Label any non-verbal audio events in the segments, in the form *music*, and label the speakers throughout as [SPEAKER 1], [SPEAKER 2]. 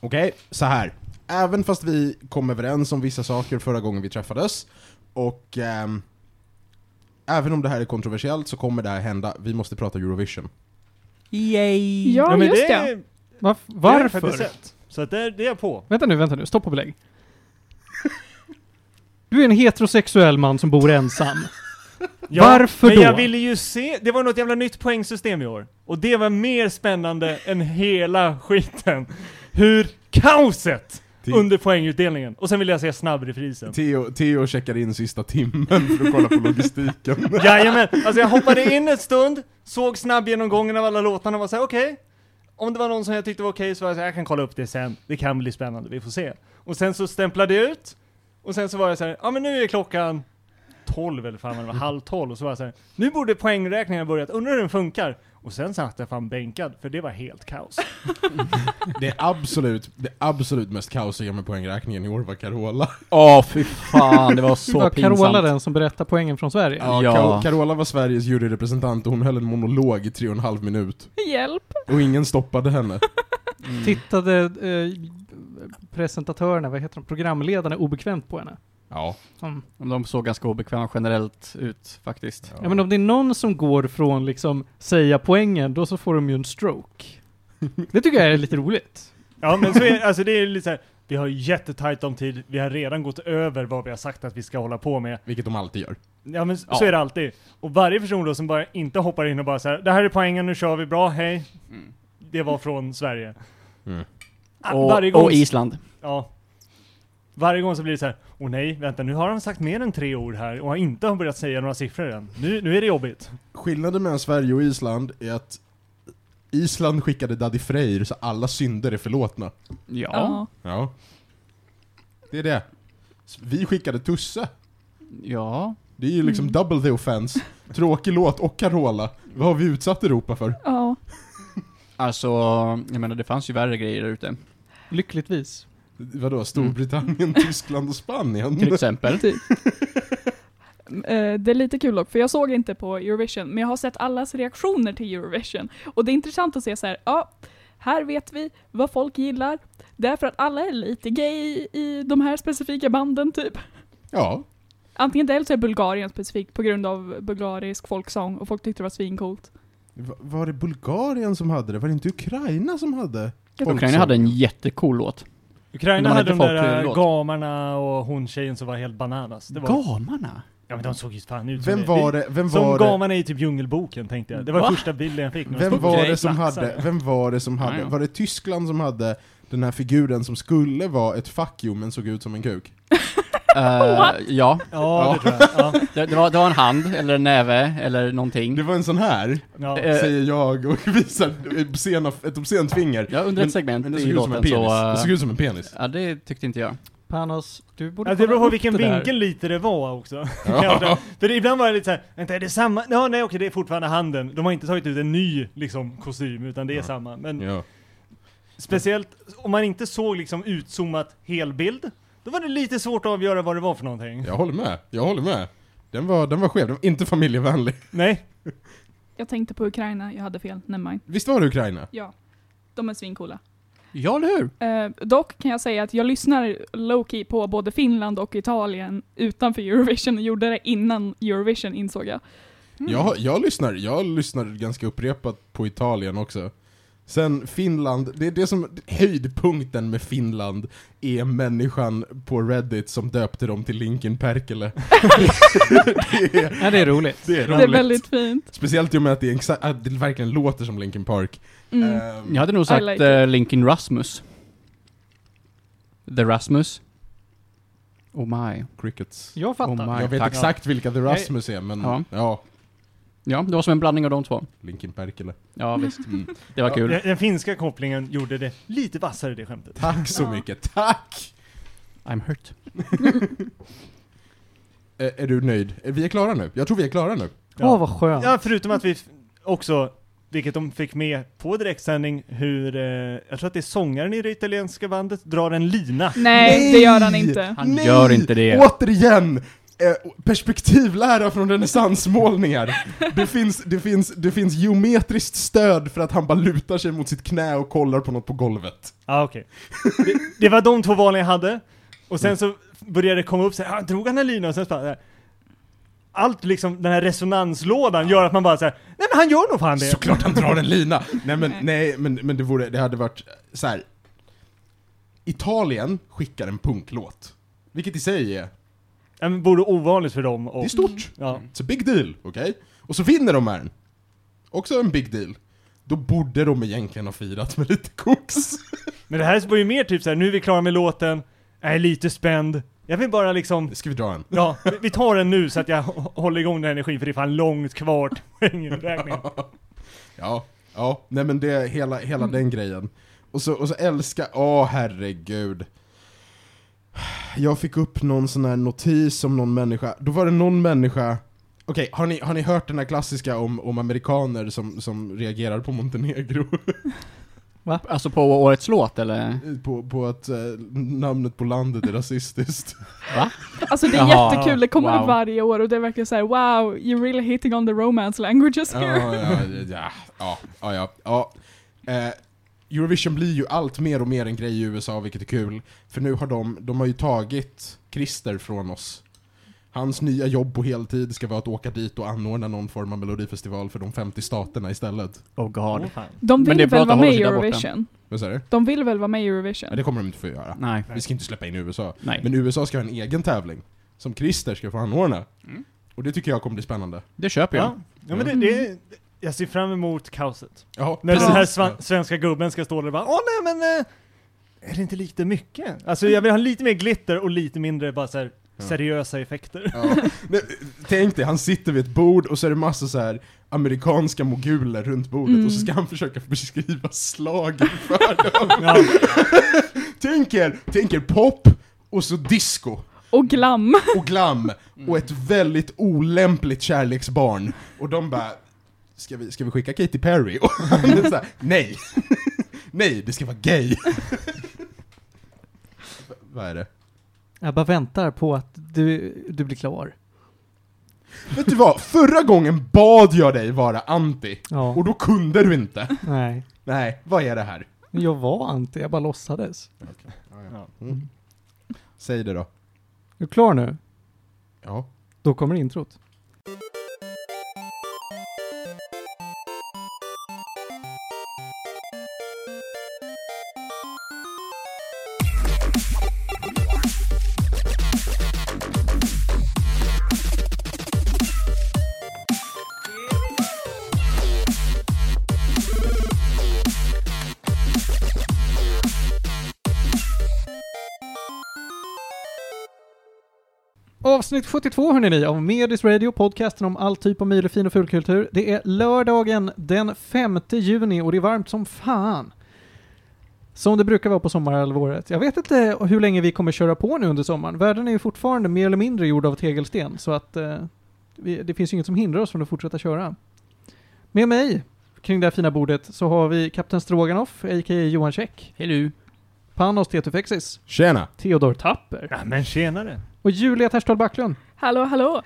[SPEAKER 1] Okej, så här. Även fast vi kom överens om vissa saker förra gången vi träffades, och ehm, även om det här är kontroversiellt så kommer det här hända, vi måste prata Eurovision.
[SPEAKER 2] Yay!
[SPEAKER 3] Ja,
[SPEAKER 4] men
[SPEAKER 3] just det.
[SPEAKER 4] det är-
[SPEAKER 3] Varf-
[SPEAKER 4] det har jag
[SPEAKER 3] varför?
[SPEAKER 4] faktiskt sett. Så att det, är- det är jag på.
[SPEAKER 3] Vänta nu, vänta nu. Stopp och belägg. Du är en heterosexuell man som bor *laughs* ensam.
[SPEAKER 4] Ja,
[SPEAKER 3] Varför
[SPEAKER 4] men
[SPEAKER 3] då?
[SPEAKER 4] jag ville ju se, det var något jävla nytt poängsystem i år. Och det var mer spännande än hela skiten. Hur kaoset
[SPEAKER 1] Till-
[SPEAKER 4] under poängutdelningen. Och sen ville jag se snabbreprisen.
[SPEAKER 1] Theo, Theo checkar in sista timmen för att kolla på
[SPEAKER 4] *laughs*
[SPEAKER 1] logistiken.
[SPEAKER 4] Jajamän, alltså jag hoppade in en stund, såg snabb genomgången av alla låtarna och var såhär okej. Om det var någon som jag tyckte var okej så var jag såhär, jag kan kolla upp det sen. Det kan bli spännande, vi får se. Och sen så stämplade jag ut. Och sen så var jag såhär, ja men nu är klockan 12 eller fan vad det var, halv 12. Och så var jag såhär, nu borde poängräkningen ha börjat, undrar hur den funkar. Och sen satt jag fan bänkad, för det var helt kaos.
[SPEAKER 1] Det är absolut, det är absolut mest kaosiga med poängräkningen i år var Carola.
[SPEAKER 5] Åh fy fan,
[SPEAKER 3] *laughs*
[SPEAKER 5] det var så
[SPEAKER 3] Det var
[SPEAKER 5] pinsamt.
[SPEAKER 3] Carola den som berättar poängen från Sverige.
[SPEAKER 1] Ja,
[SPEAKER 5] Ja.
[SPEAKER 1] Ca- Carola var Sveriges juryrepresentant och hon höll en monolog i tre och en halv minut.
[SPEAKER 2] Hjälp!
[SPEAKER 1] Och ingen stoppade henne.
[SPEAKER 3] Mm. Tittade eh, presentatörerna, vad heter de, programledarna obekvämt på henne?
[SPEAKER 1] Ja.
[SPEAKER 3] Mm.
[SPEAKER 5] De såg ganska obekväma generellt ut faktiskt.
[SPEAKER 3] Ja men om det är någon som går från liksom säga poängen, då så får de ju en *laughs* stroke. Det tycker jag är lite roligt.
[SPEAKER 4] Ja men så är alltså det är lite såhär, vi har jättetajt om tid, vi har redan gått över vad vi har sagt att vi ska hålla på med.
[SPEAKER 1] Vilket de alltid gör.
[SPEAKER 4] Ja men s-
[SPEAKER 5] Ja.
[SPEAKER 4] så är det alltid. Och varje person då som bara inte hoppar in och bara såhär, det här är poängen, nu kör vi, bra, hej. Det var från Sverige.
[SPEAKER 1] Mm.
[SPEAKER 4] Ah, varje
[SPEAKER 5] Mm. Och,
[SPEAKER 4] gång,
[SPEAKER 5] och Island.
[SPEAKER 4] ja. Varje gång så blir det så här, åh nej, vänta nu har han sagt mer än tre ord här och har inte har börjat säga några siffror än. Nu, nu är det jobbigt.
[SPEAKER 1] Skillnaden mellan Sverige och Island är att Island skickade Daddy Freyr så alla synder är förlåtna.
[SPEAKER 5] Ja.
[SPEAKER 2] Ja.
[SPEAKER 1] Ja. Det är det. Vi skickade Tusse.
[SPEAKER 5] Ja.
[SPEAKER 1] Det är ju liksom double the offense. Tråkig låt och Carola. Vad har vi utsatt Europa för?
[SPEAKER 2] ja.
[SPEAKER 5] Alltså, jag menar det fanns ju värre grejer där ute.
[SPEAKER 3] Lyckligtvis.
[SPEAKER 1] Vadå, Storbritannien, *laughs* Tyskland och Spanien? *laughs*
[SPEAKER 5] Till exempel.
[SPEAKER 2] Typ. Eh, Det är lite kul dock, för jag såg inte på Eurovision, men jag har sett allas reaktioner till Eurovision. Och det är intressant att se så här, ja, här vet vi vad folk gillar. Därför att alla är lite gay i de här specifika banden typ.
[SPEAKER 1] Ja.
[SPEAKER 2] Antingen det eller så är Bulgarien specifikt på grund av bulgarisk folksång och folk tyckte det var svincoolt.
[SPEAKER 1] Va- Var det Bulgarien som hade det? Var det inte Ukraina som hade?
[SPEAKER 5] Ukraina hade en jättecool låt. Men
[SPEAKER 4] Ukraina
[SPEAKER 5] de har
[SPEAKER 4] hade de
[SPEAKER 5] inte fått, eh,
[SPEAKER 4] där
[SPEAKER 5] låt.
[SPEAKER 4] gamarna och hon tjejen som var helt bananas. Det var, *laughs*
[SPEAKER 5] Gamarna?
[SPEAKER 4] ja men de såg ju fan ut som
[SPEAKER 1] Vem var
[SPEAKER 4] det?
[SPEAKER 1] det, vem
[SPEAKER 4] Som
[SPEAKER 1] var det,
[SPEAKER 4] gamarna i typ Djungelboken tänkte jag. Det var
[SPEAKER 5] Va?
[SPEAKER 4] första bilden jag fick. när de
[SPEAKER 1] vem
[SPEAKER 4] stod på
[SPEAKER 1] var
[SPEAKER 4] en
[SPEAKER 1] det som
[SPEAKER 4] plats här.
[SPEAKER 1] hade, vem var det som
[SPEAKER 5] Ja,
[SPEAKER 1] hade,
[SPEAKER 5] ja.
[SPEAKER 1] var det Tyskland som hade den här figuren som skulle vara ett fuck you men såg ut som en kuk?
[SPEAKER 5] Eh, ja,
[SPEAKER 4] Ja,
[SPEAKER 1] Ja.
[SPEAKER 4] det tror jag. Ja.
[SPEAKER 5] det, det, var, det var en hand, eller en näve, eller någonting.
[SPEAKER 1] Det var en sån här,
[SPEAKER 4] Ja.
[SPEAKER 5] Mm. *laughs* Eh,
[SPEAKER 1] säger jag och *laughs* visar obscena, ett obscent finger.
[SPEAKER 5] Ja, under
[SPEAKER 1] Men-
[SPEAKER 5] ett segment
[SPEAKER 1] Men det såg
[SPEAKER 5] i
[SPEAKER 1] ut som en
[SPEAKER 5] låten så...
[SPEAKER 1] penis. Det såg
[SPEAKER 5] eh,
[SPEAKER 1] ut som en penis.
[SPEAKER 5] ja, det tyckte inte jag.
[SPEAKER 3] Panos, du borde
[SPEAKER 4] Ja, Alltså, det beror
[SPEAKER 3] kolla
[SPEAKER 4] på
[SPEAKER 3] upp
[SPEAKER 4] vilken
[SPEAKER 3] det där.
[SPEAKER 4] vinkel lite det
[SPEAKER 5] *laughs*
[SPEAKER 4] var också.
[SPEAKER 1] Ja.
[SPEAKER 4] För ibland var det lite såhär, vänta är det samma? Ja, nej okej det är fortfarande handen. De har inte tagit ut en ny liksom, kostym utan det är
[SPEAKER 1] Ja.
[SPEAKER 4] samma. Men
[SPEAKER 1] Ja.
[SPEAKER 4] speciellt om man inte såg liksom utzoomat helbild, då var det lite svårt att avgöra vad det var för någonting.
[SPEAKER 1] Jag håller med, jag håller med. Den var, den var skev, den var inte familjevänlig.
[SPEAKER 4] Nej,
[SPEAKER 2] Jag tänkte på Ukraina, jag hade fel, nevermind.
[SPEAKER 1] Visst var det Ukraina?
[SPEAKER 2] Ja, de är svincoola.
[SPEAKER 5] Ja, eller hur?
[SPEAKER 2] Eh, dock kan jag säga att jag lyssnar low-key på både Finland och Italien utanför Eurovision och gjorde det innan Eurovision insåg jag.
[SPEAKER 1] Jag, jag, lyssnar, jag lyssnar ganska upprepat på Italien också. Sen Finland, det är det som, höjdpunkten med Finland är människan på Reddit som döpte dem till Linkin Perkele. det, är,
[SPEAKER 3] Ja, det är roligt.
[SPEAKER 1] det är
[SPEAKER 2] Det är
[SPEAKER 1] roligt.
[SPEAKER 2] väldigt fint.
[SPEAKER 1] Speciellt i och med att det, är exa- att det verkligen låter som Linkin Park.
[SPEAKER 2] Mm.
[SPEAKER 1] Ehm,
[SPEAKER 5] Jag hade nog sagt
[SPEAKER 2] like
[SPEAKER 5] eh, Linkin Rasmus. The Rasmus. Oh my.
[SPEAKER 1] Crickets.
[SPEAKER 3] Jag fattar.
[SPEAKER 5] Oh my.
[SPEAKER 1] Jag vet
[SPEAKER 5] tack.
[SPEAKER 1] exakt vilka The Rasmus är, men ja,
[SPEAKER 5] Ja. Ja, det var som en blandning av de två.
[SPEAKER 1] Linkin Perkele.
[SPEAKER 5] Ja, visst.
[SPEAKER 1] Mm.
[SPEAKER 5] Det var kul.
[SPEAKER 4] den, den finska kopplingen gjorde det lite vassare det skämtet.
[SPEAKER 1] Tack så
[SPEAKER 2] Ja.
[SPEAKER 1] mycket, tack!
[SPEAKER 5] I'm hurt.
[SPEAKER 1] Eh, är du nöjd? Eh, Vi är klara nu, jag tror vi är klara nu.
[SPEAKER 3] Åh, vad skönt.
[SPEAKER 4] Ja, förutom att vi f- också, vilket de fick med på direktsändning, hur, eh, jag tror att det är sångaren i det italienska bandet, drar en lina.
[SPEAKER 2] Nej, det gör han inte.
[SPEAKER 5] Han gör inte det.
[SPEAKER 1] Återigen! eh, perspektivlära från renässansmålningar. Det finns, det, finns, det finns geometriskt stöd för att han bara lutar sig mot sitt knä och kollar på något på golvet.
[SPEAKER 4] Ja, okej. Det, det var de två valen jag hade. Och
[SPEAKER 1] Mm.
[SPEAKER 4] sen så började det komma upp så här, ah, drog han en lina? Och sen så bara, så här, allt liksom, den här resonanslådan gör att man bara såhär, nej men han gör nog fan det.
[SPEAKER 1] Såklart han drar en lina! Nej men, nej, men, men det, vore, det hade varit så här. Italien skickar en punklåt. Vilket i sig är,
[SPEAKER 4] Ja, men vore ovanligt för dem
[SPEAKER 1] det
[SPEAKER 4] och,
[SPEAKER 1] är stort.
[SPEAKER 4] ja.
[SPEAKER 1] It's a big deal, okej? Och så vinner de här. Också en big deal. Då borde de egentligen ha firat med lite koks.
[SPEAKER 4] Men det här var ju mer typ såhär, nu är vi klara med låten, jag är lite spänd, jag vill bara
[SPEAKER 1] *laughs*
[SPEAKER 4] liksom,
[SPEAKER 1] Ska vi dra en?
[SPEAKER 4] ja, vi- vi tar den nu så att jag hå- håller igång den här energin för det är fan långt kvar till *laughs* poängräkningen.
[SPEAKER 1] Ja, ja, nej men det är hela, hela den grejen. Och så, och så älska, åh herregud. Jag fick upp någon sån här notis om någon människa, då var det någon människa Okej, har, ni, har ni hört den här klassiska om, om amerikaner som, som reagerar på Montenegro? *laughs*
[SPEAKER 5] Alltså på årets låt eller?
[SPEAKER 1] på, på att eh, namnet på landet är rasistiskt?
[SPEAKER 2] Alltså det är
[SPEAKER 5] Jaha,
[SPEAKER 2] jättekul, det kommer
[SPEAKER 5] wow.
[SPEAKER 2] upp varje år och det är verkligen såhär wow, you're really hitting on the romance languages here.
[SPEAKER 1] Ah, ja, ja, ja, ja, ja, ja, ja. Eh, Eurovision blir ju allt mer och mer en grej i USA, vilket är kul. För nu har de, de har ju tagit Christer från oss. Hans nya jobb på heltid ska vara att åka dit och anordna någon form av melodifestival för de 50 staterna istället.
[SPEAKER 5] Oh god.
[SPEAKER 4] Åh, fan.
[SPEAKER 2] De
[SPEAKER 5] Men
[SPEAKER 2] vill
[SPEAKER 5] det är
[SPEAKER 2] väl
[SPEAKER 5] bra att de håller
[SPEAKER 2] vara med i
[SPEAKER 5] sig där borta.
[SPEAKER 2] Eurovision?
[SPEAKER 1] Vad säger du?
[SPEAKER 2] De vill väl vara med i
[SPEAKER 1] Ja,
[SPEAKER 2] Eurovision?
[SPEAKER 1] det kommer de inte få göra.
[SPEAKER 5] Nej.
[SPEAKER 1] Vi ska inte släppa in USA.
[SPEAKER 5] Nej.
[SPEAKER 1] Men USA ska ha en egen tävling, som Christer ska få anordna.
[SPEAKER 5] Mm.
[SPEAKER 1] Och det tycker jag kommer bli spännande.
[SPEAKER 5] Det köper jag.
[SPEAKER 4] Ja, ja men det, det, jag ser fram emot kaoset.
[SPEAKER 1] Jaha,
[SPEAKER 4] När
[SPEAKER 1] precis.
[SPEAKER 4] den här svan- svenska gubben ska stå där och bara Åh nej men, eh, är det inte lite mycket? Alltså jag vill ha lite mer glitter och lite mindre bara så här,
[SPEAKER 1] Ja.
[SPEAKER 4] seriösa effekter.
[SPEAKER 1] Ja. Nej, Tänk dig, han sitter vid ett bord och så är det massa så här amerikanska moguler runt bordet
[SPEAKER 2] Mm.
[SPEAKER 1] och så ska han försöka beskriva slagen för
[SPEAKER 4] *laughs*
[SPEAKER 1] dem.
[SPEAKER 4] Ja,
[SPEAKER 1] tänk, er, tänk er pop och så disco
[SPEAKER 2] Och glam!
[SPEAKER 1] och glam och ett väldigt olämpligt kärleksbarn. Och de bara, ska vi, ska vi skicka Katy Perry? Och han är så här, nej. *laughs* nej, det ska vara gay. *laughs* V- Vad är det?
[SPEAKER 3] Jag bara väntar på att du, du blir klar.
[SPEAKER 1] Vet du vad? Förra gången bad jag dig vara anti.
[SPEAKER 3] Ja,
[SPEAKER 1] Och då kunde du inte.
[SPEAKER 3] nej.
[SPEAKER 1] Nej, vad är det här?
[SPEAKER 3] Men Jag var anti, jag bara låtsades.
[SPEAKER 4] ja.
[SPEAKER 1] Mm. Säg det då.
[SPEAKER 3] Är du klar nu?
[SPEAKER 1] Ja.
[SPEAKER 3] Då kommer introt. Avsnitt 72 hörni ni av Medis Radio, podcasten om all typ av mil, fin och fulkultur. Det är lördagen den 5 juni och det är varmt som fan. Som det brukar vara på sommarhalvåret. Jag vet inte hur länge vi kommer köra på nu under sommaren. Världen är ju fortfarande mer eller mindre gjord av tegelsten så att eh, vi, det finns ju inget som hindrar oss från att fortsätta köra. Med mig kring det här fina bordet så har vi Kapten Stroganoff, a.k.a. Johan Käck,
[SPEAKER 5] Hej du.
[SPEAKER 3] Panos Tetufexis,
[SPEAKER 1] Tjena!
[SPEAKER 3] Theodor Tapper
[SPEAKER 4] ja men tjenare.
[SPEAKER 3] och Julia Terstad Backlund.
[SPEAKER 2] Hallå hallå!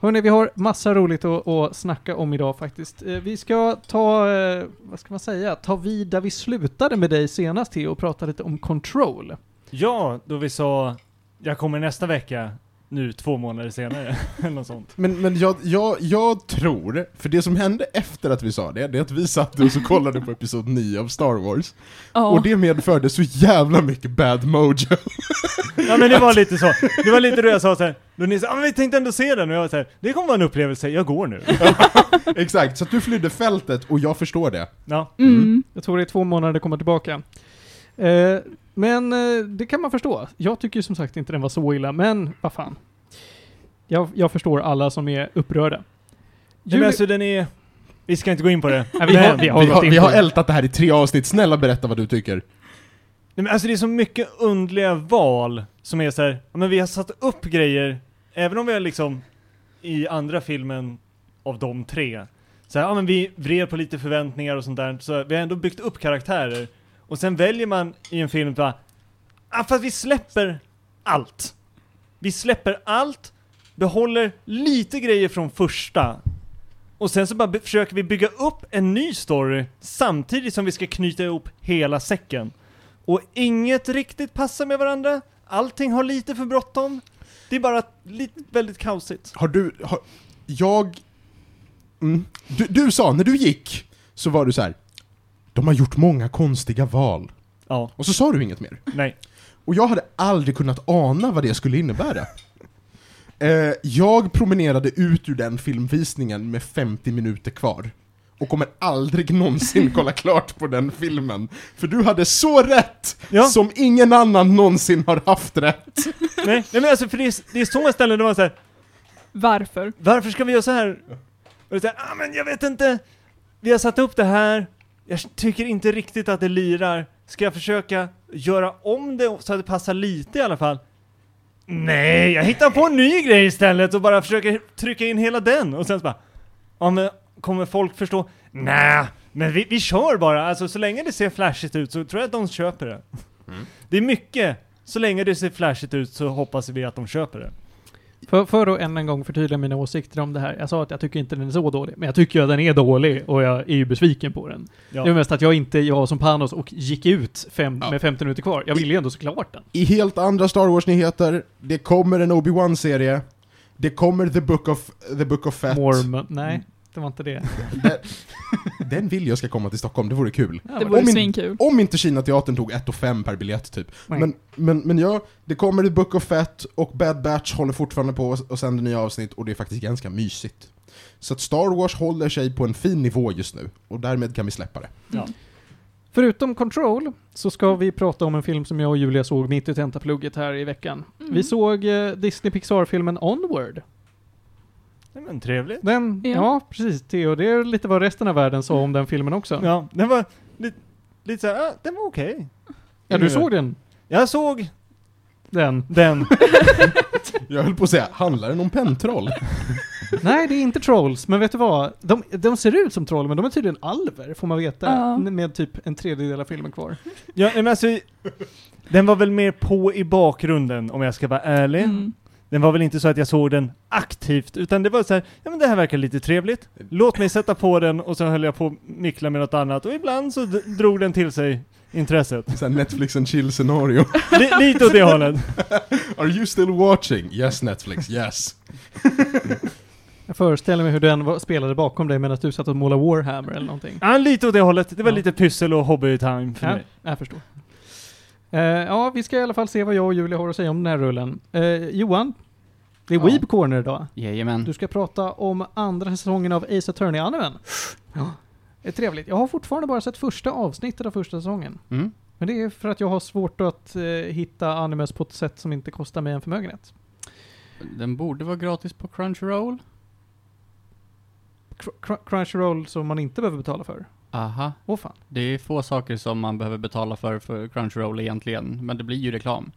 [SPEAKER 3] Hörni, vi har massa roligt att, att snacka om idag faktiskt. Eh, Vi ska ta, eh, vad ska man säga, ta vid där vi slutade med dig senast Theo och prata lite om Control.
[SPEAKER 4] Ja, då vi sa jag kommer nästa vecka, nu två månader senare, *laughs* eller något sånt.
[SPEAKER 1] Men, men jag, jag, jag tror, för det som hände efter att vi sa det, det är att vi satt och så kollade på episod 9 av Star Wars.
[SPEAKER 2] Ja.
[SPEAKER 1] Och det medförde så jävla mycket bad mojo. *laughs*
[SPEAKER 4] Ja men det var lite så. Det var lite då jag sa såhär, då ni sa ah, men vi tänkte ändå se den och jag var såhär, det kommer vara en upplevelse, jag går nu.
[SPEAKER 1] Exakt, så att du flydde fältet och jag förstår det.
[SPEAKER 4] Ja.
[SPEAKER 2] Mm.
[SPEAKER 3] Jag tror det är två månader att komma tillbaka. Eh, Men eh, det kan man förstå. Jag tycker ju som sagt inte den var så illa, men vad fan. Jag, jag förstår alla som är upprörda.
[SPEAKER 4] Nej, men
[SPEAKER 3] Juli-
[SPEAKER 4] alltså den är, vi ska inte gå in på det.
[SPEAKER 3] Nej, vi har-
[SPEAKER 4] Men-
[SPEAKER 3] vi
[SPEAKER 1] Vi har,
[SPEAKER 3] gått in
[SPEAKER 1] vi
[SPEAKER 3] på
[SPEAKER 1] har
[SPEAKER 3] det.
[SPEAKER 1] ältat det här i tre avsnitt, snälla berätta vad du tycker.
[SPEAKER 4] Nej, men alltså det är så mycket underliga val som är så här, ja, men vi har satt upp grejer, även om vi har liksom i andra filmen av de tre, så här, ja men vi vred på lite förväntningar och sånt där, så vi har ändå byggt upp karaktärer. Och sen väljer man i en film bara, ah, fast vi släpper allt. Vi släpper allt behåller lite grejer från första. Och sen så bara be- försöker vi bygga upp en ny story samtidigt som vi ska knyta ihop hela säcken. Och inget riktigt passar med varandra. Allting har lite för bråttom. Det är bara lite, väldigt kaosigt.
[SPEAKER 1] Har du, har, jag... Mm. Du, du sa, när du gick, så var du så här. De har gjort många konstiga val.
[SPEAKER 4] Ja,
[SPEAKER 1] Och så sa du inget mer.
[SPEAKER 4] nej.
[SPEAKER 1] Och jag hade aldrig kunnat ana vad det skulle innebära. Eh, jag promenerade ut ur den filmvisningen med 50 minuter kvar. Och kommer aldrig någonsin kolla klart på den filmen. För du hade så rätt!
[SPEAKER 4] Ja.
[SPEAKER 1] Som ingen annan någonsin har haft rätt.
[SPEAKER 4] Nej, nej men alltså för det är, det är så många ställen där man säger
[SPEAKER 2] Varför?
[SPEAKER 4] Varför ska vi göra så här? Och det är så här, ah, men jag vet inte. Vi har satt upp det här. Jag tycker inte riktigt att det lirar. Ska jag försöka göra om det så att det passar lite i alla fall? Nej, jag hittar på en ny grej istället och bara försöker trycka in hela den. Och sen så bara, ja men kommer folk förstå? Nej, men vi, vi kör bara. Alltså så länge det ser flashigt ut så tror jag att de köper det. Det är mycket. Så länge det ser flashigt ut så hoppas vi att de köper det.
[SPEAKER 3] För, för att än en gång förtydliga mina åsikter om det här. Jag sa att jag tycker inte den är så dålig, men jag tycker ju att den är dålig och jag är ju besviken på den.
[SPEAKER 4] Ja.
[SPEAKER 3] Det är mest att jag inte, jag som Panos, och gick ut fem,
[SPEAKER 1] Ja.
[SPEAKER 3] med 15 minuter kvar. Jag ville ju ändå såklart den.
[SPEAKER 1] I helt andra Star Wars-nyheter, det kommer en Obi-Wan-serie, det kommer The Book of, The Book of Fett.
[SPEAKER 3] Mormon. Nej, det var inte det.
[SPEAKER 1] Den, den vill jag ska komma till Stockholm, det vore kul.
[SPEAKER 3] Ja,
[SPEAKER 2] Det
[SPEAKER 3] men-
[SPEAKER 2] vore
[SPEAKER 1] Om min-
[SPEAKER 2] svinkul.
[SPEAKER 1] Om inte Kina-teatern tog 1 5 per biljett typ.
[SPEAKER 3] Nej.
[SPEAKER 1] Men, men, men ja, det kommer The Book of Fett och Bad Batch håller fortfarande på och sänder nya avsnitt och det är faktiskt ganska mysigt. Så att Star Wars håller sig på en fin nivå just nu och därmed kan vi släppa *laughs* det.
[SPEAKER 3] Förutom Control så ska vi prata om en film som jag och Julia såg mitt i tentaplugget här i veckan.
[SPEAKER 2] Mm.
[SPEAKER 3] Vi såg eh, Disney Pixar-filmen Onward.
[SPEAKER 4] Nej, men trevligt.
[SPEAKER 3] Den,
[SPEAKER 2] Ja.
[SPEAKER 3] ja. precis Theo, det är lite vad resten av världen sa om den filmen också. Ja,
[SPEAKER 4] Ja, den var lite, lite såhär, ah, den var okej.
[SPEAKER 3] du såg den?
[SPEAKER 4] Jag såg
[SPEAKER 3] Den. *laughs*
[SPEAKER 4] den.
[SPEAKER 1] Jag höll på att säga, handlar den om pentroll?
[SPEAKER 3] Nej, det är inte trolls, men vet du vad? De, de ser ut som troll, men de är tydligen alver, får man veta,
[SPEAKER 2] Ja.
[SPEAKER 3] n- med typ en tredjedel av filmen kvar.
[SPEAKER 4] ja, nej, men alltså, den var väl mer på i bakgrunden om jag ska vara ärlig.
[SPEAKER 2] Mm.
[SPEAKER 4] Den var väl inte så att jag såg den aktivt, utan det var så här, ja men det här verkar lite trevligt. Låt mig sätta på den och så höll jag på att mickla med något annat och ibland så d- drog den till sig intresset.
[SPEAKER 1] Sen Netflix and chill scenario.
[SPEAKER 4] Li- lite åt det hållet.
[SPEAKER 1] Are you still watching? Yes Netflix, yes.
[SPEAKER 3] Jag föreställer mig hur den var, spelade bakom dig medan du satt och målade Warhammer eller någonting.
[SPEAKER 4] Ja, lite åt det hållet. Det var
[SPEAKER 3] Ja.
[SPEAKER 4] lite pyssel och hobby-time för
[SPEAKER 3] Ja,
[SPEAKER 4] mig.
[SPEAKER 3] jag förstår. Eh, ja, vi ska i alla fall se vad jag och Julia har att säga om den här rullen. Eh, Johan, det är
[SPEAKER 5] Ja.
[SPEAKER 3] Weeb Corner idag. Du
[SPEAKER 5] Jajamän.
[SPEAKER 3] ska prata om andra säsongen av Ace Attorney-animen. Ja. Det är trevligt. Jag har fortfarande bara sett första avsnittet av första säsongen.
[SPEAKER 5] Mm.
[SPEAKER 3] Men det är för att jag har svårt att eh, hitta animes på ett sätt som inte kostar mig en förmögenhet.
[SPEAKER 5] Den borde vara gratis på Crunchyroll.
[SPEAKER 3] Cr- cr- Crunchyroll som man inte behöver betala för.
[SPEAKER 5] Aha.
[SPEAKER 3] Åh fan.
[SPEAKER 5] Det är få saker som man behöver betala för för Crunchyroll egentligen, men det blir ju reklam.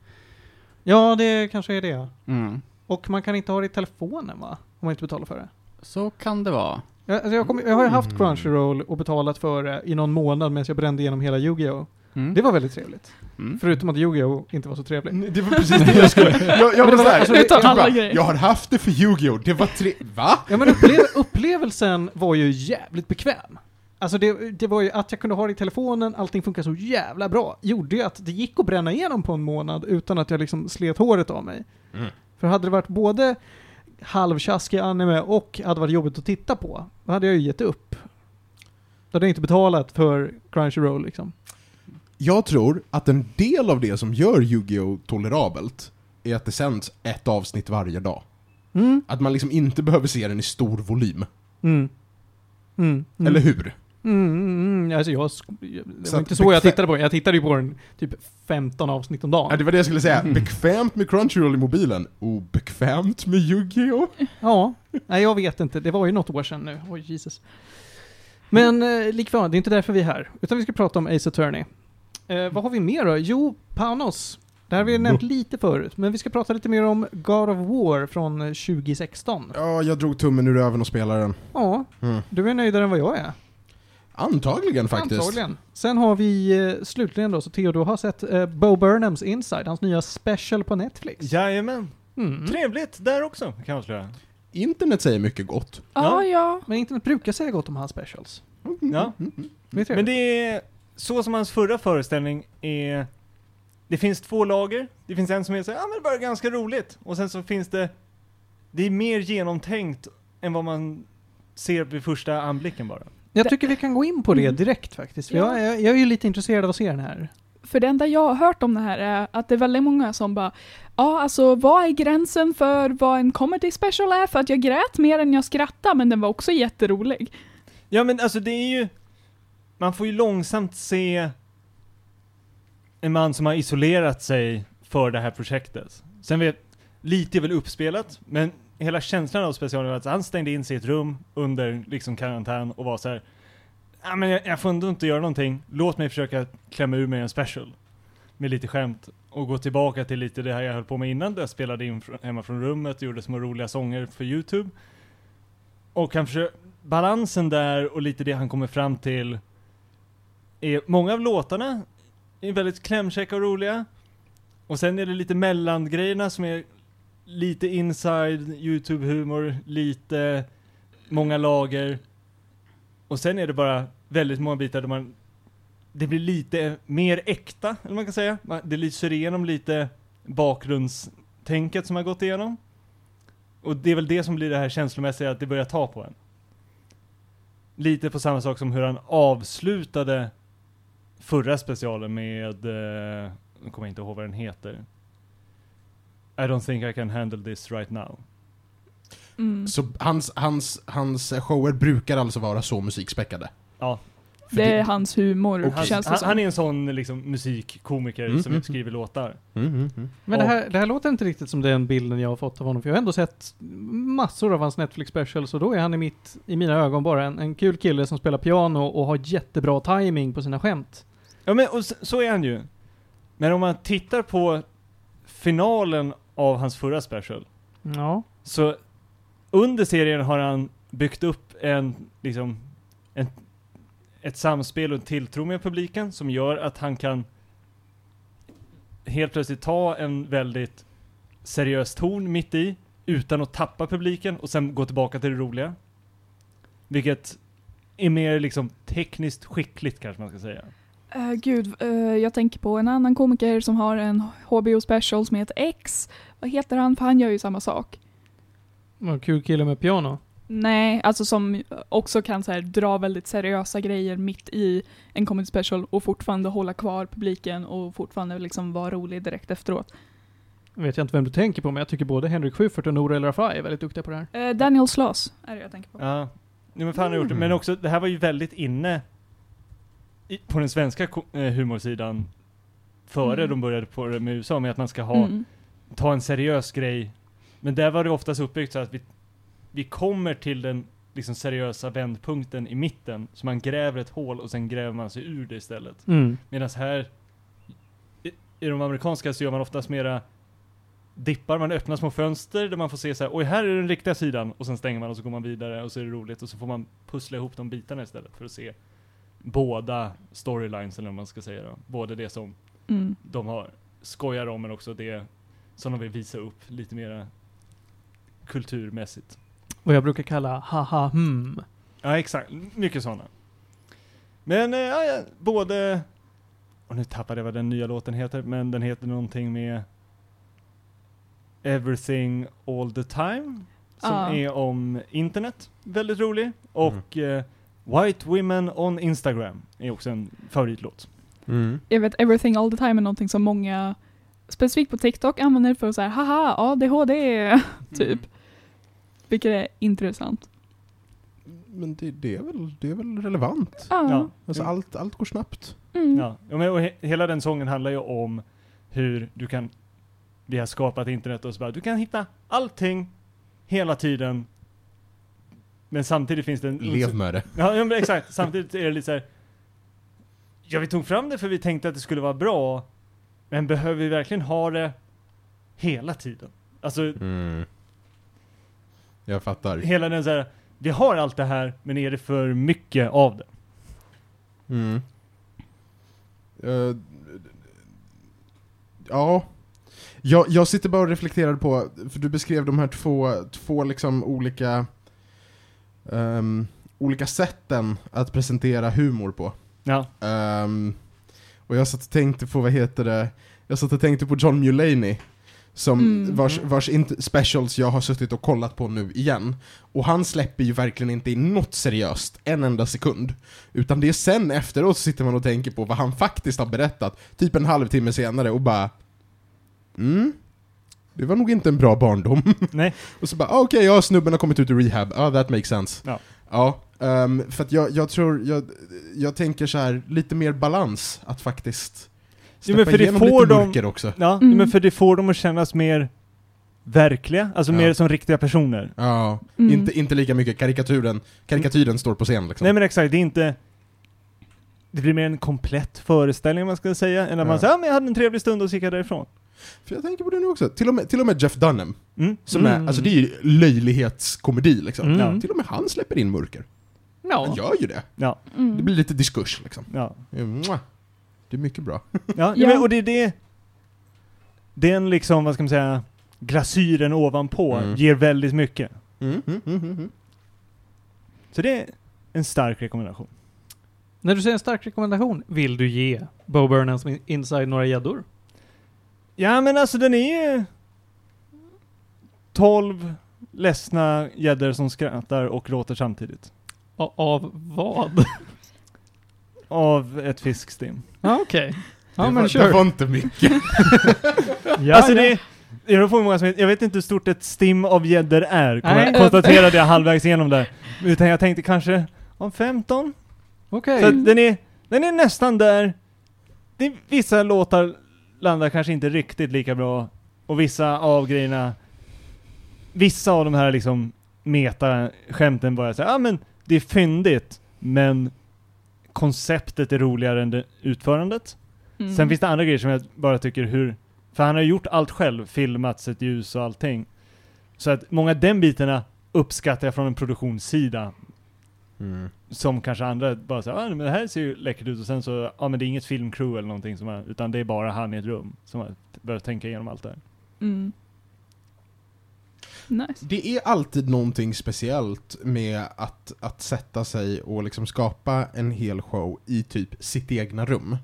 [SPEAKER 3] Ja, det kanske är det.
[SPEAKER 5] Mm.
[SPEAKER 3] Och man kan inte ha det i telefonen va? Om man inte betalar för det.
[SPEAKER 5] Så kan det vara.
[SPEAKER 3] Jag, alltså jag, kom, jag har ju haft
[SPEAKER 1] Mm.
[SPEAKER 3] Crunchyroll och betalat för det i någon månad medan jag brände igenom hela Yu-Gi-Oh!
[SPEAKER 5] Mm.
[SPEAKER 3] Det var väldigt trevligt.
[SPEAKER 5] Mm.
[SPEAKER 3] Förutom att Yu-Gi-Oh! inte var så trevligt.
[SPEAKER 1] Det var precis det jag skulle... *laughs* Jag, jag,
[SPEAKER 3] Men det
[SPEAKER 1] var
[SPEAKER 3] var-
[SPEAKER 1] så här,
[SPEAKER 3] alltså,
[SPEAKER 2] det tar
[SPEAKER 1] jag,
[SPEAKER 2] alla
[SPEAKER 1] bara,
[SPEAKER 2] grejer.
[SPEAKER 1] jag har haft det för Yu-Gi-Oh! Det var tre... Va?
[SPEAKER 3] Ja men upple- upplevelsen var ju jävligt bekväm. Alltså det, det var ju att jag kunde ha det i telefonen, allting funkar så jävla bra. Gjorde ju att det gick att bränna igenom på en månad utan att jag liksom slet håret av mig.
[SPEAKER 1] Mm.
[SPEAKER 3] För hade det varit både halvtjaskig anime och hade varit jobbigt att titta på, då hade jag ju gett upp. Då hade jag inte betalat för Crunchyroll liksom.
[SPEAKER 1] Jag tror att en del av det som gör Yu-Gi-Oh! tolerabelt är att det sänds ett avsnitt varje dag.
[SPEAKER 3] Mm.
[SPEAKER 1] Att man liksom inte behöver se den i stor volym.
[SPEAKER 3] Mm. Mm. Mm.
[SPEAKER 1] Eller hur?
[SPEAKER 3] Mm, mm, mm. Alltså jag, sk- det
[SPEAKER 1] Så att
[SPEAKER 3] var inte så jag
[SPEAKER 1] bekvä-
[SPEAKER 3] tittade på den. Jag tittade ju på den typ 15 avsnitt om
[SPEAKER 1] Ja, Mm.
[SPEAKER 3] dagen.
[SPEAKER 1] det var det jag skulle säga. Bekvämt med Crunchyroll i mobilen. Obekvämt med Yu-Gi-Oh!
[SPEAKER 3] Ja, nej jag vet inte. Det var ju något år sedan nu. Oj, Jesus. Men eh, likväl, det är inte därför vi är här. Utan vi ska prata om Ace Attorney. Eh, vad har vi mer då? Jo, Panos. Det här har vi
[SPEAKER 1] Mm.
[SPEAKER 3] nämnt lite förut, men vi ska prata lite mer om God of War från eh, 2016.
[SPEAKER 1] Ja, jag drog tummen ur öven och spelade den.
[SPEAKER 3] Ja,
[SPEAKER 1] Mm.
[SPEAKER 3] du är nöjdare än vad jag är.
[SPEAKER 1] Antagligen faktiskt.
[SPEAKER 3] Antagligen. Sen har vi eh, slutligen då, så Theo, du har sett eh, Bo Burnhams Inside, hans nya special på Netflix.
[SPEAKER 4] Jajamän.
[SPEAKER 3] Mm.
[SPEAKER 4] Trevligt där också, kan jag avslöja.
[SPEAKER 1] Internet säger mycket gott.
[SPEAKER 2] Ja, ja.
[SPEAKER 3] Men internet brukar säga gott om hans specials.
[SPEAKER 4] Ja.
[SPEAKER 3] Vet du
[SPEAKER 4] Men det är så som hans förra föreställning är... Det finns två lager. Det finns en som är så här, ja men det var ganska roligt. Och sen så finns det... Det är mer genomtänkt än vad man ser vid första anblicken bara.
[SPEAKER 3] Jag tycker vi kan gå in på det direkt faktiskt. för
[SPEAKER 2] Ja.
[SPEAKER 3] Jag, jag, jag är ju lite intresserad av att se den här.
[SPEAKER 2] För det enda jag har hört om det här är att det är väldigt många som bara Ja, alltså vad är gränsen för vad en comedy special är? För att jag grät mer än jag skrattade, men den var också jätterolig.
[SPEAKER 4] Ja men alltså det är ju... Man får ju långsamt se en man som har isolerat sig för det här projektet. Sen vet... Lite är väl uppspelat, men hela känslan av specialen var att han stängde in sig i ett rum under liksom karantän och var så här. Ja men jag, jag får ändå inte göra någonting. Låt mig försöka klämma ur mig en special. Med lite skämt. Och gå tillbaka till lite det här jag höll på med innan. Där jag spelade in fr- hemma från rummet och gjorde små roliga sånger för YouTube. Och han försöker balansen där och lite det han kommer fram till är många av låtarna är väldigt klämkäcka och roliga. Och sen är det lite mellangrejerna som är lite inside YouTube-humor, lite många lager. Och sen är det bara väldigt många bitar där man det blir lite mer äkta, eller man kan säga. Man- Det lyser igenom lite bakgrundstänket som har gått igenom. Och det är väl det som blir det här känslomässiga, att det börjar ta på en. Lite på samma sak som hur han avslutade förra specialen med, eh, nu kommer jag inte ihåg vad den heter. I don't think I can handle this right now.
[SPEAKER 2] Mm.
[SPEAKER 1] Så hans, hans, hans shower brukar alltså vara så musikspäckade?
[SPEAKER 4] Ja.
[SPEAKER 1] För
[SPEAKER 2] Det är hans humor,
[SPEAKER 1] Och
[SPEAKER 4] Han,
[SPEAKER 2] känns det Mm-hmm.
[SPEAKER 4] han,
[SPEAKER 2] som.
[SPEAKER 4] han är en sån liksom, musikkomiker
[SPEAKER 1] Mm,
[SPEAKER 4] som
[SPEAKER 1] mm,
[SPEAKER 4] skriver låtar.
[SPEAKER 1] Mm, mm, mm.
[SPEAKER 3] Men det här, det här låter inte riktigt som den bilden jag har fått av honom. För jag har ändå sett massor av hans Netflix specials och då är han i, mitt, i mina ögon bara en, en kul kille som spelar piano och har jättebra timing på sina skämt.
[SPEAKER 4] Ja men och s- så är han ju. Men om man tittar på finalen av hans förra special.
[SPEAKER 3] Ja.
[SPEAKER 4] Så under serien har han byggt upp en, liksom, en, ett samspel och en tilltro med publiken som gör att han kan helt plötsligt ta en väldigt seriös ton mitt i utan att tappa publiken och sen gå tillbaka till det roliga. Vilket är mer liksom tekniskt skickligt kanske man ska säga.
[SPEAKER 2] Eh, gud, eh, jag tänker på en annan komiker som har en HBO special som heter X. Vad heter han? För han gör ju samma sak.
[SPEAKER 3] En kul kille med piano.
[SPEAKER 2] Nej, alltså som också kan så här, dra väldigt seriösa grejer mitt i en comedy special och fortfarande hålla kvar publiken och fortfarande liksom vara rolig direkt efteråt.
[SPEAKER 3] Jag vet jag inte vem du tänker på men jag tycker både Henrik Schyffert och Nour El Rafai är väldigt duktiga på det här.
[SPEAKER 2] Eh, Daniel Sloss är det jag tänker på.
[SPEAKER 4] Ja. Nej, men fan har gjort det.
[SPEAKER 1] Mm.
[SPEAKER 4] Men också, det här var ju väldigt inne i, på den svenska ko- eh, humorsidan före
[SPEAKER 2] Mm.
[SPEAKER 4] de började på det med USA med att man ska ha,
[SPEAKER 2] Mm.
[SPEAKER 4] ta en seriös grej. Men där var det oftast uppbyggt så att vi, vi kommer till den liksom seriösa vändpunkten i mitten. Så man gräver ett hål och sen gräver man sig ur det istället.
[SPEAKER 3] Mm.
[SPEAKER 4] Medan här i, i de amerikanska så gör man oftast mera dippar, man öppnar små fönster där man får se så här, oj här är den riktiga sidan och sen stänger man och så går man vidare och så är det roligt och så får man pussla ihop de bitarna istället för att se båda storylines eller vad man ska säga då. Både det som
[SPEAKER 2] Mm.
[SPEAKER 4] de har skojar om men också det som de vill visa upp lite mera kulturmässigt.
[SPEAKER 3] Vad jag brukar kalla haha hmm.
[SPEAKER 4] Ja, exakt. Mycket sådana. Men eh, ja, ja, både... Och nu tappade jag vad den nya låten heter, men den heter någonting med Everything All The Time. Som
[SPEAKER 2] Ja.
[SPEAKER 4] är om internet. Väldigt rolig. Och eh, White Women On Instagram är också en favoritlåt.
[SPEAKER 1] Mm.
[SPEAKER 2] Jag vet, everything all the time är någonting som många, specifikt på TikTok, använder för att säga haha, ADHD, *laughs* typ.
[SPEAKER 5] Mm.
[SPEAKER 2] Vilket är intressant.
[SPEAKER 1] Men det, det, är väl, det är väl relevant?
[SPEAKER 2] Ja.
[SPEAKER 4] Ja.
[SPEAKER 1] Alltså allt, allt går snabbt.
[SPEAKER 2] Ah, Mm.
[SPEAKER 4] Ja, ja, men och he- hela den sången handlar ju om hur du kan, vi har skapat internet och så bara, du kan hitta allting hela tiden. Men samtidigt finns det en...
[SPEAKER 1] Lev med det.
[SPEAKER 4] Ja, ja men exakt. Samtidigt är det lite så här. Ja, vi tog fram det för vi tänkte att det skulle vara bra. Men behöver vi verkligen ha det hela tiden? Alltså,
[SPEAKER 1] Mm. Jag fattar.
[SPEAKER 4] hela den så här, vi har allt det här, men är det för mycket av det?
[SPEAKER 1] Mm. Eh, ja. Jag, jag sitter bara och reflekterar på, för du beskrev de här två, två liksom olika, ehm, olika sätten att presentera humor på.
[SPEAKER 4] Ja.
[SPEAKER 1] Ehm, och jag satt och tänkte på, vad heter det, jag satt och tänkte på John Mulaney. Som,
[SPEAKER 2] Mm.
[SPEAKER 1] vars, vars int- specials jag har suttit och kollat på nu igen. Och han släpper ju verkligen inte in något seriöst en enda sekund. Utan det är sen efteråt så sitter man och tänker på vad han faktiskt har berättat, typ en halvtimme senare och bara Mm, det var nog inte en bra barndom. *laughs*
[SPEAKER 4] Nej.
[SPEAKER 1] Och så bara, ah, okej, ja snubben har kommit ut ur rehab, ah that makes sense.
[SPEAKER 4] Ja.
[SPEAKER 1] Ja, ehm, för att jag, jag tror, jag, jag tänker så här lite mer balans att faktiskt
[SPEAKER 4] Jo, men
[SPEAKER 1] släppa
[SPEAKER 4] för det
[SPEAKER 1] igenom
[SPEAKER 4] får
[SPEAKER 1] lite
[SPEAKER 4] de-
[SPEAKER 1] mörker också.
[SPEAKER 4] Ja,
[SPEAKER 2] Mm.
[SPEAKER 4] men för det får dem att kännas mer verkliga, alltså
[SPEAKER 1] Ja.
[SPEAKER 4] mer som riktiga personer.
[SPEAKER 1] Ja,
[SPEAKER 2] Mm.
[SPEAKER 1] inte, inte lika mycket karikaturen, karikatyren står på scen liksom.
[SPEAKER 4] Nej men exakt, det är inte... Det blir mer en komplett föreställning man ska säga, än att man
[SPEAKER 1] Ja.
[SPEAKER 4] säger ja, men jag hade en trevlig stund och så gick jag därifrån.
[SPEAKER 1] För jag tänker på det nu också, till och med, till och med Jeff Dunham,
[SPEAKER 4] Mm.
[SPEAKER 1] som
[SPEAKER 3] Mm.
[SPEAKER 1] är, alltså det är ju löjlighetskomedi liksom.
[SPEAKER 3] Mm.
[SPEAKER 4] Ja.
[SPEAKER 1] Till och med han släpper in mörker. Han
[SPEAKER 2] Ja.
[SPEAKER 1] gör ju det.
[SPEAKER 2] Mm.
[SPEAKER 1] Det blir lite diskurs liksom.
[SPEAKER 4] Ja,
[SPEAKER 1] Mwah. Det är mycket bra.
[SPEAKER 4] ja,
[SPEAKER 2] Ja.
[SPEAKER 4] Men, och det är det... Den liksom, vad ska man säga, glasyren ovanpå
[SPEAKER 1] Mm.
[SPEAKER 4] ger väldigt mycket.
[SPEAKER 1] Mm, mm, mm, mm, mm.
[SPEAKER 4] Så det är en stark rekommendation.
[SPEAKER 3] När du säger en stark rekommendation, vill du ge Bo Burnhams Inside några gäddor?
[SPEAKER 4] Ja men alltså den är ju... 12 ledsna gäddor som skrattar och gråter samtidigt.
[SPEAKER 3] A- Av vad?
[SPEAKER 4] Av ett fiskstim.
[SPEAKER 3] Ja, okej. Ja,
[SPEAKER 1] det,
[SPEAKER 3] men
[SPEAKER 1] var,
[SPEAKER 3] kör.
[SPEAKER 1] det var inte mycket.
[SPEAKER 3] Ja,
[SPEAKER 4] *laughs* alltså
[SPEAKER 3] ja.
[SPEAKER 4] det är, jag, får många som, jag vet inte hur stort ett stim av gäddor är, kom
[SPEAKER 3] Nej.
[SPEAKER 4] jag konstaterade jag halvvägs igenom där. Utan jag tänkte kanske om 15?
[SPEAKER 3] Okej.
[SPEAKER 4] Så att den är, den är nästan där. Det är, vissa låtar landar kanske inte riktigt lika bra, och vissa av grejerna, vissa av de här liksom meta-skämten bara säger ja ah, men det är fyndigt, men konceptet är roligare än det, utförandet.
[SPEAKER 2] Mm.
[SPEAKER 4] Sen finns det andra grejer som jag bara tycker hur... För han har gjort allt själv, filmat, sett ljus och allting. Så att många av den bitarna uppskattar jag från en produktionssida. Som kanske andra bara säger ah, men det här ser ju läckert ut och sen så, ja ah, men det är inget filmcrew eller någonting som är, utan det är bara han i ett rum som har börjat tänka igenom allt det här.
[SPEAKER 2] Mm. Nice.
[SPEAKER 1] Det är alltid någonting speciellt med att, att sätta sig och liksom skapa en hel show i typ sitt egna rum.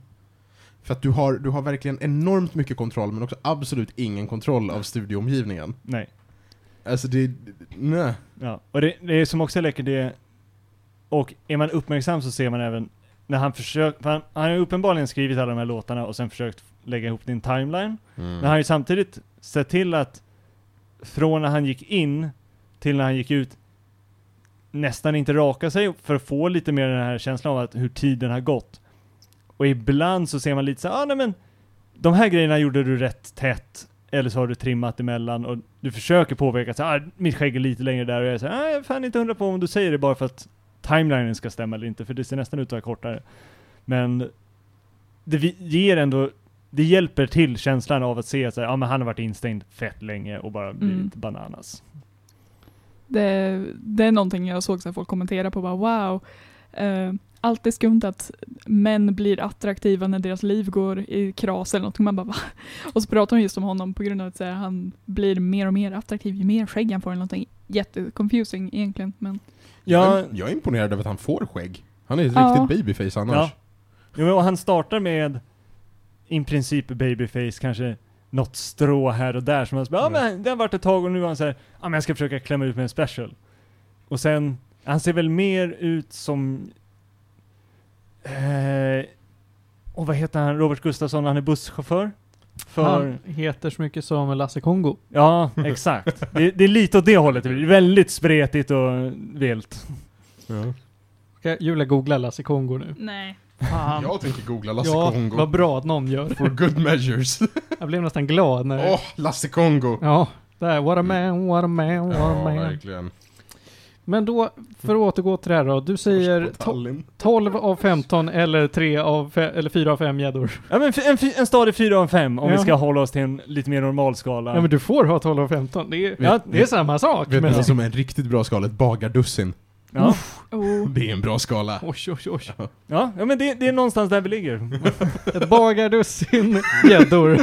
[SPEAKER 1] För att du har, du har verkligen enormt mycket kontroll men också absolut ingen kontroll av studioomgivningen.
[SPEAKER 4] Nej.
[SPEAKER 1] Alltså det, nej.
[SPEAKER 4] Ja. Och det, det är som också är läckert det är- och är man uppmärksam så ser man även när han försöker, för han, han har ju uppenbarligen skrivit alla de här låtarna och sen försökt lägga ihop din timeline.
[SPEAKER 1] Mm.
[SPEAKER 4] Men han har ju samtidigt sett till att från när han gick in till när han gick ut nästan inte raka sig för att få lite mer den här känslan av att hur tiden har gått. Och ibland så ser man lite så här, ah, nej men de här grejerna gjorde du rätt tätt eller så har du trimmat emellan och du försöker påpeka att ah, mitt skägg är lite längre där och jag säger ah, jag är fan inte hundra på om du säger det bara för att timelinen ska stämma eller inte för det ser nästan ut att vara kortare. Men det vi- ger ändå det hjälper till känslan av att se att så här, ah, men han har varit instängd fett länge och bara blivit
[SPEAKER 2] Mm.
[SPEAKER 4] bananas.
[SPEAKER 2] Det, det är någonting jag såg så här folk kommentera på bara wow. Eh, alltid skumt att män blir attraktiva när deras liv går i kras eller någonting. Man bara va? Och så pratar de just om honom på grund av att så här, han blir mer och mer attraktiv ju mer skägg han får eller någonting. Jätteconfusing egentligen men.
[SPEAKER 1] jag,
[SPEAKER 4] Ja,
[SPEAKER 1] är- jag är imponerad över att han får skägg. Han är ett
[SPEAKER 2] Ja.
[SPEAKER 1] riktigt babyface annars.
[SPEAKER 4] Ja. jo, men och han startar med i princip babyface, kanske något strå här och där som han säger, ah, men det har varit ett tag och nu är han så här, ah, men jag ska försöka klämma ut med en special. Och sen, han ser väl mer ut som eh, och vad heter han, Robert Gustafsson, han är busschaufför? För,
[SPEAKER 3] Han heter så mycket som Lasse Kongo.
[SPEAKER 4] Ja, exakt. Det, det är lite åt det hållet. Det blir väldigt spretigt och vilt.
[SPEAKER 1] Ja.
[SPEAKER 3] Ska Julia googla Lasse Kongo nu?
[SPEAKER 2] Nej.
[SPEAKER 3] Fan.
[SPEAKER 1] Jag tänker googla Lasse
[SPEAKER 3] ja,
[SPEAKER 1] Kongo.
[SPEAKER 3] vad bra att någon gör.
[SPEAKER 1] For good measures.
[SPEAKER 3] Jag blev nästan glad när...
[SPEAKER 1] Åh, Lasse Kongo!
[SPEAKER 3] Ja, där. What a man, what a man, what a
[SPEAKER 1] Ja,
[SPEAKER 3] man.
[SPEAKER 1] verkligen.
[SPEAKER 3] Men då, för att återgå till det här då. Du säger
[SPEAKER 1] Först på Tallinn.
[SPEAKER 3] 12 av 15 eller 3 av fe- eller 4 av 5 gäddor.
[SPEAKER 4] Ja, men f- en, f- en stadig 4 av 5 om vi
[SPEAKER 3] Ja.
[SPEAKER 4] ska hålla oss till en lite mer normal skala.
[SPEAKER 3] Ja men du får ha 12 av 15. Det är,
[SPEAKER 4] Ja,
[SPEAKER 3] det är samma sak.
[SPEAKER 1] Vet ni
[SPEAKER 3] men,
[SPEAKER 1] vad som är en riktigt bra skala? Ett bagardussin.
[SPEAKER 4] ja.
[SPEAKER 2] Oh.
[SPEAKER 1] Det är en bra skala.
[SPEAKER 3] Oj, oj, oj.
[SPEAKER 4] Ja, ja,
[SPEAKER 3] *laughs*
[SPEAKER 4] men det, det är någonstans där vi ligger.
[SPEAKER 1] *laughs*
[SPEAKER 3] Ett bagardussin gäddor.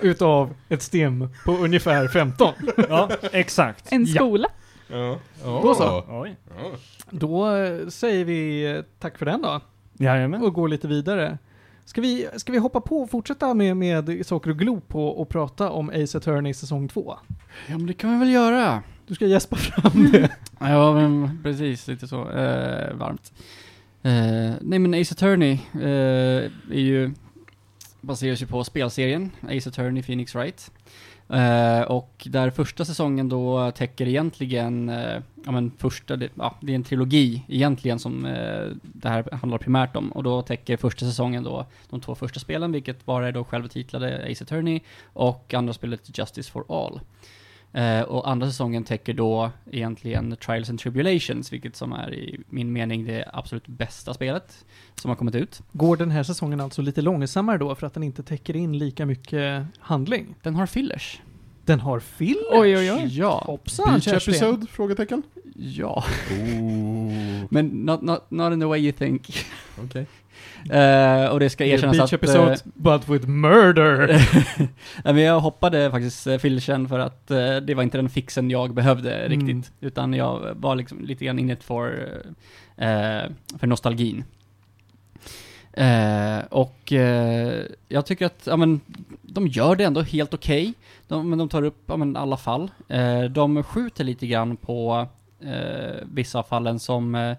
[SPEAKER 3] utav ett stim på ungefär 15.
[SPEAKER 4] Ja, exakt.
[SPEAKER 2] En
[SPEAKER 3] Ja.
[SPEAKER 2] skola.
[SPEAKER 1] Ja.
[SPEAKER 3] Då så.
[SPEAKER 4] Oj.
[SPEAKER 1] Ja.
[SPEAKER 3] Då eh, säger vi eh, tack för den då
[SPEAKER 4] Jajamän.
[SPEAKER 3] och går lite vidare. Ska vi, ska vi hoppa på och fortsätta med, med saker att glo på och prata om Ace Attorney säsong 2?
[SPEAKER 5] Ja men det kan vi väl göra.
[SPEAKER 3] Du ska gäspa fram det.
[SPEAKER 5] Ja men precis, lite så eh, varmt. Eh, nej men Ace Attorney eh, är ju, baseras ju på spelserien Ace Attorney Phoenix Wright. Eh, och där första säsongen då täcker egentligen, eh, ja men första, det, ja, det är en trilogi egentligen som eh, det här handlar primärt om. Och då täcker första säsongen då de två första spelen, vilket bara är då självtitlade Ace Attorney och andra spelet Justice for All. Eh, och andra säsongen täcker då egentligen Trials and Tribulations, vilket som är i min mening det absolut bästa spelet som har kommit ut.
[SPEAKER 3] Går den här säsongen alltså lite långsammare då för att den inte täcker in lika mycket handling?
[SPEAKER 5] Den har fillers.
[SPEAKER 3] Den har fillers!
[SPEAKER 2] Oj, oj, oj.
[SPEAKER 5] Ja.
[SPEAKER 3] Hoppsan
[SPEAKER 1] Beach
[SPEAKER 3] Kerstin.
[SPEAKER 1] episode? Frågetecken?
[SPEAKER 5] Ja.
[SPEAKER 1] Oh.
[SPEAKER 5] Men not, not, not in the way you think.
[SPEAKER 1] Okej.
[SPEAKER 5] Eh, och det ska
[SPEAKER 3] Beach
[SPEAKER 5] erkännas att...
[SPEAKER 3] episode,
[SPEAKER 5] eh,
[SPEAKER 3] but with
[SPEAKER 5] *laughs*
[SPEAKER 3] murder!
[SPEAKER 5] Nej, men jag hoppade faktiskt eh, filchen för att eh, det var inte den fixen jag behövde
[SPEAKER 3] Mm.
[SPEAKER 5] riktigt. Utan jag var liksom lite grann in it för, eh, för nostalgin. Eh, och eh, jag tycker att, ja men, de gör det ändå helt okej. De, men de tar upp, ja men alla fall. Eh, de skjuter lite grann på eh, vissa av fallen som, eh,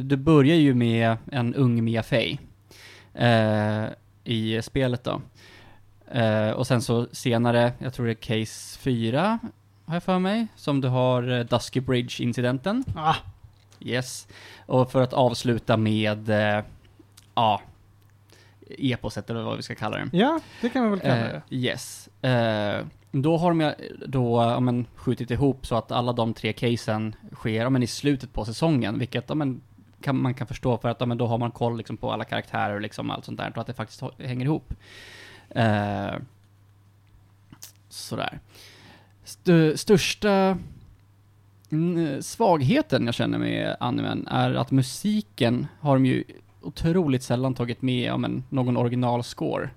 [SPEAKER 5] det börjar ju med en ung Mia Fey. Eh, i spelet då. Eh, och sen så senare, jag tror det är Case 4, har jag för mig, som du har eh, Dusky Bridge-incidenten.
[SPEAKER 3] ah,
[SPEAKER 5] Yes. Och för att avsluta med, eh, ja, eposet eller vad vi ska kalla det.
[SPEAKER 3] ja, det kan man väl kalla det.
[SPEAKER 5] Eh, yes. Eh, då har de ju då, ja, men, skjutit ihop så att alla de tre casen sker ja, men, i slutet på säsongen, vilket ja, men, kan, man kan förstå för att ja, men, då har man koll liksom, på alla karaktärer och liksom, allt sånt där, och att det faktiskt hå- hänger ihop. Eh, sådär. St- största mm, svagheten jag känner med animen är att musiken har de ju otroligt sällan tagit med ja, men, någon originalscore.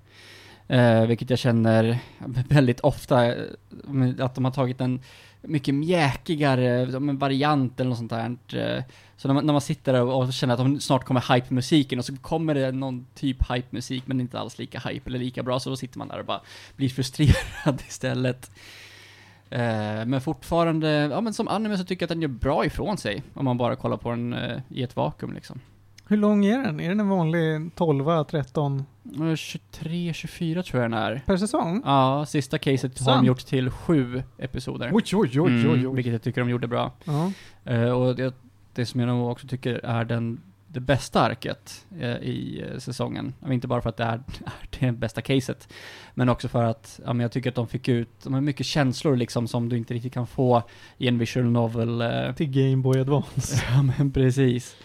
[SPEAKER 5] Eh, vilket jag känner *laughs* väldigt ofta, eh, men att de har tagit en mycket mjäkigare eh, som en variant eller något sånt där. eh. Så när man, när man sitter där och och känner att de snart kommer hype-musiken och så kommer det någon typ hype-musik men inte alls lika hype eller lika bra, så då sitter man där och bara blir *laughs* frustrerad istället. Eh, Men fortfarande, ja men som anime så tycker jag att den gör bra ifrån sig om man bara kollar på den eh, i ett vakuum liksom.
[SPEAKER 3] Hur lång är den? Är den en vanlig 12, 13
[SPEAKER 5] 23-24 Eh, tror jag den är.
[SPEAKER 3] per säsong?
[SPEAKER 5] Ja, sista caset har
[SPEAKER 3] Sant.
[SPEAKER 5] de gjort till sju episoder.
[SPEAKER 3] Oj, oj, oj, oj,
[SPEAKER 5] Mm,
[SPEAKER 3] oj.
[SPEAKER 5] vilket jag tycker de gjorde bra.
[SPEAKER 3] Ja.
[SPEAKER 5] Eh, och det, det som jag nog också tycker är den, det bästa arket eh, i eh, säsongen. Ja, men Inte bara för att det är, *laughs* är det bästa caset, men också för att ja, men jag tycker att de fick ut de har mycket känslor liksom som du inte riktigt kan få i en visual novel. eh.
[SPEAKER 3] Till Game Boy Advance.
[SPEAKER 5] *laughs* ja, men precis.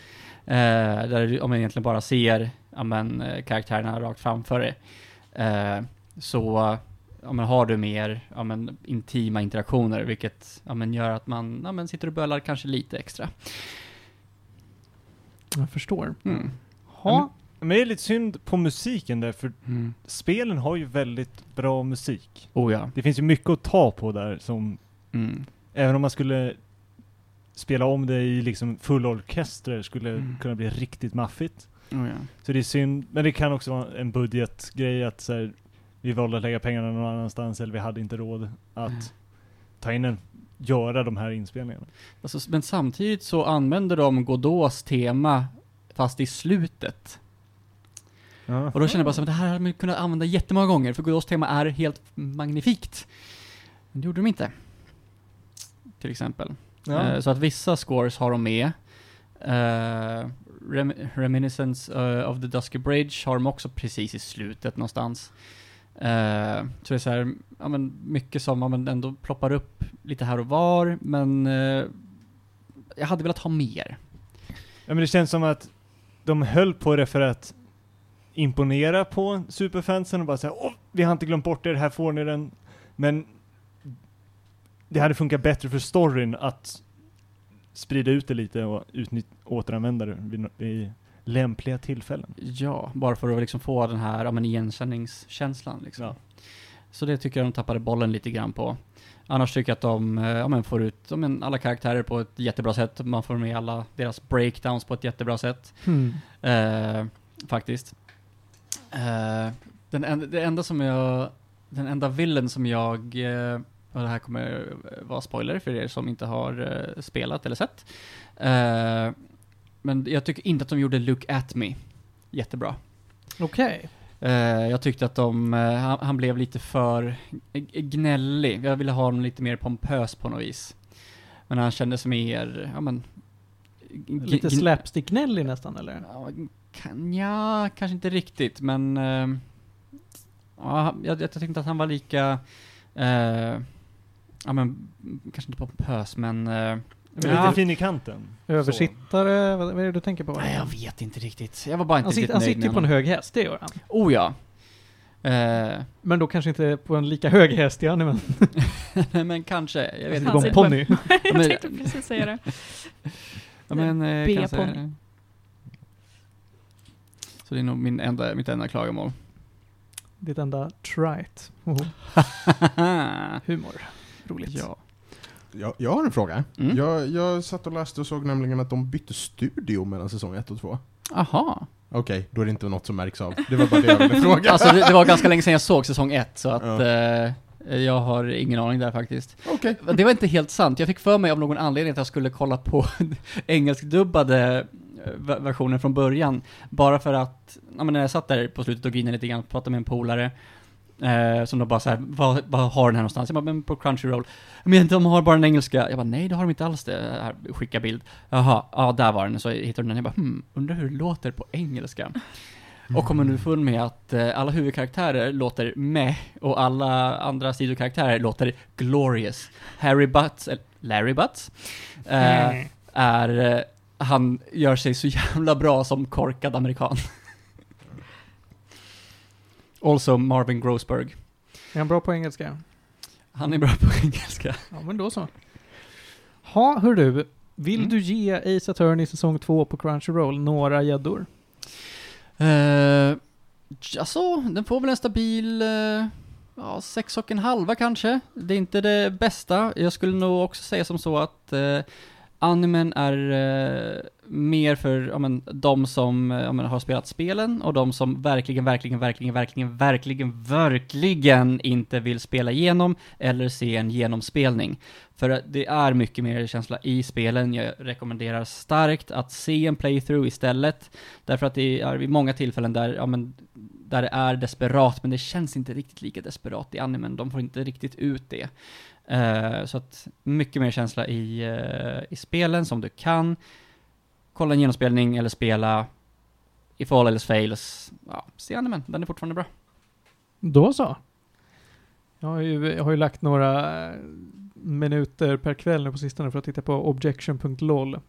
[SPEAKER 5] Eh, där du- om man egentligen bara ser ja, men, eh, karaktärerna rakt framför dig. Eh, så ja, men har du mer ja, men, intima interaktioner, vilket ja, men, gör att man ja, men, sitter och bölar kanske lite extra.
[SPEAKER 3] Jag förstår.
[SPEAKER 5] Mm.
[SPEAKER 3] Ha.
[SPEAKER 4] Men det är lite synd på musiken där, för
[SPEAKER 5] Mm.
[SPEAKER 4] spelen har ju väldigt bra musik.
[SPEAKER 5] Oh ja.
[SPEAKER 4] Det finns ju mycket att ta på där som,
[SPEAKER 5] Mm.
[SPEAKER 4] även om man skulle spela om det i liksom full orkester skulle
[SPEAKER 5] Mm.
[SPEAKER 4] kunna bli riktigt maffigt.
[SPEAKER 5] Oh ja.
[SPEAKER 4] Så det är synd, men det kan också vara en budgetgrej att så här, vi valde att lägga pengarna någon annanstans eller vi hade inte råd att
[SPEAKER 5] Mm.
[SPEAKER 4] ta in en, göra de här inspelningarna.
[SPEAKER 5] Alltså, s- men samtidigt så använder de Godots tema fast i slutet. Och då känner jag bara så att det här hade man ju kunnat använda jättemånga gånger, för Godots tema är helt magnifikt. Men det gjorde de inte. Till exempel. Eh, Så att vissa scores har de med. Eh, Rem Reminiscence eh, of the Dusky Bridge har de också precis i slutet någonstans. Eh, så det är så här, ja, men mycket som ja, men ändå ploppar upp lite här och var, men eh, jag hade velat ha mer.
[SPEAKER 4] Ja, men det känns som att de höll på det för att imponera på superfansen och bara säga åh, vi har inte glömt bort er, här får ni den. Men det hade funkat bättre för storyn att sprida ut det lite och utnytt- återanvända det vid, no- i lämpliga tillfällen.
[SPEAKER 5] Ja, bara för att liksom få den här ja, men igenkänningskänslan. Liksom.
[SPEAKER 4] Ja.
[SPEAKER 5] Så det tycker jag de tappade bollen lite grann på. Annars tycker jag att de eh, ja, men får ut ja, men alla karaktärer på ett jättebra sätt. Man får med alla deras breakdowns på ett jättebra sätt.
[SPEAKER 3] Hmm.
[SPEAKER 5] Eh, faktiskt. Eh, den, en, det enda som jag, den enda villen som jag, eh, och det här kommer vara spoiler för er som inte har eh, spelat eller sett. Eh, men jag tycker inte att de gjorde Look at me jättebra.
[SPEAKER 3] Okej.
[SPEAKER 5] Eh, jag tyckte att de, eh, han, han blev lite för g- gnällig. Jag ville ha honom lite mer pompös på något vis. Men han kändes mer, ja men... g-
[SPEAKER 3] Lite
[SPEAKER 5] gn-
[SPEAKER 3] slapstick-gnällig nästan eller?
[SPEAKER 5] Ja, kan, ja, kanske inte riktigt, men... eh, ja, han- jag, jag tyckte inte att han var lika... eh, ja, men kanske inte pompös, men... eh,
[SPEAKER 4] Ja.
[SPEAKER 5] ja,
[SPEAKER 4] Lite fin i kanten.
[SPEAKER 3] Översittare? Vad, vad är det du tänker på?
[SPEAKER 5] nej, jag vet inte riktigt. Jag var bara inte
[SPEAKER 3] han
[SPEAKER 5] riktigt
[SPEAKER 3] sitter, han
[SPEAKER 5] nöjd
[SPEAKER 3] sitter ju
[SPEAKER 5] med
[SPEAKER 3] på en
[SPEAKER 5] honom.
[SPEAKER 3] hög häst, det gör han.
[SPEAKER 5] Oh ja. Eh,
[SPEAKER 3] Men då kanske inte på en lika hög häst i animen.
[SPEAKER 5] Eh, *laughs* men kanske, jag vet
[SPEAKER 2] Han
[SPEAKER 3] Det
[SPEAKER 5] inte.
[SPEAKER 3] var en
[SPEAKER 2] sitter på
[SPEAKER 3] ponny.
[SPEAKER 2] *laughs* jag
[SPEAKER 5] men-
[SPEAKER 2] tänkte precis säga det.
[SPEAKER 5] Ja, men, eh,
[SPEAKER 2] B-ponny.
[SPEAKER 5] kanske. Så det är nog min enda, mitt enda klagomål. *laughs*
[SPEAKER 3] Ditt enda trite. Oho. Humor. *laughs* Roligt.
[SPEAKER 5] ja.
[SPEAKER 1] Jag, jag har en fråga.
[SPEAKER 5] Mm.
[SPEAKER 1] Jag, jag satt och läste och såg nämligen att de bytte studio mellan säsong 1 och 2.
[SPEAKER 5] Aha.
[SPEAKER 1] Okej, då är det inte något som märks av. Det var bara det jag
[SPEAKER 5] *laughs*
[SPEAKER 1] ville *laughs* fråga.
[SPEAKER 5] Alltså det, det var ganska länge sedan jag såg säsong ett, så att
[SPEAKER 1] Ja.
[SPEAKER 5] eh, jag har ingen aning där faktiskt.
[SPEAKER 1] Okej.
[SPEAKER 5] Det var inte helt sant. Jag fick för mig av någon anledning att jag skulle kolla på *laughs* engelskdubbade eh, ver- versionen från början. Bara för att, ja, men när jag satt där på slutet och grinade lite grann, pratade med en polare, eh, som då bara såhär, vad, vad har den här någonstans? Jag bara, men på Crunchyroll. Men de har bara den engelska. Jag bara, nej det har de inte alls det. Här, skicka bild. Jaha, ja där var den. Så hittade de den. Jag bara, hmm, undrar hur det låter på engelska. Och kommer nu full med att eh, alla huvudkaraktärer låter meh och alla andra sidokaraktärer låter glorious. Harry Butts, eller Larry Butts, eh,
[SPEAKER 3] Mm.
[SPEAKER 5] är, eh, han gör sig så jävla bra som korkad amerikan. *laughs* Also Marvin Grossberg.
[SPEAKER 3] Är han bra på engelska?
[SPEAKER 5] Han är bra på engelska.
[SPEAKER 3] Ja, men då så. Ha, hör du. Vill
[SPEAKER 5] Mm.
[SPEAKER 3] du ge Ace Attorney säsong 2 på Crunchyroll några gäddor?
[SPEAKER 5] Uh, alltså, den får väl en stabil eh, ja, sex och en halva kanske. Det är inte det bästa. Jag skulle nog också säga som så att eh, animen är eh, mer för ja, men, de som eh, ja, men, har spelat spelen och de som verkligen, verkligen, verkligen, verkligen, verkligen, verkligen inte vill spela igenom eller se en genomspelning. För att det är mycket mer känsla i spelen. Jag rekommenderar starkt att se en playthrough istället. Därför att det är vid många tillfällen där, ja, men, där det är desperat, men det känns inte riktigt lika desperat i animen. De får inte riktigt ut det. Eh, så att mycket mer känsla i, eh, i spelen som du kan. Kolla en genomspelning eller spela If All Else Fails. Ja, se animen, den är fortfarande bra.
[SPEAKER 3] Då så. Jag har ju, jag har ju lagt några eh, minuter per kväll nu på sistone för att titta på objection.lol.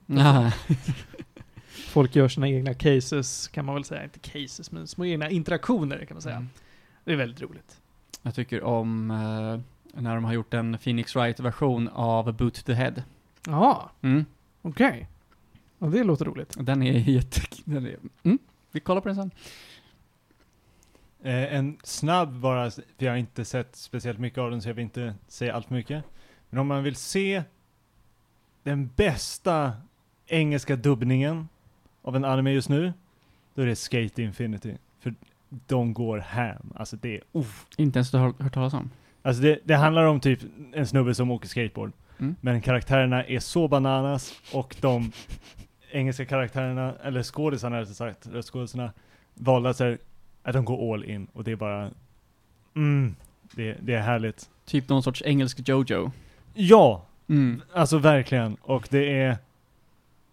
[SPEAKER 3] Folk gör sina egna cases, kan man väl säga. Inte cases, men små egna interaktioner kan man säga. Mm. Det är väldigt roligt.
[SPEAKER 5] Jag tycker om eh, när de har gjort en Phoenix Wright-version av Boot to the Head.
[SPEAKER 3] Ja,
[SPEAKER 5] Mm.
[SPEAKER 3] okej. Ja, det låter roligt.
[SPEAKER 5] Den är jätte... *laughs* Den är, mm. Vi kollar på den sen.
[SPEAKER 4] Eh, en snabb bara, för jag har inte sett speciellt mycket av den så jag vill inte säga allt för mycket. Men om man vill se den bästa engelska dubbningen av en anime just nu, då är det Skate Infinity. För de går ham. Alltså det, är-
[SPEAKER 5] Inte ens du har hört talas om.
[SPEAKER 4] alltså det, det handlar om typ en snubbe som åker skateboard.
[SPEAKER 5] Mm.
[SPEAKER 4] Men karaktärerna är så bananas och de engelska karaktärerna, eller skådisarna rättare sagt, röstskådisarna, valde att, så här, att de går all in och det är bara, mm, det, det är härligt.
[SPEAKER 5] Typ någon sorts engelsk Jojo.
[SPEAKER 4] Ja,
[SPEAKER 5] Mm.
[SPEAKER 4] alltså verkligen. Och det är,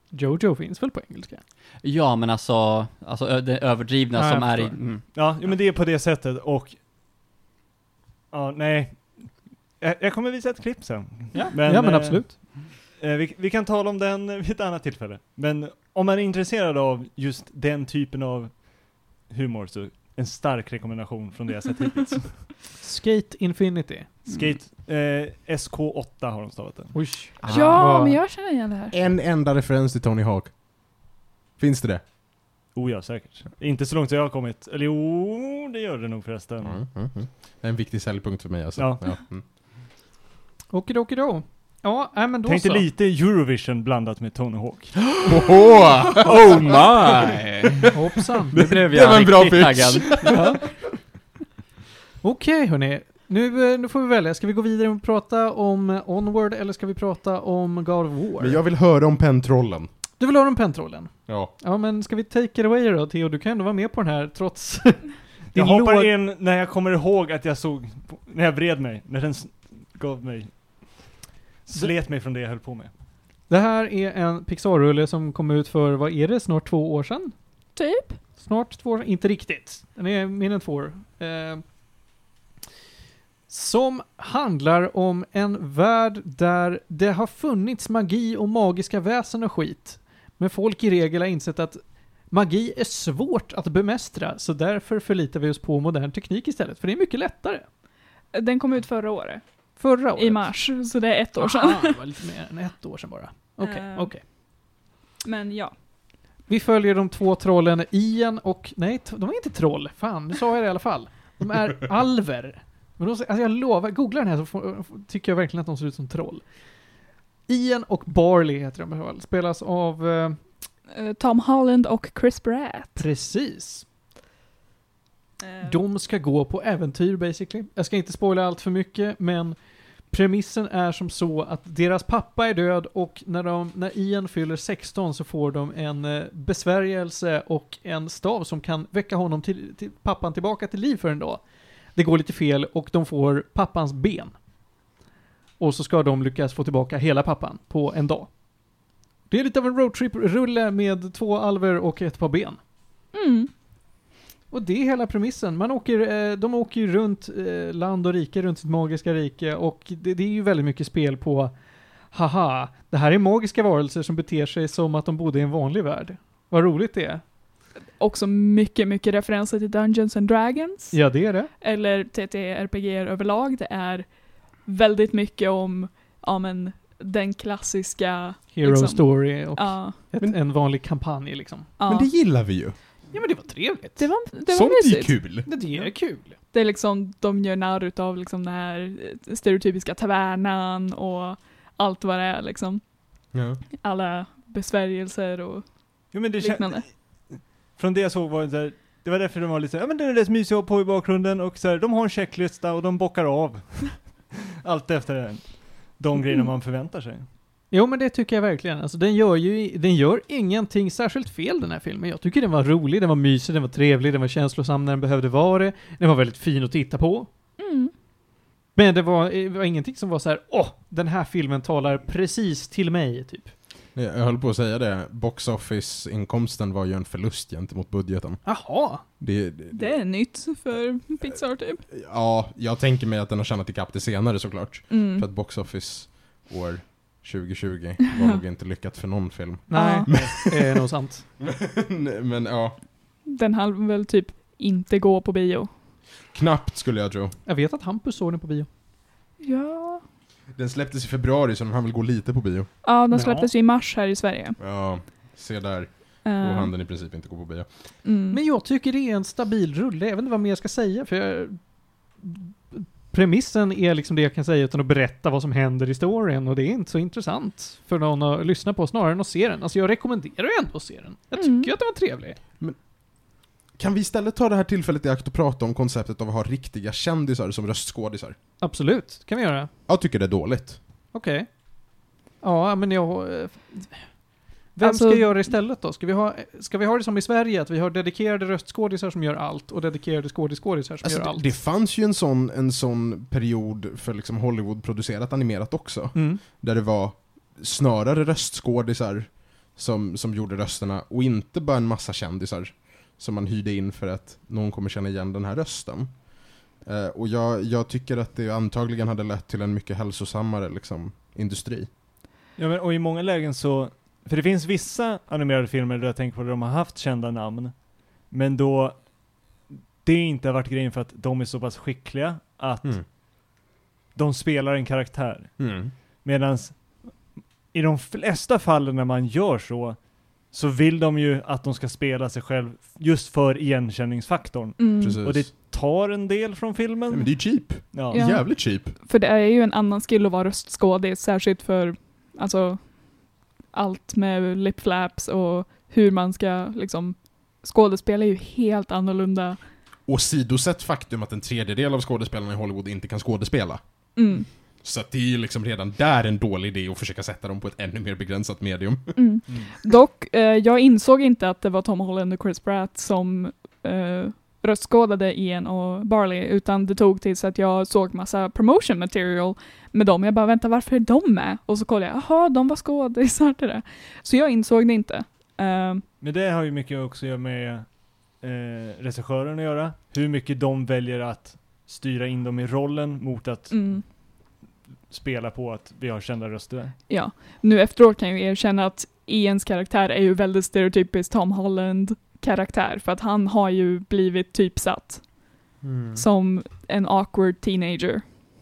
[SPEAKER 3] Jojo finns väl på engelska?
[SPEAKER 5] Ja, men alltså, alltså ö- det överdrivna
[SPEAKER 3] Ja,
[SPEAKER 5] som
[SPEAKER 3] jag
[SPEAKER 5] är i...
[SPEAKER 3] förstår.
[SPEAKER 5] Mm.
[SPEAKER 4] ja, jo, men det är på det sättet och, ja, nej. Jag, jag kommer visa ett klipp sen.
[SPEAKER 5] Ja.
[SPEAKER 3] ja, men
[SPEAKER 4] eh,
[SPEAKER 3] absolut.
[SPEAKER 4] Eh, vi, vi kan tala om den vid ett annat tillfälle. Men om man är intresserad av just den typen av humor så en stark rekommendation från det jag sett *laughs* hittills.
[SPEAKER 3] Skate Infinity.
[SPEAKER 5] Mm.
[SPEAKER 4] Skate, eh, SK8 har de stavat den.
[SPEAKER 3] Oj.
[SPEAKER 2] Ja,
[SPEAKER 3] Vad-
[SPEAKER 2] men jag känner igen det här.
[SPEAKER 1] En enda referens till Tony Hawk. Finns det det?
[SPEAKER 4] Oh ja, säkert. Inte så långt som jag har kommit. Eller jo, det gör det nog förresten.
[SPEAKER 1] Mm, mm, mm. En viktig säljpunkt för mig alltså.
[SPEAKER 4] Ja.
[SPEAKER 1] mm.
[SPEAKER 3] Okidokido. Ja, nej, men då
[SPEAKER 4] Tänkte
[SPEAKER 3] så. *laughs*
[SPEAKER 4] lite Eurovision blandat med
[SPEAKER 3] *gasps*
[SPEAKER 4] Tony Hawk.
[SPEAKER 5] *laughs* Oh my!
[SPEAKER 3] Hoppsan.
[SPEAKER 5] *laughs* Nu blev
[SPEAKER 1] det var
[SPEAKER 5] jag
[SPEAKER 1] en bra
[SPEAKER 5] riktigt
[SPEAKER 1] pitch.
[SPEAKER 5] taggad.
[SPEAKER 3] Ja. Okej hörni, nu, eh, nu får vi välja. Ska vi gå vidare och prata om eh, Onward eller ska vi prata om God of War?
[SPEAKER 1] Men jag vill höra om pentrollen.
[SPEAKER 3] Du vill höra om pentrollen?
[SPEAKER 1] Ja.
[SPEAKER 3] Ja men ska vi take it away då Theo? Du kan ändå vara med på den här trots
[SPEAKER 4] Jag
[SPEAKER 3] *laughs* din
[SPEAKER 4] hoppar
[SPEAKER 3] låg-
[SPEAKER 4] in när jag kommer ihåg att jag såg, på- när jag vred mig, när den s- gav mig, slet mig från det jag höll på med.
[SPEAKER 3] Det här är en Pixar-rulle som kom ut för, vad är det, snart två år sedan?
[SPEAKER 2] Typ.
[SPEAKER 3] Snart två år inte riktigt. Den är mer än två år. Eh, som handlar om en värld där det har funnits magi och magiska väsen och skit. Men folk i regel har insett att magi är svårt att bemästra, så därför förlitar vi oss på modern teknik istället, för det är mycket lättare.
[SPEAKER 2] Den kom ut förra året.
[SPEAKER 3] Förra året.
[SPEAKER 2] I mars, så det är ett år sedan.
[SPEAKER 3] Aha, det var lite mer än ett år sedan bara. Okej,
[SPEAKER 2] Eh.
[SPEAKER 3] okej.
[SPEAKER 2] Men ja.
[SPEAKER 3] Vi följer de två trollen Ian och... Nej, t- de är inte troll. Fan, nu sa jag det i alla fall. De är alver. Men de, ser- alltså jag lovar, googla den här så får, tycker jag verkligen att de ser ut som troll. Ian och Barley heter de i alla fall. Spelas av... Eh,
[SPEAKER 2] eh, Tom Holland och Chris Pratt.
[SPEAKER 3] precis.
[SPEAKER 2] Eh,
[SPEAKER 3] De ska gå på äventyr basically. Jag ska inte spoila allt för mycket, men premissen är som så att deras pappa är död och när, de, när Ian fyller 16 så får de en eh, besvärjelse och en stav som kan väcka honom till, till pappan tillbaka till liv för en dag. Det går lite fel och de får pappans ben. Och så ska de lyckas få tillbaka hela pappan på en dag. Det är lite av en roadtrip-rulle med två alver och ett par ben.
[SPEAKER 2] Mm.
[SPEAKER 3] Och det är hela premissen. Man åker, eh, de åker ju runt eh, land och rike, runt sitt magiska rike och det, det är ju väldigt mycket spel på haha, det här är magiska varelser som beter sig som att de bodde i en vanlig värld. Vad roligt det är.
[SPEAKER 2] Också mycket, mycket referenser till Dungeons and Dragons.
[SPEAKER 3] Ja, det är det.
[SPEAKER 2] Eller TTRPG överlag. Det är väldigt mycket om, ja men, den klassiska,
[SPEAKER 3] Hero
[SPEAKER 2] Liksom.
[SPEAKER 3] story och
[SPEAKER 2] ja.
[SPEAKER 3] ett,
[SPEAKER 1] Men-
[SPEAKER 3] en vanlig kampanj liksom.
[SPEAKER 2] ja.
[SPEAKER 1] Men det gillar vi ju.
[SPEAKER 3] Ja, men det var trevligt.
[SPEAKER 2] det var, det
[SPEAKER 1] Sånt
[SPEAKER 2] var
[SPEAKER 1] är
[SPEAKER 2] mysigt.
[SPEAKER 1] kul.
[SPEAKER 3] det, det är kul.
[SPEAKER 2] Det är liksom, de gör narr utav liksom den här eh, stereotypiska tavernan och allt vad det är liksom.
[SPEAKER 1] Ja.
[SPEAKER 2] Alla besvärjelser och
[SPEAKER 4] Jo, men det kän-
[SPEAKER 2] liknande.
[SPEAKER 4] Från det jag såg var det så här, det var därför de var lite så här, ja men den är rätt mysig att ha på i bakgrunden och så här, de har en checklista och de bockar av. Allt efter den. De grejerna man förväntar sig.
[SPEAKER 3] Jo, men det tycker jag verkligen. Alltså, den gör ju den gör ingenting särskilt fel den här filmen. Jag tycker den var rolig, den var mysig, den var trevlig, den var känslosam när den behövde vara det. Den var väldigt fin att titta på.
[SPEAKER 2] Mm.
[SPEAKER 3] Men det var, det var ingenting som var så här, åh, den här filmen talar precis till mig, typ.
[SPEAKER 1] Jag höll på att säga det, box office-inkomsten var ju en förlust gentemot budgeten.
[SPEAKER 3] Jaha.
[SPEAKER 1] Det, det,
[SPEAKER 2] Det är nytt för Pixar typ.
[SPEAKER 1] Ja, jag tänker mig att den har tjänat ikapp det senare såklart.
[SPEAKER 2] Mm.
[SPEAKER 1] För att box office år 2020
[SPEAKER 2] *laughs*
[SPEAKER 1] var nog inte lyckat för någon *laughs* film.
[SPEAKER 3] Nej,
[SPEAKER 2] Ja.
[SPEAKER 3] det är nog sant.
[SPEAKER 1] Men, men ja,
[SPEAKER 2] Den hann väl typ inte gå på bio.
[SPEAKER 1] knappt skulle jag tro.
[SPEAKER 3] Jag vet att Hampus såg den på bio.
[SPEAKER 2] Ja.
[SPEAKER 1] Den släpptes i februari så de hann väl gå lite på bio.
[SPEAKER 2] Ja, den
[SPEAKER 4] Ja.
[SPEAKER 2] släpptes ju i mars här i Sverige.
[SPEAKER 1] Ja, se där. Då
[SPEAKER 2] Eh,
[SPEAKER 1] hann den i princip inte gå på bio.
[SPEAKER 2] mm.
[SPEAKER 3] Men jag tycker det är en stabil rulle, jag vet inte vad mer jag ska säga, för jag... Premissen är liksom det jag kan säga utan att berätta vad som händer i storyn och det är inte så intressant för någon att lyssna på snarare än att se den. Alltså jag rekommenderar ju ändå att se den. Jag tycker
[SPEAKER 2] Mm.
[SPEAKER 3] att den var trevlig.
[SPEAKER 1] Kan vi istället ta det här tillfället i akt och prata om konceptet av att ha riktiga kändisar som röstskådisar?
[SPEAKER 3] Absolut, kan vi göra.
[SPEAKER 1] Jag tycker det är dåligt.
[SPEAKER 3] Okej. Ja, men jag... eh, Vem
[SPEAKER 2] Alltså-
[SPEAKER 3] ska göra det istället då? Ska vi, ha, ska vi ha det som i Sverige, att vi har dedikerade röstskådisar som gör allt och dedikerade skådisskådisar som
[SPEAKER 1] Alltså,
[SPEAKER 3] gör
[SPEAKER 1] det,
[SPEAKER 3] allt?
[SPEAKER 1] det fanns ju en sån, en sån period för liksom Hollywood-producerat animerat också.
[SPEAKER 3] Mm.
[SPEAKER 1] där det var snarare röstskådisar som, som gjorde rösterna och inte bara en massa kändisar som man hyrde in för att någon kommer känna igen den här rösten. Eh, och jag, jag tycker att det antagligen hade lett till en mycket hälsosammare liksom, industri.
[SPEAKER 4] Ja, men, och i många lägen så, för det finns vissa animerade filmer där jag tänker på där de har haft kända namn, men då det inte har varit grejen för att de är så pass skickliga att
[SPEAKER 1] Mm.
[SPEAKER 4] de spelar en Mm. karaktär. Medan i de flesta fallen när man gör så så vill de ju att de ska spela sig själv just för igenkänningsfaktorn.
[SPEAKER 2] Mm.
[SPEAKER 1] Precis.
[SPEAKER 4] Och det tar en del från
[SPEAKER 1] Nej, men
[SPEAKER 4] filmen.
[SPEAKER 1] det är ju cheap.
[SPEAKER 4] Ja.
[SPEAKER 2] Ja.
[SPEAKER 1] Jävligt cheap.
[SPEAKER 2] För det är ju en annan skill att vara röstskådis, särskilt för alltså, allt med lip flaps och hur man ska liksom Skådespel är ju helt annorlunda.
[SPEAKER 1] Åsidosätt faktum att en tredjedel av skådespelarna i Hollywood inte kan skådespela.
[SPEAKER 2] Mm,
[SPEAKER 1] Så att det är ju liksom redan där en dålig idé att försöka sätta dem på ett ännu mer begränsat medium.
[SPEAKER 2] mm.
[SPEAKER 4] Mm.
[SPEAKER 2] Dock, eh, jag insåg inte att det var Tom Holland och Chris Pratt som eh, röstskådade Ian och Barley, utan det tog tills att jag såg massa promotion material med dem. Jag bara, vänta, varför är de med? Och så kollade jag, jaha, de var skådisar till det. Så jag insåg det inte. Eh,
[SPEAKER 4] Men det har ju mycket också att göra med eh, regissören att göra. Hur mycket de väljer att styra in dem i rollen mot att
[SPEAKER 2] mm.
[SPEAKER 4] spela på att vi har kända röster.
[SPEAKER 2] Ja, nu efteråt kan jag ju erkänna att Ians karaktär är ju väldigt stereotypiskt Tom Holland-karaktär, för att han har ju blivit typsatt
[SPEAKER 4] Mm.
[SPEAKER 2] som en awkward teenager.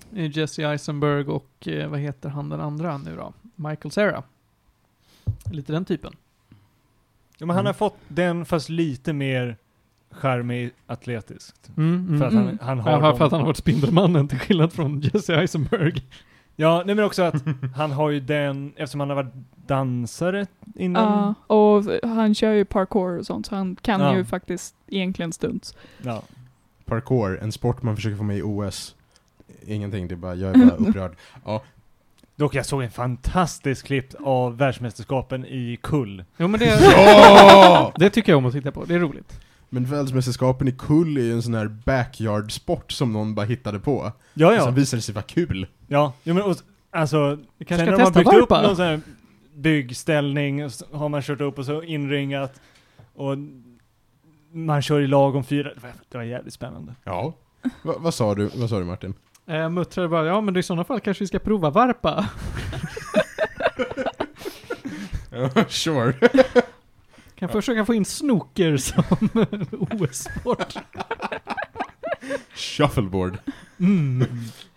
[SPEAKER 3] Det är Jesse Eisenberg och eh, vad heter han den andra nu då? Michael Cera. Lite den typen.
[SPEAKER 4] Ja, men han
[SPEAKER 3] Mm.
[SPEAKER 4] har fått den fast lite mer charmig atletiskt. För att
[SPEAKER 2] Mm.
[SPEAKER 4] han, han har
[SPEAKER 3] Jag har
[SPEAKER 4] de-
[SPEAKER 3] för att han har varit Spindelmannen till skillnad från Jesse Eisenberg.
[SPEAKER 4] Ja, nej, men
[SPEAKER 3] *laughs*
[SPEAKER 4] också att han har ju den, eftersom han har varit dansare innan.
[SPEAKER 2] Ja, och han kör ju parkour och sånt, så han kan
[SPEAKER 4] Ja.
[SPEAKER 2] ju faktiskt egentligen stunts.
[SPEAKER 4] Ja.
[SPEAKER 1] *laughs* Parkour, en sport man försöker få med i OS. Ingenting, det är bara, jag är
[SPEAKER 4] Mm.
[SPEAKER 1] bara
[SPEAKER 4] *laughs*
[SPEAKER 1] upprörd.
[SPEAKER 4] Dock, jag såg en fantastisk klipp av världsmästerskapen i kull.
[SPEAKER 3] Jo men det,
[SPEAKER 1] *laughs* Ja!
[SPEAKER 3] det tycker jag om att titta på, det är roligt.
[SPEAKER 1] Men världsmästerskapen i kull är ju en sån här backyard-sport som någon bara hittade på.
[SPEAKER 4] Ja,
[SPEAKER 1] Och
[SPEAKER 4] ja.
[SPEAKER 1] sen visade det sig vara kul.
[SPEAKER 4] Alltså, Ja, jo, men och, alltså,
[SPEAKER 3] Vi kanske
[SPEAKER 4] sen
[SPEAKER 3] ska
[SPEAKER 4] när man
[SPEAKER 3] testa
[SPEAKER 4] byggt upp
[SPEAKER 3] varpa?
[SPEAKER 4] någon sån här byggställning och så har man kört upp och så inringat och man kör i lag om fyra. Det var- Det var jävligt
[SPEAKER 3] Mm.
[SPEAKER 4] spännande.
[SPEAKER 1] Ja. Va, vad sa du, vad sa du Martin?
[SPEAKER 3] Jag muttrade Eh, bara, ja men i sådana fall kanske vi ska prova varpa.
[SPEAKER 1] *laughs* sure.
[SPEAKER 3] Kan försöka få in snooker som *laughs* OS-sport.
[SPEAKER 1] *laughs* *laughs* Shuffleboard.
[SPEAKER 3] Mm.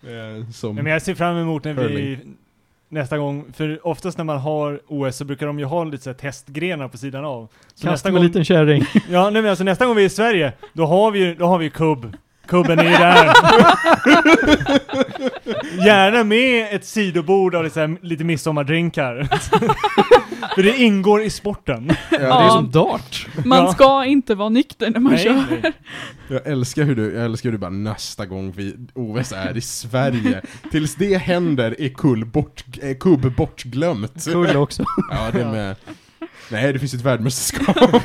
[SPEAKER 1] Eh, som...
[SPEAKER 4] Nej, Men jag ser fram emot när vi
[SPEAKER 1] Hurling.
[SPEAKER 4] nästa gång, för oftast när man har OS så brukar de ju ha lite så här testgrenar på sidan av. Så
[SPEAKER 3] Kast
[SPEAKER 4] nästa
[SPEAKER 3] med
[SPEAKER 4] gång,
[SPEAKER 3] liten kärring.
[SPEAKER 4] ja, nej, men alltså, nästa gång vi är i Sverige, då har vi ju, då har vi ju kubb. Kubben är ju där. Gärna med ett sidobord av lite, så här, lite midsommardrinkar. för det ingår i sporten.
[SPEAKER 3] Det
[SPEAKER 1] jag,
[SPEAKER 3] är
[SPEAKER 2] Ja.
[SPEAKER 3] som dart.
[SPEAKER 2] Man
[SPEAKER 4] Ja.
[SPEAKER 2] ska inte vara nykter när man kör.
[SPEAKER 4] nej.
[SPEAKER 1] jag älskar hur du, jag älskar hur du bara nästa gång vi OS är i Sverige. Tills det händer är kull bort, är kubb bortglömt.
[SPEAKER 3] Kul också.
[SPEAKER 1] Ja, det med. Nej, det finns ett världsmästerskap.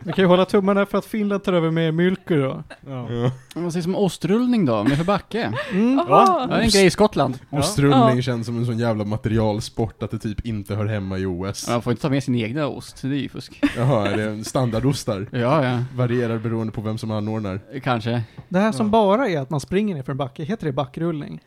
[SPEAKER 3] Vi kan ju hålla tummarna för att Finland tar över med Mylko då.
[SPEAKER 4] Ja.
[SPEAKER 5] Vad sägs om ostrullning då, med för backe?
[SPEAKER 3] Mm.
[SPEAKER 2] Aha.
[SPEAKER 5] Det är en grej i Skottland.
[SPEAKER 4] Ja.
[SPEAKER 1] Ostrullning
[SPEAKER 2] Ja.
[SPEAKER 1] känns som en sån jävla materialsport att det typ inte hör hemma i OS.
[SPEAKER 5] Ja, Man får inte ta med sin egna ost, det är ju fusk.
[SPEAKER 1] Jaha, är det en standardostar?
[SPEAKER 5] Ja, ja.
[SPEAKER 1] Varierar beroende på vem som anordnar.
[SPEAKER 5] Kanske.
[SPEAKER 3] Det här som
[SPEAKER 4] Ja.
[SPEAKER 3] bara är att man springer ner för en backe, heter det backrullning?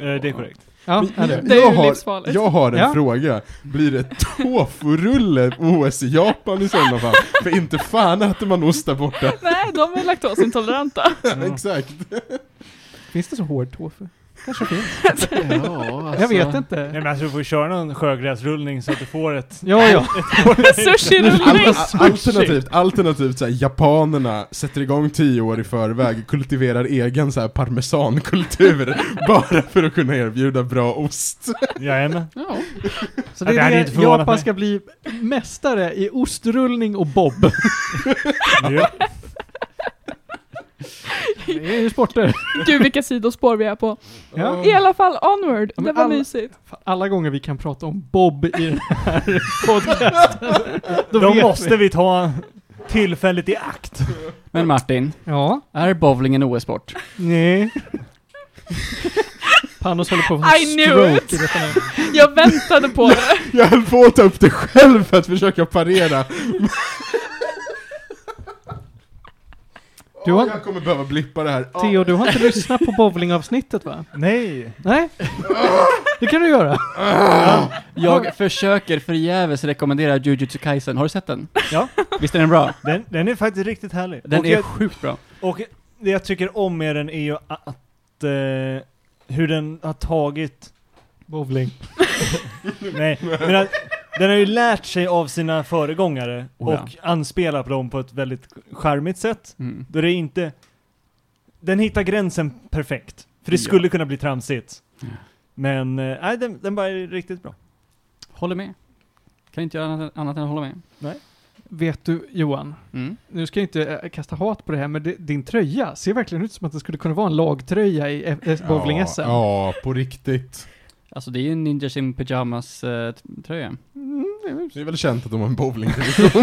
[SPEAKER 4] Eh, Det är korrekt.
[SPEAKER 3] Ja,
[SPEAKER 1] Men-
[SPEAKER 3] eller?
[SPEAKER 2] Det är
[SPEAKER 1] jag
[SPEAKER 2] ju
[SPEAKER 1] har,
[SPEAKER 2] livsfarligt.
[SPEAKER 1] jag har en
[SPEAKER 3] Ja.
[SPEAKER 1] fråga. Blir det tofurulle OS i Japan i sådana fall? För inte fan äter man ost där borta.
[SPEAKER 2] Nej, de är laktosintoleranta.
[SPEAKER 1] Exakt.
[SPEAKER 3] Finns det så hård tofu? Kanske finns.
[SPEAKER 5] *laughs* Ja, alltså.
[SPEAKER 3] Jag vet
[SPEAKER 4] Nej,
[SPEAKER 3] inte.
[SPEAKER 4] men alltså, du får ju köra någon sjögräsrullning så att du får
[SPEAKER 2] *laughs*
[SPEAKER 4] ett...
[SPEAKER 3] Ja, ja. Alltså,
[SPEAKER 2] Sushi-rullning!
[SPEAKER 1] Alltså, Al- al- alternativt, alternativt så här, japanerna sätter igång tio år i förväg, kultiverar egen så här parmesankultur, *laughs* bara för att kunna erbjuda bra ost.
[SPEAKER 4] Jajamän.
[SPEAKER 5] Ja.
[SPEAKER 3] Så
[SPEAKER 4] Ja,
[SPEAKER 3] det
[SPEAKER 4] det hade
[SPEAKER 3] är
[SPEAKER 4] inte
[SPEAKER 3] det
[SPEAKER 4] förvånat
[SPEAKER 3] Japan
[SPEAKER 4] mig.
[SPEAKER 3] ska bli mästare i ostrullning och bob. *laughs*
[SPEAKER 4] Ja.
[SPEAKER 3] Det är ju sporter.
[SPEAKER 2] Gud vilka sidospår vi är på.
[SPEAKER 3] Ja.
[SPEAKER 2] I alla fall, onward.
[SPEAKER 3] Ja, men
[SPEAKER 2] Det var
[SPEAKER 3] alla-
[SPEAKER 2] mysigt.
[SPEAKER 3] Fan, Alla gånger vi kan prata om bob i den här podcasten. *laughs* Då
[SPEAKER 4] Då
[SPEAKER 3] vet
[SPEAKER 4] måste
[SPEAKER 3] vi.
[SPEAKER 4] vi ta tillfället i akt.
[SPEAKER 5] Men Martin,
[SPEAKER 3] Ja.
[SPEAKER 5] är bowling en OS-sport?
[SPEAKER 3] Nej. Panos håller på att få
[SPEAKER 2] I
[SPEAKER 3] en
[SPEAKER 2] knew
[SPEAKER 3] stroke i detta nu.
[SPEAKER 2] Jag väntade på det.
[SPEAKER 1] Jag höll på att ta upp det själv för att försöka parera.
[SPEAKER 3] Du har-
[SPEAKER 1] Åh, Jag kommer behöva blippa det här. Ja.
[SPEAKER 3] Theo, du har inte lyssnat på bowlingavsnittet va?
[SPEAKER 4] Nej.
[SPEAKER 3] Nej? Det kan du göra.
[SPEAKER 5] Jag försöker förgäves rekommendera Jujutsu Kaisen. Har du sett den?
[SPEAKER 4] Ja.
[SPEAKER 5] Visst är den bra?
[SPEAKER 4] Den, den är faktiskt riktigt härlig.
[SPEAKER 5] Den
[SPEAKER 4] och,
[SPEAKER 5] är
[SPEAKER 4] jag,
[SPEAKER 5] sjukt bra.
[SPEAKER 4] och det jag tycker om med den är ju att eh, hur den har tagit...
[SPEAKER 3] Bowling.
[SPEAKER 4] Nej, men att, Den har ju lärt sig av sina föregångare
[SPEAKER 5] Oh ja.
[SPEAKER 4] och anspelar på dem på ett väldigt charmigt sätt.
[SPEAKER 5] Mm.
[SPEAKER 4] Då det är inte... Den hittar gränsen perfekt. För det
[SPEAKER 5] Ja.
[SPEAKER 4] skulle kunna bli tramsigt.
[SPEAKER 5] Ja.
[SPEAKER 4] Men, eh, nej, den, den bara är riktigt bra.
[SPEAKER 5] Håller med. Kan inte göra annat, annat än hålla med.
[SPEAKER 3] Vet du Johan,
[SPEAKER 5] Mm.
[SPEAKER 3] nu ska jag inte eh, kasta hat på det här, men di- din tröja ser verkligen ut som att det skulle kunna vara en lagtröja i F- F- bowling-SM.
[SPEAKER 1] Ja, ja, på riktigt.
[SPEAKER 5] Alltså det är ju Ninjas in Pyjamas eh, t- tröja.
[SPEAKER 1] Det är väl känt att de har en bowling
[SPEAKER 5] *laughs*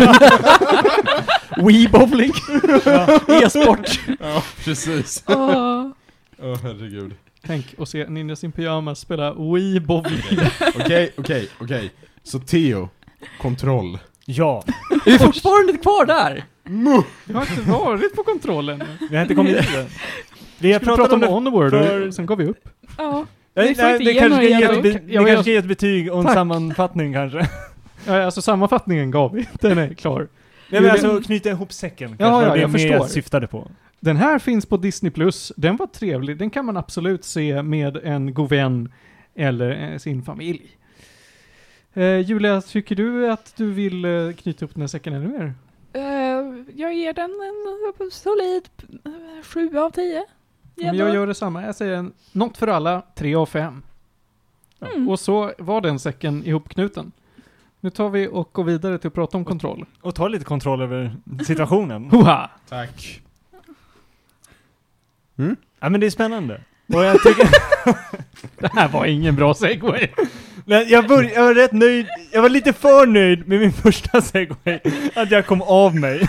[SPEAKER 5] Wii bowling! *laughs* E-sport!
[SPEAKER 1] Ja, precis.
[SPEAKER 2] Åh.
[SPEAKER 1] Åh herregud.
[SPEAKER 3] Tänk och se Ninjas in pyjamas spela Wii bowling.
[SPEAKER 1] Okej, okej, okej. Så Theo, kontroll.
[SPEAKER 4] Ja,
[SPEAKER 5] Du är fortfarande kvar där!
[SPEAKER 3] Jag har inte varit på kontrollen. Vi
[SPEAKER 4] vi har
[SPEAKER 5] *laughs*
[SPEAKER 4] inte kommit dit än. Vi har
[SPEAKER 3] skulle
[SPEAKER 4] pratat
[SPEAKER 3] prata
[SPEAKER 4] om
[SPEAKER 3] om
[SPEAKER 4] det...
[SPEAKER 3] Onward
[SPEAKER 4] för-
[SPEAKER 3] och sen gav vi upp.
[SPEAKER 2] Ja.
[SPEAKER 4] Nej,
[SPEAKER 2] Vi får
[SPEAKER 4] nej,
[SPEAKER 2] inte
[SPEAKER 4] det
[SPEAKER 2] ge
[SPEAKER 4] kanske
[SPEAKER 2] några
[SPEAKER 4] ska ge ett,
[SPEAKER 2] genom-
[SPEAKER 4] be,
[SPEAKER 3] Jag-
[SPEAKER 4] det
[SPEAKER 3] jag-
[SPEAKER 4] kanske ska ge ett betyg och en
[SPEAKER 3] Tack.
[SPEAKER 4] sammanfattning kanske.
[SPEAKER 3] Ja, alltså sammanfattningen gav vi. *laughs* Den är klar.
[SPEAKER 4] Nej men alltså knyta ihop säcken. kanske
[SPEAKER 3] ja,
[SPEAKER 4] var det
[SPEAKER 3] jag
[SPEAKER 4] mer
[SPEAKER 3] förstår.
[SPEAKER 4] syftade på.
[SPEAKER 3] Den här finns på Disney+. Plus. Den var trevlig. Den kan man absolut se med en god vän eller eh, sin familj. Eh, Julia, tycker du att du vill eh, knyta ihop den här säcken ännu mer?
[SPEAKER 2] Eh, jag ger den en solid eh, sju av tio.
[SPEAKER 3] Men jag gör detsamma. Jag säger en, något för alla, tre av fem. Ja.
[SPEAKER 2] Mm.
[SPEAKER 3] Och så var den säcken ihopknuten. Nu tar vi och går vidare till att prata om kontroll.
[SPEAKER 4] Och ta lite kontroll över
[SPEAKER 3] *laughs*
[SPEAKER 4] situationen.
[SPEAKER 3] Hoha!
[SPEAKER 1] Tack.
[SPEAKER 4] ja men det är spännande. Och jag tycker...
[SPEAKER 3] Det här var ingen bra segway.
[SPEAKER 4] Nej, jag, bör, jag var rätt nöjd. Jag var lite för nöjd med min *laughs* första segway. Att jag kom av mig.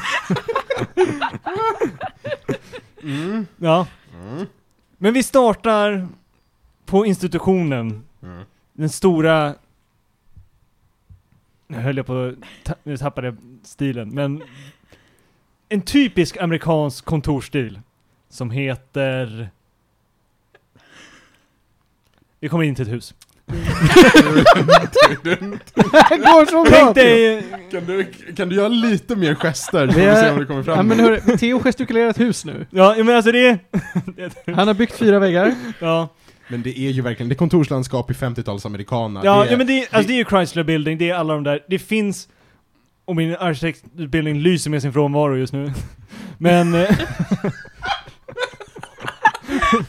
[SPEAKER 1] Mm.
[SPEAKER 4] Ja.
[SPEAKER 1] Mm.
[SPEAKER 4] Men vi startar på institutionen.
[SPEAKER 1] Mm.
[SPEAKER 4] Den stora... Nu höll jag på ta- Nu tappade jag stilen, men... En typisk amerikansk kontorsstil. Som heter... Vi kommer in till ett hus.
[SPEAKER 3] Det går så bra!
[SPEAKER 4] Tänk dig...
[SPEAKER 1] Kan, du, kan du göra lite mer gester? Så
[SPEAKER 4] *laughs* Vi
[SPEAKER 1] vi
[SPEAKER 4] är-
[SPEAKER 1] se om det kommer fram.
[SPEAKER 3] Ja, men hörru, Theo gestikulerar ett hus nu.
[SPEAKER 4] Ja, men alltså det...
[SPEAKER 3] Han har byggt fyra väggar.
[SPEAKER 4] Ja.
[SPEAKER 1] Men det är ju verkligen, det är kontorslandskap i 50-talsamerikanerna.
[SPEAKER 4] Ja,
[SPEAKER 1] det,
[SPEAKER 4] ja men det är, alltså,
[SPEAKER 1] det-
[SPEAKER 4] det är ju Chrysler Building, det är alla de där, det finns, och min arkitektutbildning lyser med sin frånvaro just nu. *laughs* Men, eh,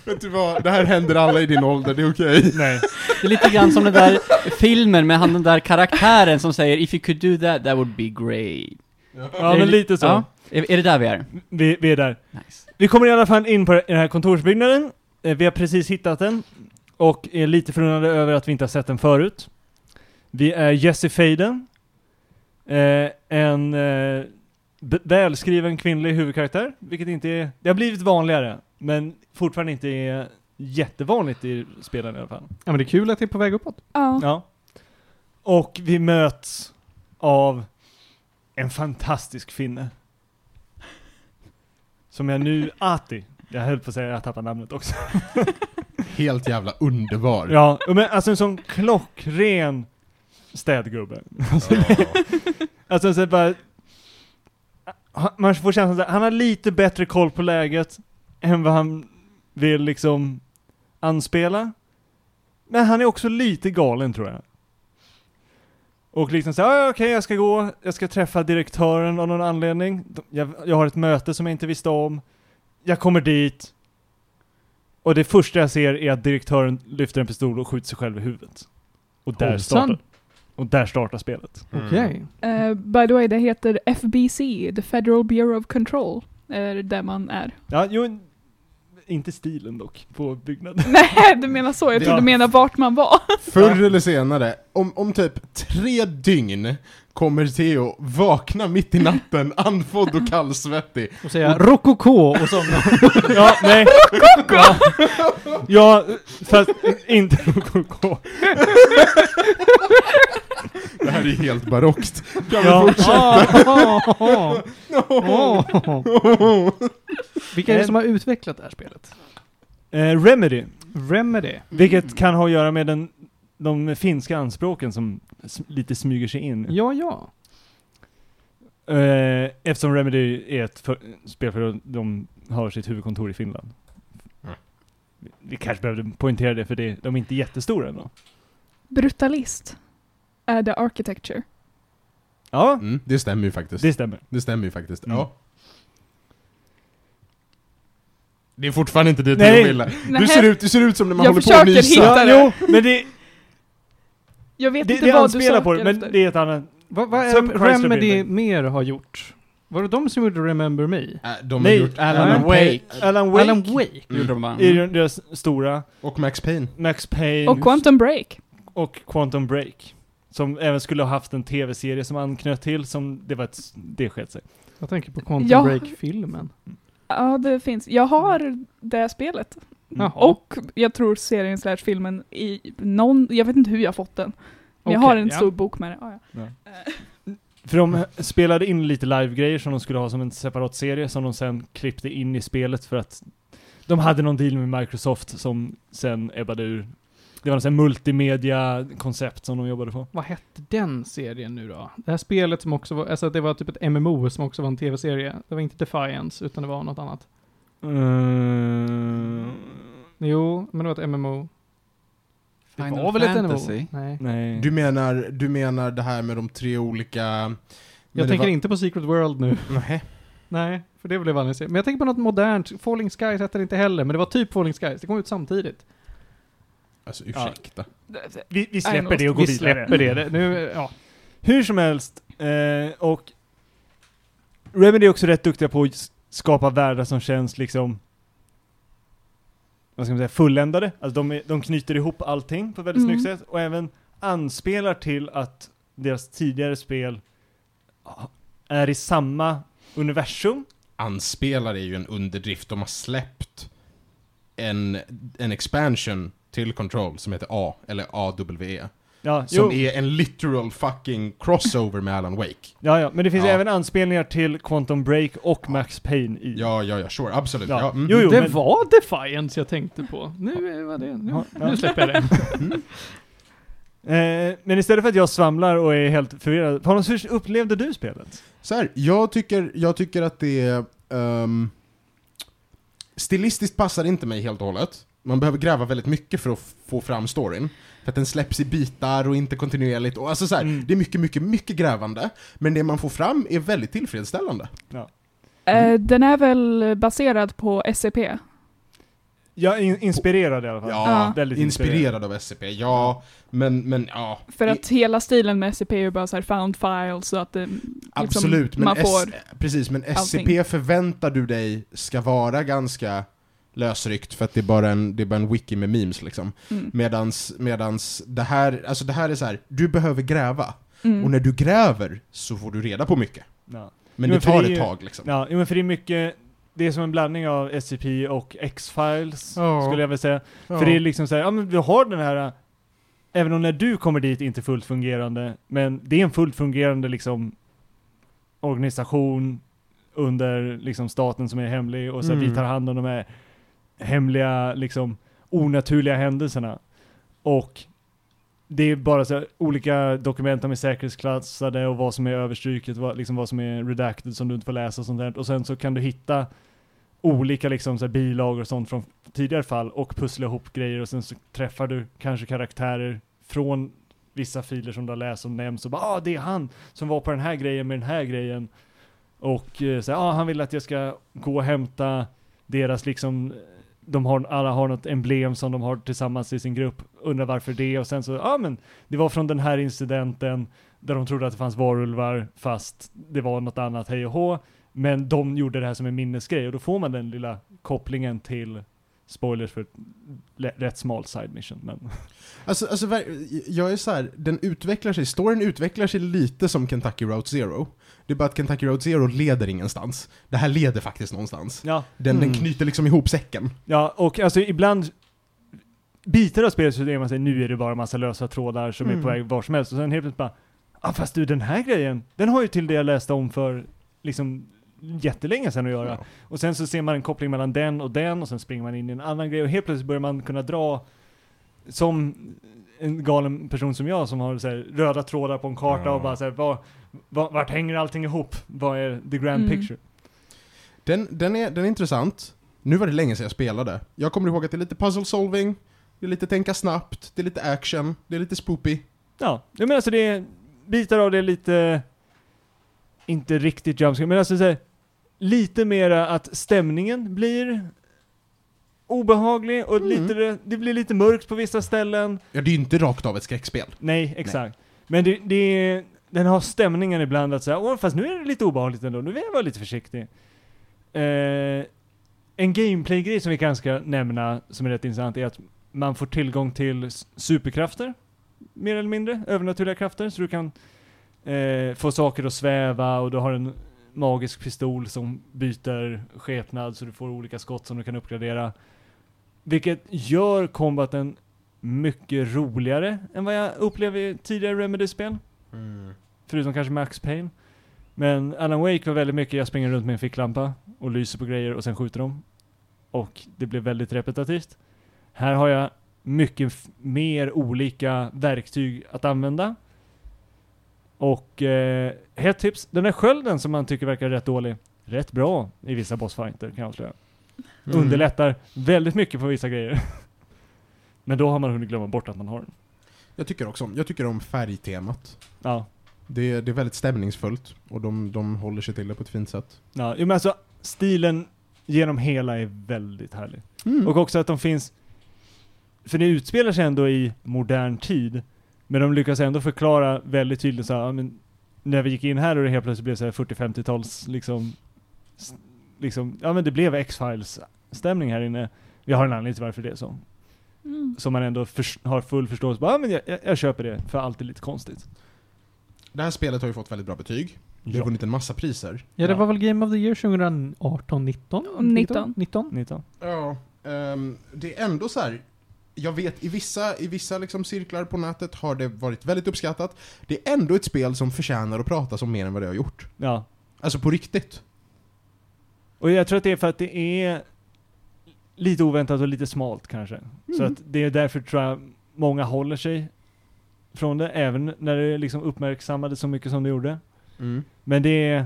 [SPEAKER 1] Vet du vad, det här händer alla i din ålder, det är okej.
[SPEAKER 4] nej.
[SPEAKER 5] Det är lite grann som den där filmen med han den där karaktären som säger If you could do that, that would be great.
[SPEAKER 4] Ja
[SPEAKER 5] Är
[SPEAKER 4] men
[SPEAKER 5] det-
[SPEAKER 4] lite så.
[SPEAKER 5] Ja. Är, är det där vi är?
[SPEAKER 4] Vi, vi är där.
[SPEAKER 5] Nice.
[SPEAKER 4] Vi kommer i alla fall in på den här kontorsbyggnaden, Eh, vi har precis hittat den, och är lite förundrade över att vi inte har sett den förut. Vi är Jessie Faden, eh, en eh, b- välskriven kvinnlig huvudkaraktär, vilket inte är, det har blivit vanligare, men fortfarande inte är jättevanligt i spelen i alla fall.
[SPEAKER 3] Ja men det är kul att det är på väg uppåt.
[SPEAKER 2] Ja.
[SPEAKER 4] Ja. Och vi möts av en fantastisk finne. Som jag nu, Ati. Jag höll på att säga att jag tappade namnet också.
[SPEAKER 1] Helt jävla underbar.
[SPEAKER 4] Ja, men alltså en sån klockren städgubbe. Alltså en sån bara... han- Man får känslan att han har lite bättre koll på läget än vad han vill liksom anspela. Men han är också lite galen tror jag. Och liksom såhär, ah, okej jag ska gå, jag ska träffa direktören av någon anledning. De- Jag, jag har ett möte som jag inte visste om. Jag kommer dit. Och det första jag ser är att direktören lyfter en pistol och skjuter sig själv i huvudet. Och där,
[SPEAKER 3] Hoppsan.
[SPEAKER 4] startar, och där startar spelet.
[SPEAKER 1] Mm.
[SPEAKER 3] Okej.
[SPEAKER 2] Eh, by the way, det heter FBC, The Federal Bureau of Control, är där man är. *laughs*
[SPEAKER 4] Ja, jo, inte stilen dock, på byggnaden.
[SPEAKER 2] Nej, du menar så. Jag tror
[SPEAKER 4] Ja.
[SPEAKER 2] du menar vart man var.
[SPEAKER 1] Förr eller senare, om, om typ tre dygn, kommer Theo vakna mitt i natten, *laughs* andfådd och kallsvettig.
[SPEAKER 3] Och säga rokoko och *laughs* somna.
[SPEAKER 4] ja, nej. ja. ja, fast inte KK.
[SPEAKER 1] Det här är ju helt barockt. Kan vi
[SPEAKER 4] Ja.
[SPEAKER 1] fortsätta?
[SPEAKER 3] Ah. Ah. *laughs* Vilka är det som har utvecklat det här spelet?
[SPEAKER 4] Eh, Remedy,
[SPEAKER 3] Remedy.
[SPEAKER 4] vilket kan ha att göra med den, de finska anspråken som s- lite smyger sig in.
[SPEAKER 3] Ja, ja.
[SPEAKER 4] Eh, eftersom Remedy är ett för, spel för de har sitt huvudkontor i Finland.
[SPEAKER 1] Mm.
[SPEAKER 4] Vi- Vi kanske behövde poängtera det, för det, de är inte jättestora ändå.
[SPEAKER 2] Brutalist är the architecture.
[SPEAKER 4] Ja,
[SPEAKER 1] Mm, det stämmer ju faktiskt.
[SPEAKER 4] det stämmer.
[SPEAKER 1] Det stämmer ju faktiskt,
[SPEAKER 4] Mm.
[SPEAKER 1] ja. Det är fortfarande inte dit
[SPEAKER 4] Nej.
[SPEAKER 1] du vill.
[SPEAKER 2] Nej,
[SPEAKER 1] Du ser, ut, du ser ut som när man
[SPEAKER 2] Jag
[SPEAKER 1] håller på och
[SPEAKER 2] försöker
[SPEAKER 1] nyser.
[SPEAKER 2] hitta-
[SPEAKER 4] Ja, jo, men det,
[SPEAKER 2] jag vet
[SPEAKER 4] det,
[SPEAKER 2] inte
[SPEAKER 4] det
[SPEAKER 2] vad du
[SPEAKER 4] anspelar
[SPEAKER 2] söker
[SPEAKER 4] på det, men
[SPEAKER 2] efter.
[SPEAKER 4] det är ett annat...
[SPEAKER 3] Vad vad är
[SPEAKER 4] Sub
[SPEAKER 3] det
[SPEAKER 4] Chrysler
[SPEAKER 3] Remedy
[SPEAKER 4] Building.
[SPEAKER 3] mer har gjort? Var det de som gjorde Remember Me?
[SPEAKER 1] Äh, de har
[SPEAKER 4] Nej,
[SPEAKER 1] gjort
[SPEAKER 5] Alan
[SPEAKER 1] Pay-
[SPEAKER 5] Wake. Mm.
[SPEAKER 4] Alan Wake,
[SPEAKER 3] Alan Wake?
[SPEAKER 5] Gjorde de bara.
[SPEAKER 4] är ju deras stora,
[SPEAKER 1] Och Max Payne.
[SPEAKER 4] Max Payne
[SPEAKER 2] Och Quantum Break.
[SPEAKER 4] och Quantum Break. Som även skulle ha haft en tv-serie som anknöt till, som det var ett... s- Det sket sig.
[SPEAKER 3] Jag tänker på Quantum
[SPEAKER 2] Ja.
[SPEAKER 3] Break-filmen.
[SPEAKER 2] Ja, det finns. Jag har det spelet.
[SPEAKER 3] Jaha.
[SPEAKER 2] Och jag tror serien slash filmen i någon, jag vet inte hur jag fått den. Men jag
[SPEAKER 3] Okej,
[SPEAKER 2] har en
[SPEAKER 4] ja.
[SPEAKER 2] stor bok med det. Ja, ja.
[SPEAKER 4] För de spelade in lite live-grejer som de skulle ha som en separat serie som de sen klippte in i spelet för att de hade någon deal med Microsoft som sen ebbade ur. Det var en sån här multimedia-koncept som de jobbade på.
[SPEAKER 3] Vad hette den serien nu då? Det här spelet som också var, alltså det var typ ett MMO som också var en tv-serie. Det var inte Defiance, utan det var något annat. Jo, men det var ett MMO. Det
[SPEAKER 5] Final
[SPEAKER 3] var väl ett
[SPEAKER 5] Fantasy?
[SPEAKER 3] MMO? Nej.
[SPEAKER 4] Nej.
[SPEAKER 1] Du menar, du menar det här med de tre olika... men
[SPEAKER 3] Jag
[SPEAKER 1] det
[SPEAKER 3] tänker
[SPEAKER 1] var-
[SPEAKER 3] inte på Secret World nu. *laughs*
[SPEAKER 1] Nej.
[SPEAKER 3] Nej, för det blev aldrig en serie. Men jag tänker på något modernt. Falling Skies hette det inte heller, men det var typ Falling Skies. Det kom ut samtidigt.
[SPEAKER 1] Alltså ursäkta.
[SPEAKER 4] vi, vi
[SPEAKER 2] Nej,
[SPEAKER 4] släpper
[SPEAKER 2] men
[SPEAKER 4] det och går
[SPEAKER 3] Vi
[SPEAKER 4] vidare.
[SPEAKER 3] släpper det. det. Nu, ja.
[SPEAKER 4] Hur som helst, eh, och Remedy är också rätt duktiga på att s- skapa världar som känns liksom vad ska man säga, fulländade. Alltså de, är, de knyter ihop allting på ett väldigt
[SPEAKER 2] Mm.
[SPEAKER 4] snyggt sätt och även anspelar till att deras tidigare spel ah, är i samma universum.
[SPEAKER 1] Anspelar är ju en underdrift. De har släppt en, en expansion till Control som heter A, eller AWE.
[SPEAKER 4] Ja,
[SPEAKER 1] Som E-
[SPEAKER 4] jo,
[SPEAKER 1] är en literal fucking crossover med Alan Wake.
[SPEAKER 4] ja, ja. men det finns
[SPEAKER 1] Ja.
[SPEAKER 4] även anspelningar till Quantum Break och Max Payne i.
[SPEAKER 1] Ja, ja, ja, sure, absolut.
[SPEAKER 4] Ja.
[SPEAKER 1] Ja. mm.
[SPEAKER 4] Jo, jo,
[SPEAKER 3] det
[SPEAKER 4] men-
[SPEAKER 3] var Defiance jag tänkte på. Nu var det... Nu,
[SPEAKER 4] Ja, ja.
[SPEAKER 3] nu släpper jag det.
[SPEAKER 4] Eh, men istället för att jag svamlar och är helt förvirrad, Panos, hur upplevde du spelet?
[SPEAKER 1] Så här, jag tycker, jag tycker att det är... ehm, stilistiskt passar inte mig helt och hållet. Man behöver gräva väldigt mycket för att f- få fram storyn. För att den släpps i bitar och inte kontinuerligt. Och alltså så här,
[SPEAKER 4] Mm.
[SPEAKER 1] Det är mycket, mycket, mycket grävande. Men det man får fram är väldigt tillfredsställande.
[SPEAKER 2] Eh, Den är väl baserad på E SCP?
[SPEAKER 4] Jag är in- inspirerad i alla fall.
[SPEAKER 1] Ja,
[SPEAKER 4] Väldigt
[SPEAKER 1] inspirerad av SCP. Ja, men, men ja.
[SPEAKER 2] För att liksom hela stilen med SCP är ju bara så här found files så att det,
[SPEAKER 1] Absolut,
[SPEAKER 2] man
[SPEAKER 1] men, S-
[SPEAKER 2] får-
[SPEAKER 1] precis, men
[SPEAKER 2] allting.
[SPEAKER 1] SCP förväntar du dig ska vara ganska lösryckt för att det är bara en, det är bara en wiki med memes liksom.
[SPEAKER 2] mm,
[SPEAKER 1] Medans, medans det här, alltså det här är så här, du behöver gräva.
[SPEAKER 2] mm.
[SPEAKER 1] Och när du gräver så får du reda på mycket.
[SPEAKER 4] Ja.
[SPEAKER 1] Men
[SPEAKER 4] Jo,
[SPEAKER 1] det
[SPEAKER 4] för
[SPEAKER 1] tar
[SPEAKER 4] det är ju-
[SPEAKER 1] ett tag liksom.
[SPEAKER 4] Ja, jo, men för det är mycket, det är som en blandning av SCP och X-Files,
[SPEAKER 3] Ja.
[SPEAKER 4] skulle jag vilja säga.
[SPEAKER 3] Ja.
[SPEAKER 4] För det är liksom så här, ja men du har den här, äh, även om när du kommer dit inte fullt fungerande, men det är en fullt fungerande liksom organisation under liksom staten som är hemlig och så här,
[SPEAKER 1] Mm.
[SPEAKER 4] vi tar hand om de här hemliga, liksom onaturliga händelserna. Och det är bara så här, olika dokument som är säkerhetsklassade och vad som är överstruket, vad, liksom vad som är redacted som du inte får läsa och sånt där. Och sen så kan du hitta olika liksom så här, bilagor och sånt från tidigare fall och pussla ihop grejer och sen så träffar du kanske karaktärer från vissa filer som du har läst som nämns och bara ah det är han som var på den här grejen med den här grejen och eh, så här, ah han vill att jag ska gå och hämta deras liksom de har, alla har något emblem som de har tillsammans i sin grupp, undrar varför det och sen så, ja ah, men det var från den här incidenten där de trodde att det fanns varulvar fast det var något annat hej och hå men de gjorde det här som en minnesgrej och då får man den lilla kopplingen till spoilers för ett lä- rätt smal side mission. Men
[SPEAKER 1] Alltså, alltså ver- jag är så här, den utvecklar sig, storyn utvecklar sig lite som Kentucky Route Zero. Det är bara att Kentucky Route Zero leder ingenstans. Det här leder faktiskt någonstans.
[SPEAKER 4] ja,
[SPEAKER 1] Den, den
[SPEAKER 3] Mm.
[SPEAKER 1] knyter liksom ihop säcken.
[SPEAKER 4] ja och alltså ibland bitar av spelet så är man sig nu är det bara massa lösa trådar som är
[SPEAKER 3] Mm.
[SPEAKER 4] på väg var som helst och sen helt plötsligt bara ah, fast du den här grejen, den har ju till det jag läste om för liksom jättelänge sedan att göra.
[SPEAKER 1] Ja.
[SPEAKER 4] Och sen så ser man en koppling mellan den och den och sen springer man in i en annan grej och helt plötsligt börjar man kunna dra som en galen person som jag som har så här, röda trådar på en karta
[SPEAKER 1] Ja.
[SPEAKER 4] och bara så här, var, var, vart hänger allting ihop? Vad är the grand
[SPEAKER 2] Mm.
[SPEAKER 4] picture?
[SPEAKER 1] Den, den, är, den är intressant. Nu var det länge sedan jag spelade. Jag kommer ihåg att det är lite puzzle solving, det är lite tänka snabbt, det är lite action, det är lite spoopy.
[SPEAKER 4] alltså, Ja, jag menar så det är bitar av det är lite inte riktigt jumpscare, men alltså så här, lite mera att stämningen blir obehaglig och
[SPEAKER 1] Mm.
[SPEAKER 4] lite, det blir lite mörkt på vissa ställen.
[SPEAKER 1] Ja, det är ju inte rakt av ett skräckspel.
[SPEAKER 4] Nej, exakt. Men det, det, är- den har stämningen ibland att säga, åh fast nu är det lite obehagligt ändå, nu vill jag vara lite försiktig. Eh, en gameplay-grej som vi kanske ska nämna, som är rätt intressant, är att man får tillgång till s- superkrafter, mer eller mindre, övernaturliga krafter, så du kan eh, få saker att sväva och du har en magisk pistol som byter skepnad så du får olika skott som du kan uppgradera. Vilket gör kombaten mycket roligare än vad jag upplever i tidigare Remedy-spel. Förutom kanske Max Payne. Men Alan Wake var väldigt mycket, jag springer runt med en ficklampa och lyser på grejer och sen skjuter de. Och det blev väldigt repetitivt. Här har jag mycket f- mer olika verktyg att använda. Och eh, hett tips, den där skölden som man tycker verkar rätt dålig, rätt bra i vissa bossfighter kan jag avslöja. Mm.
[SPEAKER 1] Mm.
[SPEAKER 4] Underlättar väldigt mycket på vissa grejer. *laughs* Men då har man hunnit glömma bort att man har den.
[SPEAKER 1] Jag tycker också om, jag tycker om färgtemat.
[SPEAKER 4] Ja.
[SPEAKER 1] Det, det är väldigt stämningsfullt och de, de håller sig till det på ett fint sätt.
[SPEAKER 4] Ja, jo, men alltså stilen genom hela är väldigt härlig.
[SPEAKER 1] Mm.
[SPEAKER 4] Och också att de finns, för det utspelar sig ändå i modern tid, men de lyckas ändå förklara väldigt tydligt så här, ja, men när vi gick in här och det helt plötsligt blev så här 40-50-tals liksom, s- liksom, ja men det blev X-Files stämning här inne. Vi har en anledning till varför det är så.
[SPEAKER 2] Mm.
[SPEAKER 4] Som man ändå förs- har full förståelse för, ja men jag, jag, jag köper det, för allt är lite konstigt.
[SPEAKER 1] Det här spelet har ju fått väldigt bra betyg. Det har
[SPEAKER 4] Ja.
[SPEAKER 1] vunnit en massa priser.
[SPEAKER 3] Ja, det
[SPEAKER 4] Ja.
[SPEAKER 3] var väl Game of the Year 2018, 19?
[SPEAKER 2] 19.
[SPEAKER 3] 19?
[SPEAKER 4] 19.
[SPEAKER 1] Ja, ehm, det är ändå så här. Jag vet i vissa, i vissa liksom cirklar på nätet har det varit väldigt uppskattat. Det är ändå ett spel som förtjänar att pratas om mer än vad det har gjort.
[SPEAKER 4] Ja.
[SPEAKER 1] Alltså på riktigt.
[SPEAKER 4] Och jag tror att det är för att det är lite oväntat och lite smalt kanske. Så att det är därför tror jag många håller sig från det, även när det liksom uppmärksammades så mycket som det gjorde.
[SPEAKER 1] Mm.
[SPEAKER 4] Men det är...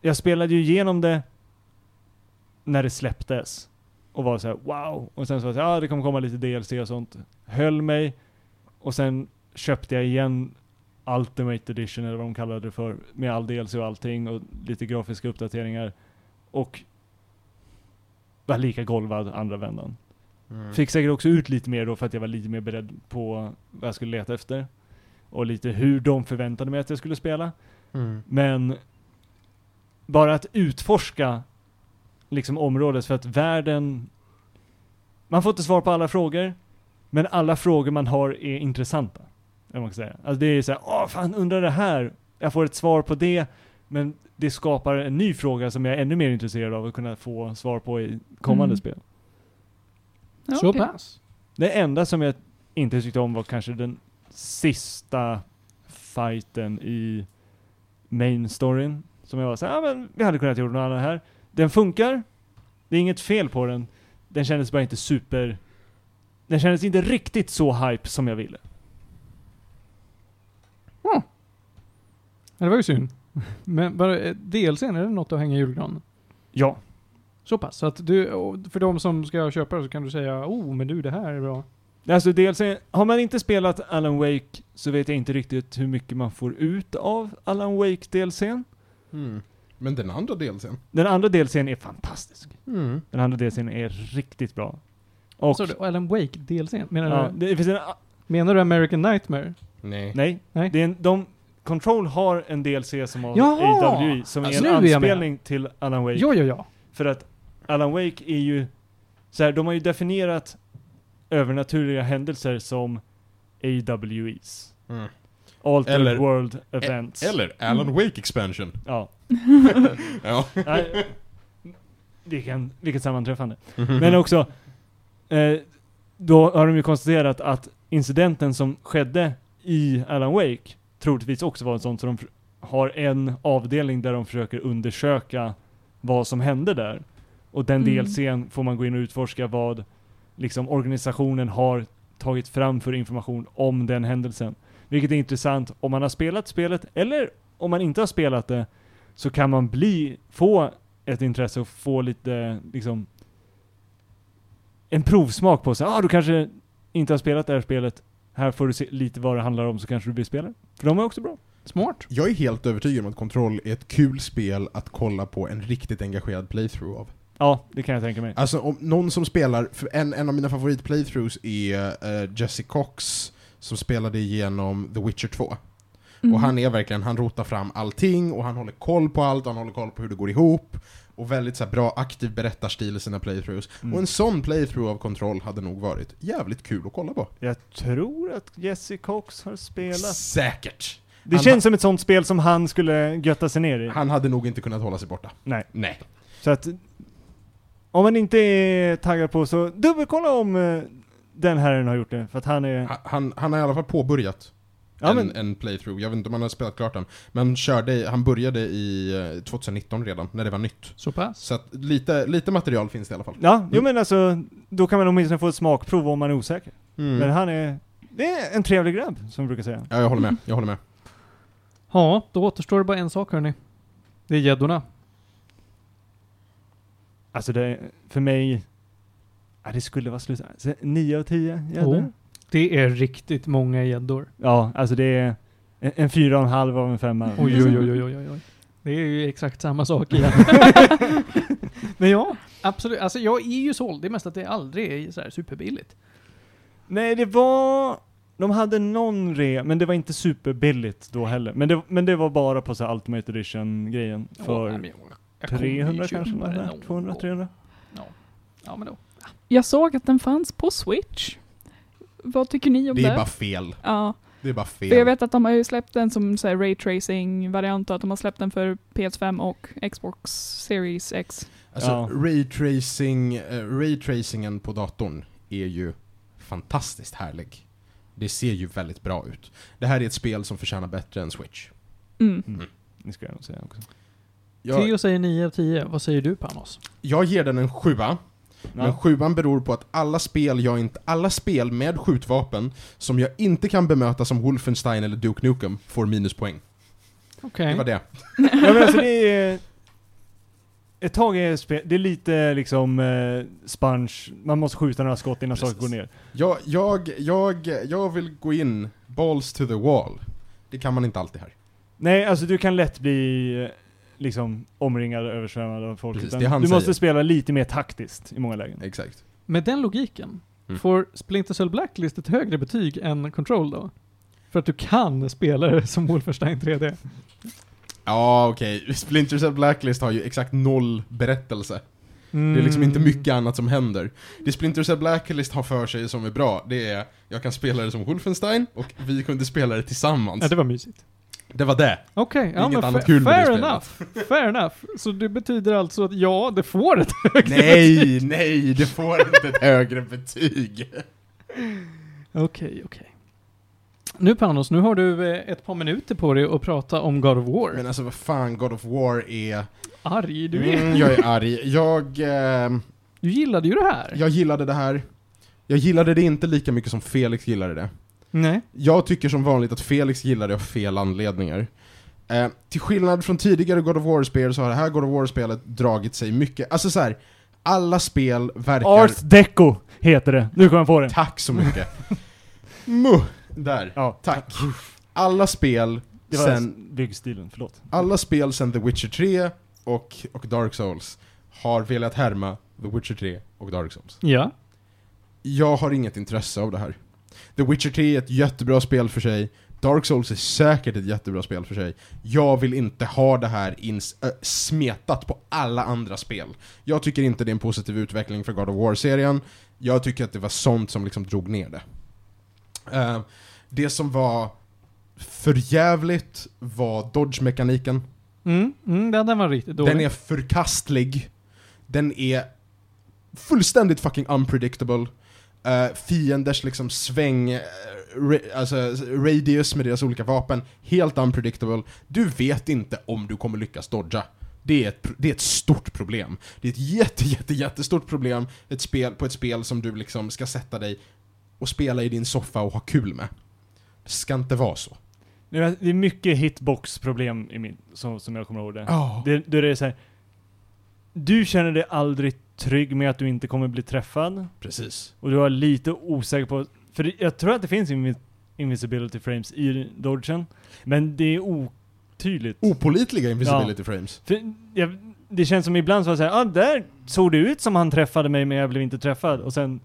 [SPEAKER 4] Jag spelade ju igenom det när det släpptes. Och var så här: wow! Och sen så var det ja ah, det kommer komma lite DLC och sånt. Höll mig. Och sen köpte jag igen Ultimate Edition eller vad de kallade det för. Med all DLC och allting och lite grafiska uppdateringar. Och var lika golvad andra vändan.
[SPEAKER 1] Mm.
[SPEAKER 4] Fick säkert också ut lite mer då för att jag var lite mer beredd på vad jag skulle leta efter. Och lite hur de förväntade mig att jag skulle spela.
[SPEAKER 1] Mm.
[SPEAKER 4] Men bara att utforska liksom området för att världen... Man får inte svar på alla frågor, men alla frågor man har är intressanta. Eller vad man kan säga. Alltså det är så här, åh fan undrar det här, jag får ett svar på det, men det skapar en ny fråga som jag är ännu mer intresserad av att kunna få svar på i kommande
[SPEAKER 2] Mm.
[SPEAKER 4] spel.
[SPEAKER 2] Ja,
[SPEAKER 3] Så
[SPEAKER 2] okej.
[SPEAKER 3] pass.
[SPEAKER 4] Det enda som jag inte tyckte om var kanske den sista fighten i main storyn. Som jag var såhär, ja men vi hade kunnat gjort något annat här. Den funkar. Det är inget fel på den. Den kändes bara inte super... Den kändes inte riktigt så hype som jag ville.
[SPEAKER 3] Ja, det var ju synd. *laughs* Men bara, eh, DLCn, är det något att hänga i julgranen?
[SPEAKER 4] Ja.
[SPEAKER 3] Så pass. Så att du, och för de som ska köpa det så kan du säga oh men du det här är bra.
[SPEAKER 4] Alltså dels, är- har man inte spelat Alan Wake så vet jag inte riktigt hur mycket man får ut av Alan Wake-DLCn.
[SPEAKER 1] Mm. Men den andra delsen.
[SPEAKER 4] Den andra DLCn är fantastisk.
[SPEAKER 1] Mm.
[SPEAKER 4] Den andra DLCn är riktigt bra. Och...
[SPEAKER 3] Så du, och Alan Wake DLCn? Menar,
[SPEAKER 4] Ja,
[SPEAKER 3] du,
[SPEAKER 4] det finns en
[SPEAKER 3] menar du American Nightmare?
[SPEAKER 1] Nej.
[SPEAKER 4] Nej.
[SPEAKER 3] Nej.
[SPEAKER 4] Det är en, de, Control har en DLC som har
[SPEAKER 3] Jaha!
[SPEAKER 4] AWI som
[SPEAKER 3] Alltså,
[SPEAKER 4] är en
[SPEAKER 3] nu är jag med.
[SPEAKER 4] anspelning till Alan Wake.
[SPEAKER 3] Jo, jo, ja.
[SPEAKER 4] För att Alan Wake är ju... Så här, de har ju definierat övernaturliga händelser som AWEs.
[SPEAKER 1] Mm.
[SPEAKER 4] Altered
[SPEAKER 1] Eller- E-
[SPEAKER 4] World Events.
[SPEAKER 1] Eller Alan Wake Expansion.
[SPEAKER 4] Ja.
[SPEAKER 1] *laughs* Ja.
[SPEAKER 4] Nej, vilken, vilket sammanträffande.
[SPEAKER 1] Mhm. Mm-hmm.
[SPEAKER 4] Men också, eh, då har de ju konstaterat att incidenten som skedde i Alan Wake troligtvis också var en sån, så de fr- har en avdelning där de försöker undersöka vad som hände där. Och den
[SPEAKER 2] Mm.
[SPEAKER 4] DLCn får man gå in och utforska vad liksom organisationen har tagit fram för information om den händelsen. Vilket är intressant, om man har spelat spelet eller om man inte har spelat det så kan man bli, få ett intresse och få lite liksom en provsmak på sig. Ah, du kanske inte har spelat det här spelet. Här får du se lite vad det handlar om så kanske du blir spelare. För de är också bra.
[SPEAKER 3] Smart.
[SPEAKER 1] Jag är helt övertygad om att Control är ett kul spel att kolla på en riktigt engagerad playthrough av.
[SPEAKER 4] Ja, det kan jag tänka mig.
[SPEAKER 1] Alltså om någon som spelar, för en, en av mina favorit-playthroughs är eh, Jesse Cox som spelade igenom The Witcher 2.
[SPEAKER 2] Mm.
[SPEAKER 4] Mhm.
[SPEAKER 1] Och han är verkligen, han rotar fram allting och han håller koll på allt, han håller koll på hur det går ihop. Och väldigt så här, bra aktiv berättarstil i sina playthroughs.
[SPEAKER 4] Mm.
[SPEAKER 1] Och en sån playthrough av Control hade nog varit jävligt kul att kolla på.
[SPEAKER 4] Jag tror att Jesse Cox har spelat.
[SPEAKER 1] Säkert!
[SPEAKER 4] Det
[SPEAKER 1] Han-
[SPEAKER 4] känns som ett sånt spel som han skulle götta sig ner i.
[SPEAKER 1] Han hade nog inte kunnat hålla sig borta.
[SPEAKER 4] Nej.
[SPEAKER 1] Nej.
[SPEAKER 4] Så att om man inte är taggad på så dubbelkolla om eh, den herren har gjort det. För att han är...
[SPEAKER 1] Ha- Han, han har i alla fall påbörjat
[SPEAKER 4] Ja,
[SPEAKER 1] en,
[SPEAKER 4] men-
[SPEAKER 1] en playthrough. Jag vet inte om han har spelat klart den. Men han körde, i- han började i eh, 2019 redan, när det var nytt.
[SPEAKER 3] Så pass.
[SPEAKER 1] Så att lite, lite material finns det i alla fall.
[SPEAKER 4] Ja, jo men alltså, då kan man åtminstone få ett smakprov om man är osäker.
[SPEAKER 1] Mm.
[SPEAKER 4] Men han är... Det är en trevlig grabb, som vi brukar säga.
[SPEAKER 1] Ja, jag håller med. Jag håller med.
[SPEAKER 3] Ja, då återstår det bara en sak hörni. Det är gäddorna.
[SPEAKER 4] Alltså det, för mig... Ja, det skulle vara slut. Så, 9 av 10 gäddor.
[SPEAKER 3] Åh. Det är riktigt många gäddor.
[SPEAKER 4] Ja, alltså det är en, en fyra och en halv av en femma.
[SPEAKER 3] Oj, oj, oj, oj, oj, oj, oj. Det är ju exakt samma sak *laughs* igen. Men ja, absolut. Alltså jag är ju såld. Det är mest att det aldrig är så här superbilligt.
[SPEAKER 4] Nej, det var... De hade någon re, men det var inte superbilligt då heller. Men det, men det var bara på så här Ultimate Edition-grejen. För
[SPEAKER 3] Ja, men jag- jag kommer ju
[SPEAKER 4] 300
[SPEAKER 3] köpa
[SPEAKER 4] kanske?
[SPEAKER 3] den
[SPEAKER 4] någon
[SPEAKER 3] någon
[SPEAKER 4] där, 200,
[SPEAKER 3] gång.
[SPEAKER 4] 300?
[SPEAKER 3] Ja. ja, men då.
[SPEAKER 2] Jag såg att den fanns på Switch. Vad tycker ni om det?
[SPEAKER 1] Det är bara fel.
[SPEAKER 2] Ja,
[SPEAKER 1] Det är bara
[SPEAKER 2] för jag
[SPEAKER 1] fel.
[SPEAKER 2] vet att de har ju släppt den som så här, Ray Tracing variant och att de har släppt den för PS5 och Xbox Series X.
[SPEAKER 1] Alltså,
[SPEAKER 4] Ja.
[SPEAKER 1] raytracing, eh, raytracingen på datorn är ju fantastiskt härlig. Det ser ju väldigt bra ut. Det här är ett spel som förtjänar bättre än Switch.
[SPEAKER 2] Mm.
[SPEAKER 4] Det ska jag nog säga också.
[SPEAKER 1] Jag,
[SPEAKER 3] Theo säger 9 av 10. Vad säger du Panos?
[SPEAKER 1] jag ger den en sjua. Men
[SPEAKER 4] Ja.
[SPEAKER 1] sjuan beror på att alla spel, jag inte, alla spel med skjutvapen som jag inte kan bemöta som Wolfenstein eller Duke Nukem får minuspoäng.
[SPEAKER 3] Okej.
[SPEAKER 1] Det var det.
[SPEAKER 4] ja, men alltså det är... Ett tag är spe, det är lite liksom eh, sponge, man måste skjuta några skott innan saker går
[SPEAKER 1] Precis.
[SPEAKER 4] ner.
[SPEAKER 1] Jag, jag, jag, jag vill gå in balls to the wall. Det kan man inte alltid här.
[SPEAKER 4] Nej, alltså du kan lätt bli eh, liksom omringad och översvämmad av folk.
[SPEAKER 1] Precis,
[SPEAKER 4] utan
[SPEAKER 1] det han
[SPEAKER 4] du måste
[SPEAKER 1] säger.
[SPEAKER 4] spela lite mer taktiskt i många lägen.
[SPEAKER 1] Exakt.
[SPEAKER 3] Med den logiken,
[SPEAKER 1] Mm.
[SPEAKER 3] får Splinter Cell Blacklist ett högre betyg än Control då? För att du kan spela det som Wolfenstein 3D.
[SPEAKER 1] Ja, okej. *laughs* Splinter Cell Blacklist har ju exakt noll berättelse. Det är liksom inte
[SPEAKER 3] Mm.
[SPEAKER 1] mycket annat som händer. Det Splinter Cell Blacklist har för sig som är bra, det är jag kan spela det som Wolfenstein och vi kunde spela det
[SPEAKER 3] Ja,
[SPEAKER 1] tillsammans.
[SPEAKER 3] det var mysigt.
[SPEAKER 1] Det var det.
[SPEAKER 3] Okej, ja
[SPEAKER 1] Inget
[SPEAKER 3] men
[SPEAKER 1] annat
[SPEAKER 3] fa-
[SPEAKER 1] kul med det
[SPEAKER 3] fair
[SPEAKER 1] spelet.
[SPEAKER 3] enough. Fair enough. Så det betyder alltså att ja, det får ett *laughs* högre
[SPEAKER 1] Nej, nej, det får inte ett högre betyg.
[SPEAKER 3] Okej, okej. Nu Panos, nu har du eh, ett par minuter på dig att prata om God of War.
[SPEAKER 1] Men alltså vad fan, God of War är...
[SPEAKER 3] Arg du är.
[SPEAKER 1] Mm, jag är arg. Jag, eh,
[SPEAKER 3] Du gillade ju det här.
[SPEAKER 1] jag gillade det här. Jag gillade det inte lika mycket som Felix gillade det.
[SPEAKER 3] Nej.
[SPEAKER 1] Jag tycker som vanligt att Felix gillar det av fel anledningar. Eh, till skillnad från tidigare God of War-spel så har det här God of War-spelet dragit sig mycket. Alltså så här, alla spel verkar...
[SPEAKER 4] Ars Deco heter det. Nu kommer jag på det.
[SPEAKER 1] Tack så mycket. Mu! Där.
[SPEAKER 4] Ja,
[SPEAKER 1] Tack. Alla spel
[SPEAKER 4] det var
[SPEAKER 1] sen
[SPEAKER 4] byggstilen, förlåt.
[SPEAKER 1] Alla spel sen The Witcher 3 och, och Dark Souls har velat härma The Witcher 3 och Dark Souls.
[SPEAKER 3] Ja.
[SPEAKER 1] Jag har inget intresse av det här. The Witcher 3 är ett jättebra spel för sig. Dark Souls är säkert ett jättebra spel för sig. Jag vill inte ha det här ins- äh, smetat på alla andra spel. Jag tycker inte det är en positiv utveckling för God of War-serien. Jag tycker att det var sånt som liksom drog ner det. Eh, det som var förjävligt var dodge-mekaniken.
[SPEAKER 3] Mm, mm, den, den var riktigt dålig.
[SPEAKER 1] Den är förkastlig. Den är fullständigt fucking unpredictable. Eh, fienders liksom sväng, eh, ra- alltså radius med deras olika vapen, helt unpredictable. Du vet inte om du kommer lyckas dodga. Det är, ett, pro- det är ett stort problem. Det är ett jätte, jätte, jättestort problem ett spel, på ett spel som du liksom ska sätta dig och spela i din soffa och ha kul med. Det ska inte vara så.
[SPEAKER 4] Det är- det är mycket hitbox-problem i min, som, som jag kommer ihåg det.
[SPEAKER 1] Ja.
[SPEAKER 4] det. Då är det så här, du känner dig aldrig trygg med att du inte kommer bli träffad
[SPEAKER 1] Precis.
[SPEAKER 4] och du är lite osäker på, för det, jag tror att det finns i mitt invisibility frames i dodgen. Men det är otydligt.
[SPEAKER 1] Opolitliga invisibility frames.
[SPEAKER 4] För jag, det känns som ibland så att säga, ah, där såg det ut som han träffade mig men jag blev inte träffad. Och sen,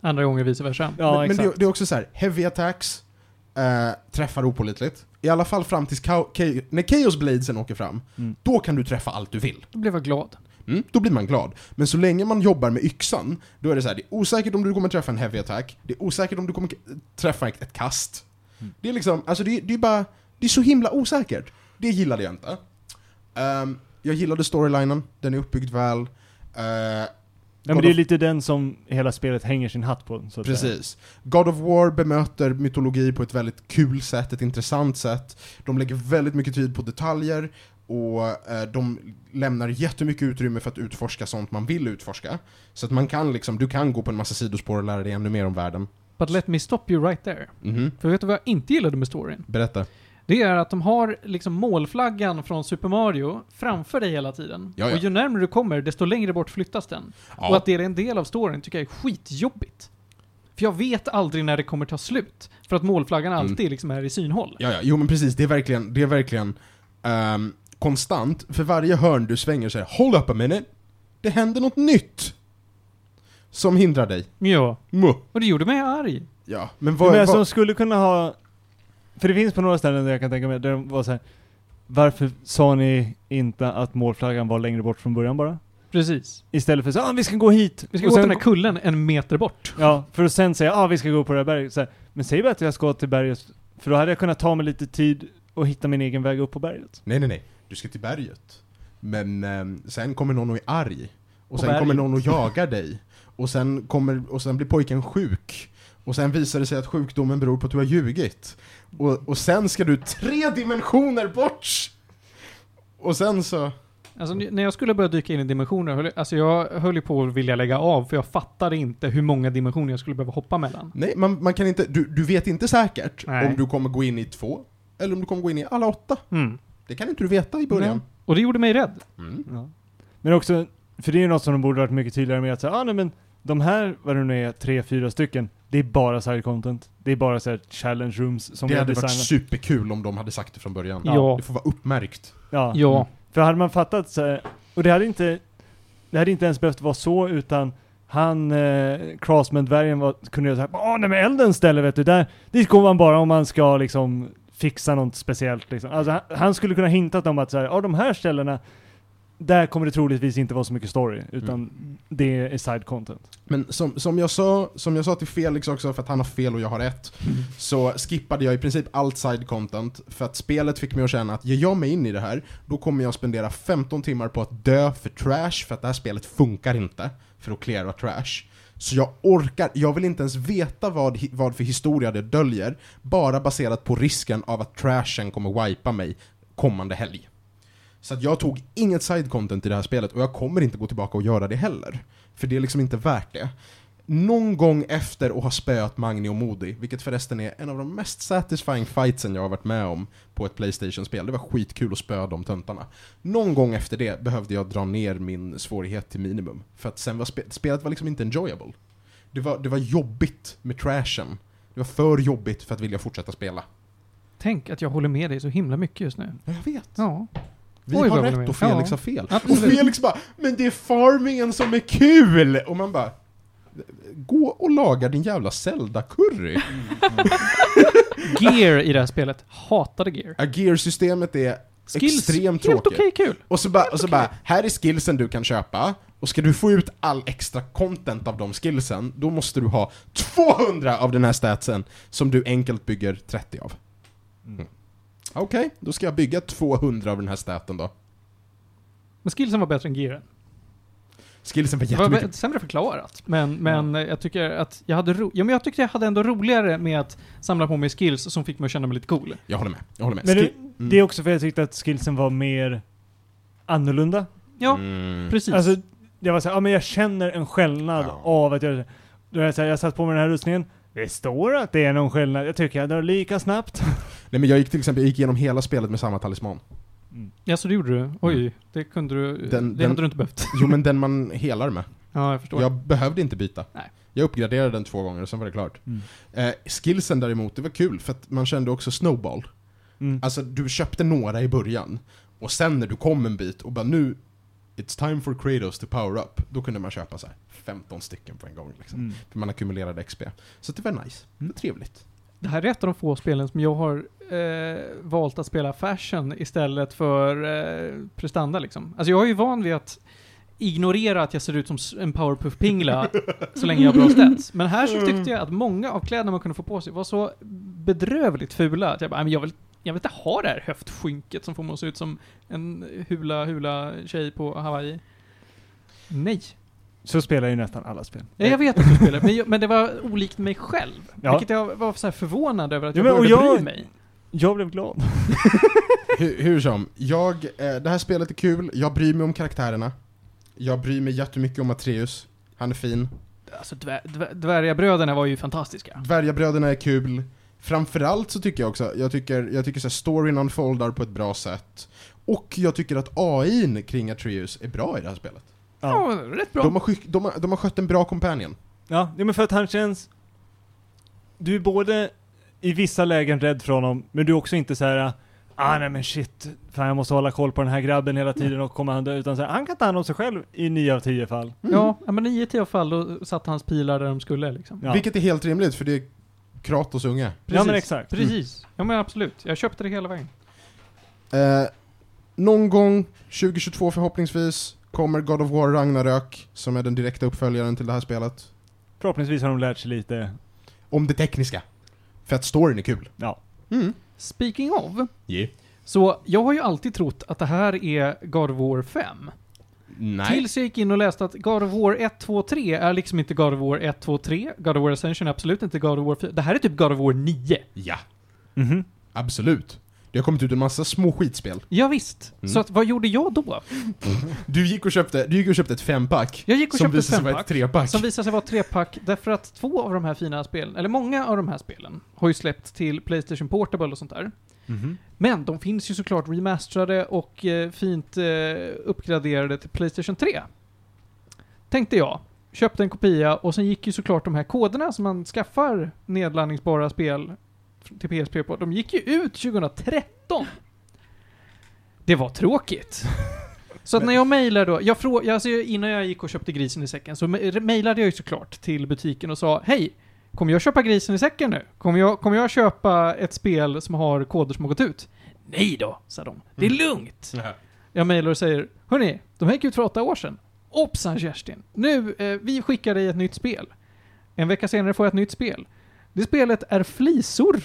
[SPEAKER 3] Andra gånger vice versa.
[SPEAKER 4] ja
[SPEAKER 1] men men
[SPEAKER 4] exakt.
[SPEAKER 1] det, det är också så här, heavy attacks eh, träffar opolitligt. I alla fall fram tills Kao- Ka- när Chaos Bladesen åker fram,
[SPEAKER 4] Mm.
[SPEAKER 1] då kan du träffa allt du vill.
[SPEAKER 3] Då blev jag glad.
[SPEAKER 1] Mm, då blir man glad. Men så länge man jobbar med yxan, då är det så här, det är osäkert om du kommer träffa en heavy attack, det är osäkert om du kommer k- träffa ett, ett kast.
[SPEAKER 4] Mm.
[SPEAKER 1] Det är liksom, alltså det, är- det är bara, det är så himla osäkert. Det gillade jag inte. Ehm, jag gillade storylinen, den är uppbyggd väl. Eh,
[SPEAKER 4] Nej, men det är lite den som hela spelet hänger sin hatt på. Så att Säga.
[SPEAKER 1] Precis. God of War bemöter mytologi på ett väldigt kul sätt, ett intressant sätt. De lägger väldigt mycket tid på detaljer och eh, de lämnar jättemycket utrymme för att utforska sånt man vill utforska. Så att man kan liksom, du kan gå på en massa sidospår och lära dig ännu mer om världen.
[SPEAKER 3] But let me stop you right there.
[SPEAKER 1] Mhm.
[SPEAKER 3] För vet du vad jag inte gillade med storyn?
[SPEAKER 1] Berätta.
[SPEAKER 3] Det är att de har liksom målflaggan från Super Mario framför dig hela tiden.
[SPEAKER 1] Ja, ja.
[SPEAKER 3] Och ju närmare du kommer, desto längre bort flyttas den. Och
[SPEAKER 1] Ja.
[SPEAKER 3] att det är en del av storyn tycker jag är skitjobbigt. För jag vet aldrig när det kommer ta slut. För att målflaggan
[SPEAKER 1] Mm.
[SPEAKER 3] alltid liksom är i synhåll.
[SPEAKER 1] ja, ja, jo men precis, det är verkligen, det är verkligen ehm, konstant. För varje hörn du svänger så är det, hold up a minute, det händer något nytt. Som hindrar dig.
[SPEAKER 3] Ja.
[SPEAKER 1] Muh.
[SPEAKER 3] Och det gjorde mig arg.
[SPEAKER 1] Ja, men
[SPEAKER 4] Vad,
[SPEAKER 1] vad...
[SPEAKER 4] men alltså,
[SPEAKER 1] vad-
[SPEAKER 4] som skulle kunna ha... För det finns på några ställen där jag kan tänka mig, där de var så här. Varför sa ni inte att målflaggan var längre bort från början bara?
[SPEAKER 3] Precis.
[SPEAKER 4] Istället för så ah, vi ska gå hit.
[SPEAKER 3] Vi ska
[SPEAKER 4] Och
[SPEAKER 3] gå till
[SPEAKER 4] sen-
[SPEAKER 3] den här kullen en meter bort.
[SPEAKER 4] Ja, för att sen säga ah, vi ska gå på det här berget. Så här, men säg bara att jag ska till berget, för då hade jag kunnat ta mig lite tid och hitta min egen väg upp på berget.
[SPEAKER 1] Nej, nej, nej. Du ska till berget. Men eh, sen kommer någon och är arg. Och
[SPEAKER 3] På
[SPEAKER 1] sen
[SPEAKER 3] berget.
[SPEAKER 1] kommer
[SPEAKER 3] *laughs*
[SPEAKER 1] någon och jagar dig. Och sen, kommer, och sen blir pojken sjuk. Och sen visar det sig att sjukdomen beror på att du har ljugit. Och, och sen ska du tre dimensioner bort! Och sen så...
[SPEAKER 3] Alltså, n- när jag skulle börja dyka in i dimensioner, höll, jag- alltså jag höll ju på att vilja lägga av för jag fattade inte hur många dimensioner jag skulle behöva hoppa mellan.
[SPEAKER 1] Nej, man, man kan inte... Du, du vet inte säkert
[SPEAKER 3] Nej.
[SPEAKER 1] om du kommer gå in i två, eller om du kommer gå in i alla åtta.
[SPEAKER 3] Mm.
[SPEAKER 1] Det kan inte du veta i början.
[SPEAKER 3] Och det gjorde mig rädd.
[SPEAKER 1] Mm.
[SPEAKER 4] Men också, för det är ju något som de borde varit mycket tydligare med att säga, ah, nej men de här, vad det nu är, tre, fyra stycken, det är bara side content. Det är bara så här challenge rooms som
[SPEAKER 1] Det
[SPEAKER 4] vi har
[SPEAKER 1] hade varit
[SPEAKER 4] designat.
[SPEAKER 1] superkul om de hade sagt det från början.
[SPEAKER 3] Ja.
[SPEAKER 1] Det får vara uppmärkt.
[SPEAKER 4] Ja.
[SPEAKER 3] Ja.
[SPEAKER 4] För hade man fattat så här, och det hade inte, det hade inte ens behövt vara så utan han, eh, Crossman-dvärgen var- kunde göra såhär, åh nej men elden ställer vet du, där, dit går man bara om man ska liksom fixa något speciellt liksom. Alltså han, han skulle kunna hintat om att såhär, ja de här ställena, där kommer det troligtvis inte vara så mycket story, utan det är side content.
[SPEAKER 1] Men som, som, jag sa, som jag sa till Felix också, för att han har fel och jag har rätt, så skippade jag i princip allt side content, för att spelet fick mig att känna att ger jag mig in i det här, då kommer jag spendera 15 timmar på att dö för trash, för att det här spelet funkar inte för att klara trash. Så jag orkar, jag vill inte ens veta vad, hi- vad för historia det döljer, bara baserat på risken av att trashen kommer wipa mig kommande helg. Så att jag tog inget side content i det här spelet och jag kommer inte gå tillbaka och göra det heller. För det är liksom inte värt det. Någon gång efter att ha spöat Magni och Modi, vilket förresten är en av de mest satisfying fightsen jag har varit med om på ett Playstation-spel. Det var skitkul att spöa de töntarna. Någon gång efter det behövde jag dra ner min svårighet till minimum. För att sen var spe- spelet var liksom inte enjoyable. Det var, det var jobbigt med trashen. Det var för jobbigt för att vilja fortsätta spela.
[SPEAKER 3] Tänk att jag håller med dig så himla mycket just nu.
[SPEAKER 1] Jag vet.
[SPEAKER 3] Ja.
[SPEAKER 1] Vi
[SPEAKER 3] Oj,
[SPEAKER 1] har
[SPEAKER 3] vad
[SPEAKER 1] rätt
[SPEAKER 3] menar.
[SPEAKER 1] och Felix
[SPEAKER 3] Ja.
[SPEAKER 1] har fel. Och
[SPEAKER 3] Absolut.
[SPEAKER 1] Felix bara 'Men det är farmingen som är kul!' Och man bara Gå och laga din jävla Zelda-curry.
[SPEAKER 3] Gear i det här spelet. Hatade gear.
[SPEAKER 1] Gear-systemet är extremt
[SPEAKER 3] Helt
[SPEAKER 1] tråkigt.
[SPEAKER 3] okej kul.
[SPEAKER 1] Och så bara, och så bara, här är skillsen du kan köpa, och ska du få ut all extra content av de skillsen, då måste du ha 200 av den här statsen som du enkelt bygger 30 av. Mm. Okej, då ska jag bygga 200 av den här staten då.
[SPEAKER 3] Men skillsen var bättre än gearen.
[SPEAKER 1] Skillsen var
[SPEAKER 3] Det var
[SPEAKER 1] jättemycket
[SPEAKER 3] vä- sämre förklarat. Men, men eh, jag tycker att jag hade ro- ja, men jag tyckte jag hade ändå roligare med att samla på mig skills som fick mig att känna mig lite cool.
[SPEAKER 1] Jag håller med, jag håller med.
[SPEAKER 4] Men
[SPEAKER 1] Skill- Mm.
[SPEAKER 4] det, det är också för jag tyckte att skillsen var mer annorlunda.
[SPEAKER 3] Ja,
[SPEAKER 1] Mm.
[SPEAKER 3] precis.
[SPEAKER 4] Alltså, jag var såhär, ja men jag känner en skillnad
[SPEAKER 1] Ja.
[SPEAKER 4] av att jag... Då är jag, såhär, jag satt på mig den här rustningen, det står att det är någon skillnad, jag tycker jag drar lika snabbt.
[SPEAKER 1] Nej men jag gick till exempel, jag gick igenom hela spelet med samma talisman.
[SPEAKER 3] ja, så det gjorde du. Oj, det kunde du...
[SPEAKER 1] Den-
[SPEAKER 3] det
[SPEAKER 1] Mm. den-
[SPEAKER 3] hade du inte behövt.
[SPEAKER 1] Jo men den man helar med.
[SPEAKER 3] Ja, jag förstår.
[SPEAKER 1] Jag behövde inte byta.
[SPEAKER 3] Nej.
[SPEAKER 1] Jag uppgraderade den två gånger och sen var det klart.
[SPEAKER 4] Mm.
[SPEAKER 1] Eh, skillsen däremot, det var kul för att man kände också snowball.
[SPEAKER 4] Mm.
[SPEAKER 1] Alltså du köpte några i början och sen när du kom en bit och bara nu It's time for Kratos to power up. Då kunde man köpa så här 15 stycken på en gång. Liksom.
[SPEAKER 4] Mm.
[SPEAKER 1] För man ackumulerade XP. Så det var nice. Det var trevligt.
[SPEAKER 3] Det här är ett av de få spelen som jag har eh, valt att spela fashion istället för eh, prestanda liksom. Alltså jag är ju van vid att ignorera att jag ser ut som s- en powerpuff-pingla så länge jag har bra
[SPEAKER 4] *laughs*
[SPEAKER 3] stats. Men här
[SPEAKER 4] Mm.
[SPEAKER 3] så tyckte jag att många av kläderna man kunde få på sig var så bedrövligt fula att jag bara, "Nej, men jag vill, jag vill inte ha det här höftskynket som får mig att se ut som en hula-hula-tjej på Hawaii. Nej.
[SPEAKER 4] Så spelar ju nästan alla spel.
[SPEAKER 3] Ja, jag vet att du spelar, men, jag, men det var olikt mig själv.
[SPEAKER 4] Ja.
[SPEAKER 3] Vilket jag var så här förvånad över att
[SPEAKER 4] Ja,
[SPEAKER 3] jag
[SPEAKER 4] men- och
[SPEAKER 3] började
[SPEAKER 4] jag-
[SPEAKER 3] bry mig.
[SPEAKER 4] Jag blev glad.
[SPEAKER 1] Hur, hur som, jag, eh, det här spelet är kul, jag bryr mig om karaktärerna. Jag bryr mig jättemycket om Atreus. Han är fin.
[SPEAKER 3] Alltså dvär, dvär, dvärgabröderna var ju fantastiska.
[SPEAKER 1] Dvärgabröderna är kul. Framförallt så tycker jag också, jag tycker, jag tycker så här, storyn unfoldar på ett bra sätt. Och jag tycker att AIn kring Atreus är bra i det här spelet.
[SPEAKER 4] Ja.
[SPEAKER 3] Ja, rätt bra.
[SPEAKER 1] De har, skick, de, har, de har skött en bra companion.
[SPEAKER 4] Ja, ja, men för att han känns... Du är både i vissa lägen rädd för honom, men du är också inte så här... Ah nej men shit, fan jag måste hålla koll på den här grabben hela tiden och kommer han dö? Utan så här, han kan ta hand om sig själv i 9 av 10 fall.
[SPEAKER 3] Ja, ja, men i tio fall då satt hans pilar där de skulle liksom.
[SPEAKER 4] Ja,
[SPEAKER 1] Vilket är helt rimligt för det är Kratos unge.
[SPEAKER 4] ja men exakt. Mm.
[SPEAKER 3] Precis. Mm. Ja men absolut, jag köpte det hela vägen.
[SPEAKER 1] Eh, någon gång 2022 förhoppningsvis kommer God of War Ragnarök, som är den direkta uppföljaren till det här spelet.
[SPEAKER 4] Förhoppningsvis har de lärt sig lite.
[SPEAKER 1] Om det tekniska. För att storyn är kul.
[SPEAKER 4] Ja.
[SPEAKER 1] Mm.
[SPEAKER 3] Speaking of, så jag har ju alltid trott att det här är God of War 5.
[SPEAKER 1] Nej.
[SPEAKER 3] Tills jag gick in och läste att God of War 1, 2, 3 är liksom inte God of War 1, 2, 3. God of War Ascension är absolut inte God of War 4. Det här är typ God of War 9.
[SPEAKER 1] Ja, absolut. Det har kommit ut en massa små skitspel.
[SPEAKER 3] Ja, visst.
[SPEAKER 1] Mm.
[SPEAKER 3] Så att, vad gjorde jag då?
[SPEAKER 1] Du gick och köpte, du gick och köpte ett fempack.
[SPEAKER 3] Jag gick och
[SPEAKER 1] som
[SPEAKER 3] köpte
[SPEAKER 1] visade sig vara
[SPEAKER 3] fempack.
[SPEAKER 1] ett trepack.
[SPEAKER 3] Som visar sig vara ett trepack, därför att två av de här fina spelen, eller många av de här spelen, har ju släppts till Playstation Portable och sånt där.
[SPEAKER 4] Mm-hmm.
[SPEAKER 3] Men de finns ju såklart remasterade och eh, fint eh, uppgraderade till Playstation 3. Tänkte jag. Köpte en kopia och sen gick ju såklart de här koderna som man skaffar nedladdningsbara spel f- till PSP på, de gick ju ut 2013. Det var tråkigt. Så att när jag mejlar då, jag frå, alltså innan jag gick och köpte grisen i säcken så me- mejlade jag ju såklart till butiken och sa hej, kommer jag köpa grisen i säcken nu? Kommer jag, kommer jag köpa ett spel som har koder som har gått ut? Nej då, sa de. Det är lugnt.
[SPEAKER 1] Ja.
[SPEAKER 3] Jag mejlar och säger, hörni, de här gick ut för åtta år sedan. Hoppsan Kerstin, nu, eh, vi skickar dig ett nytt spel. En vecka senare får jag ett nytt spel. Det spelet är flisor.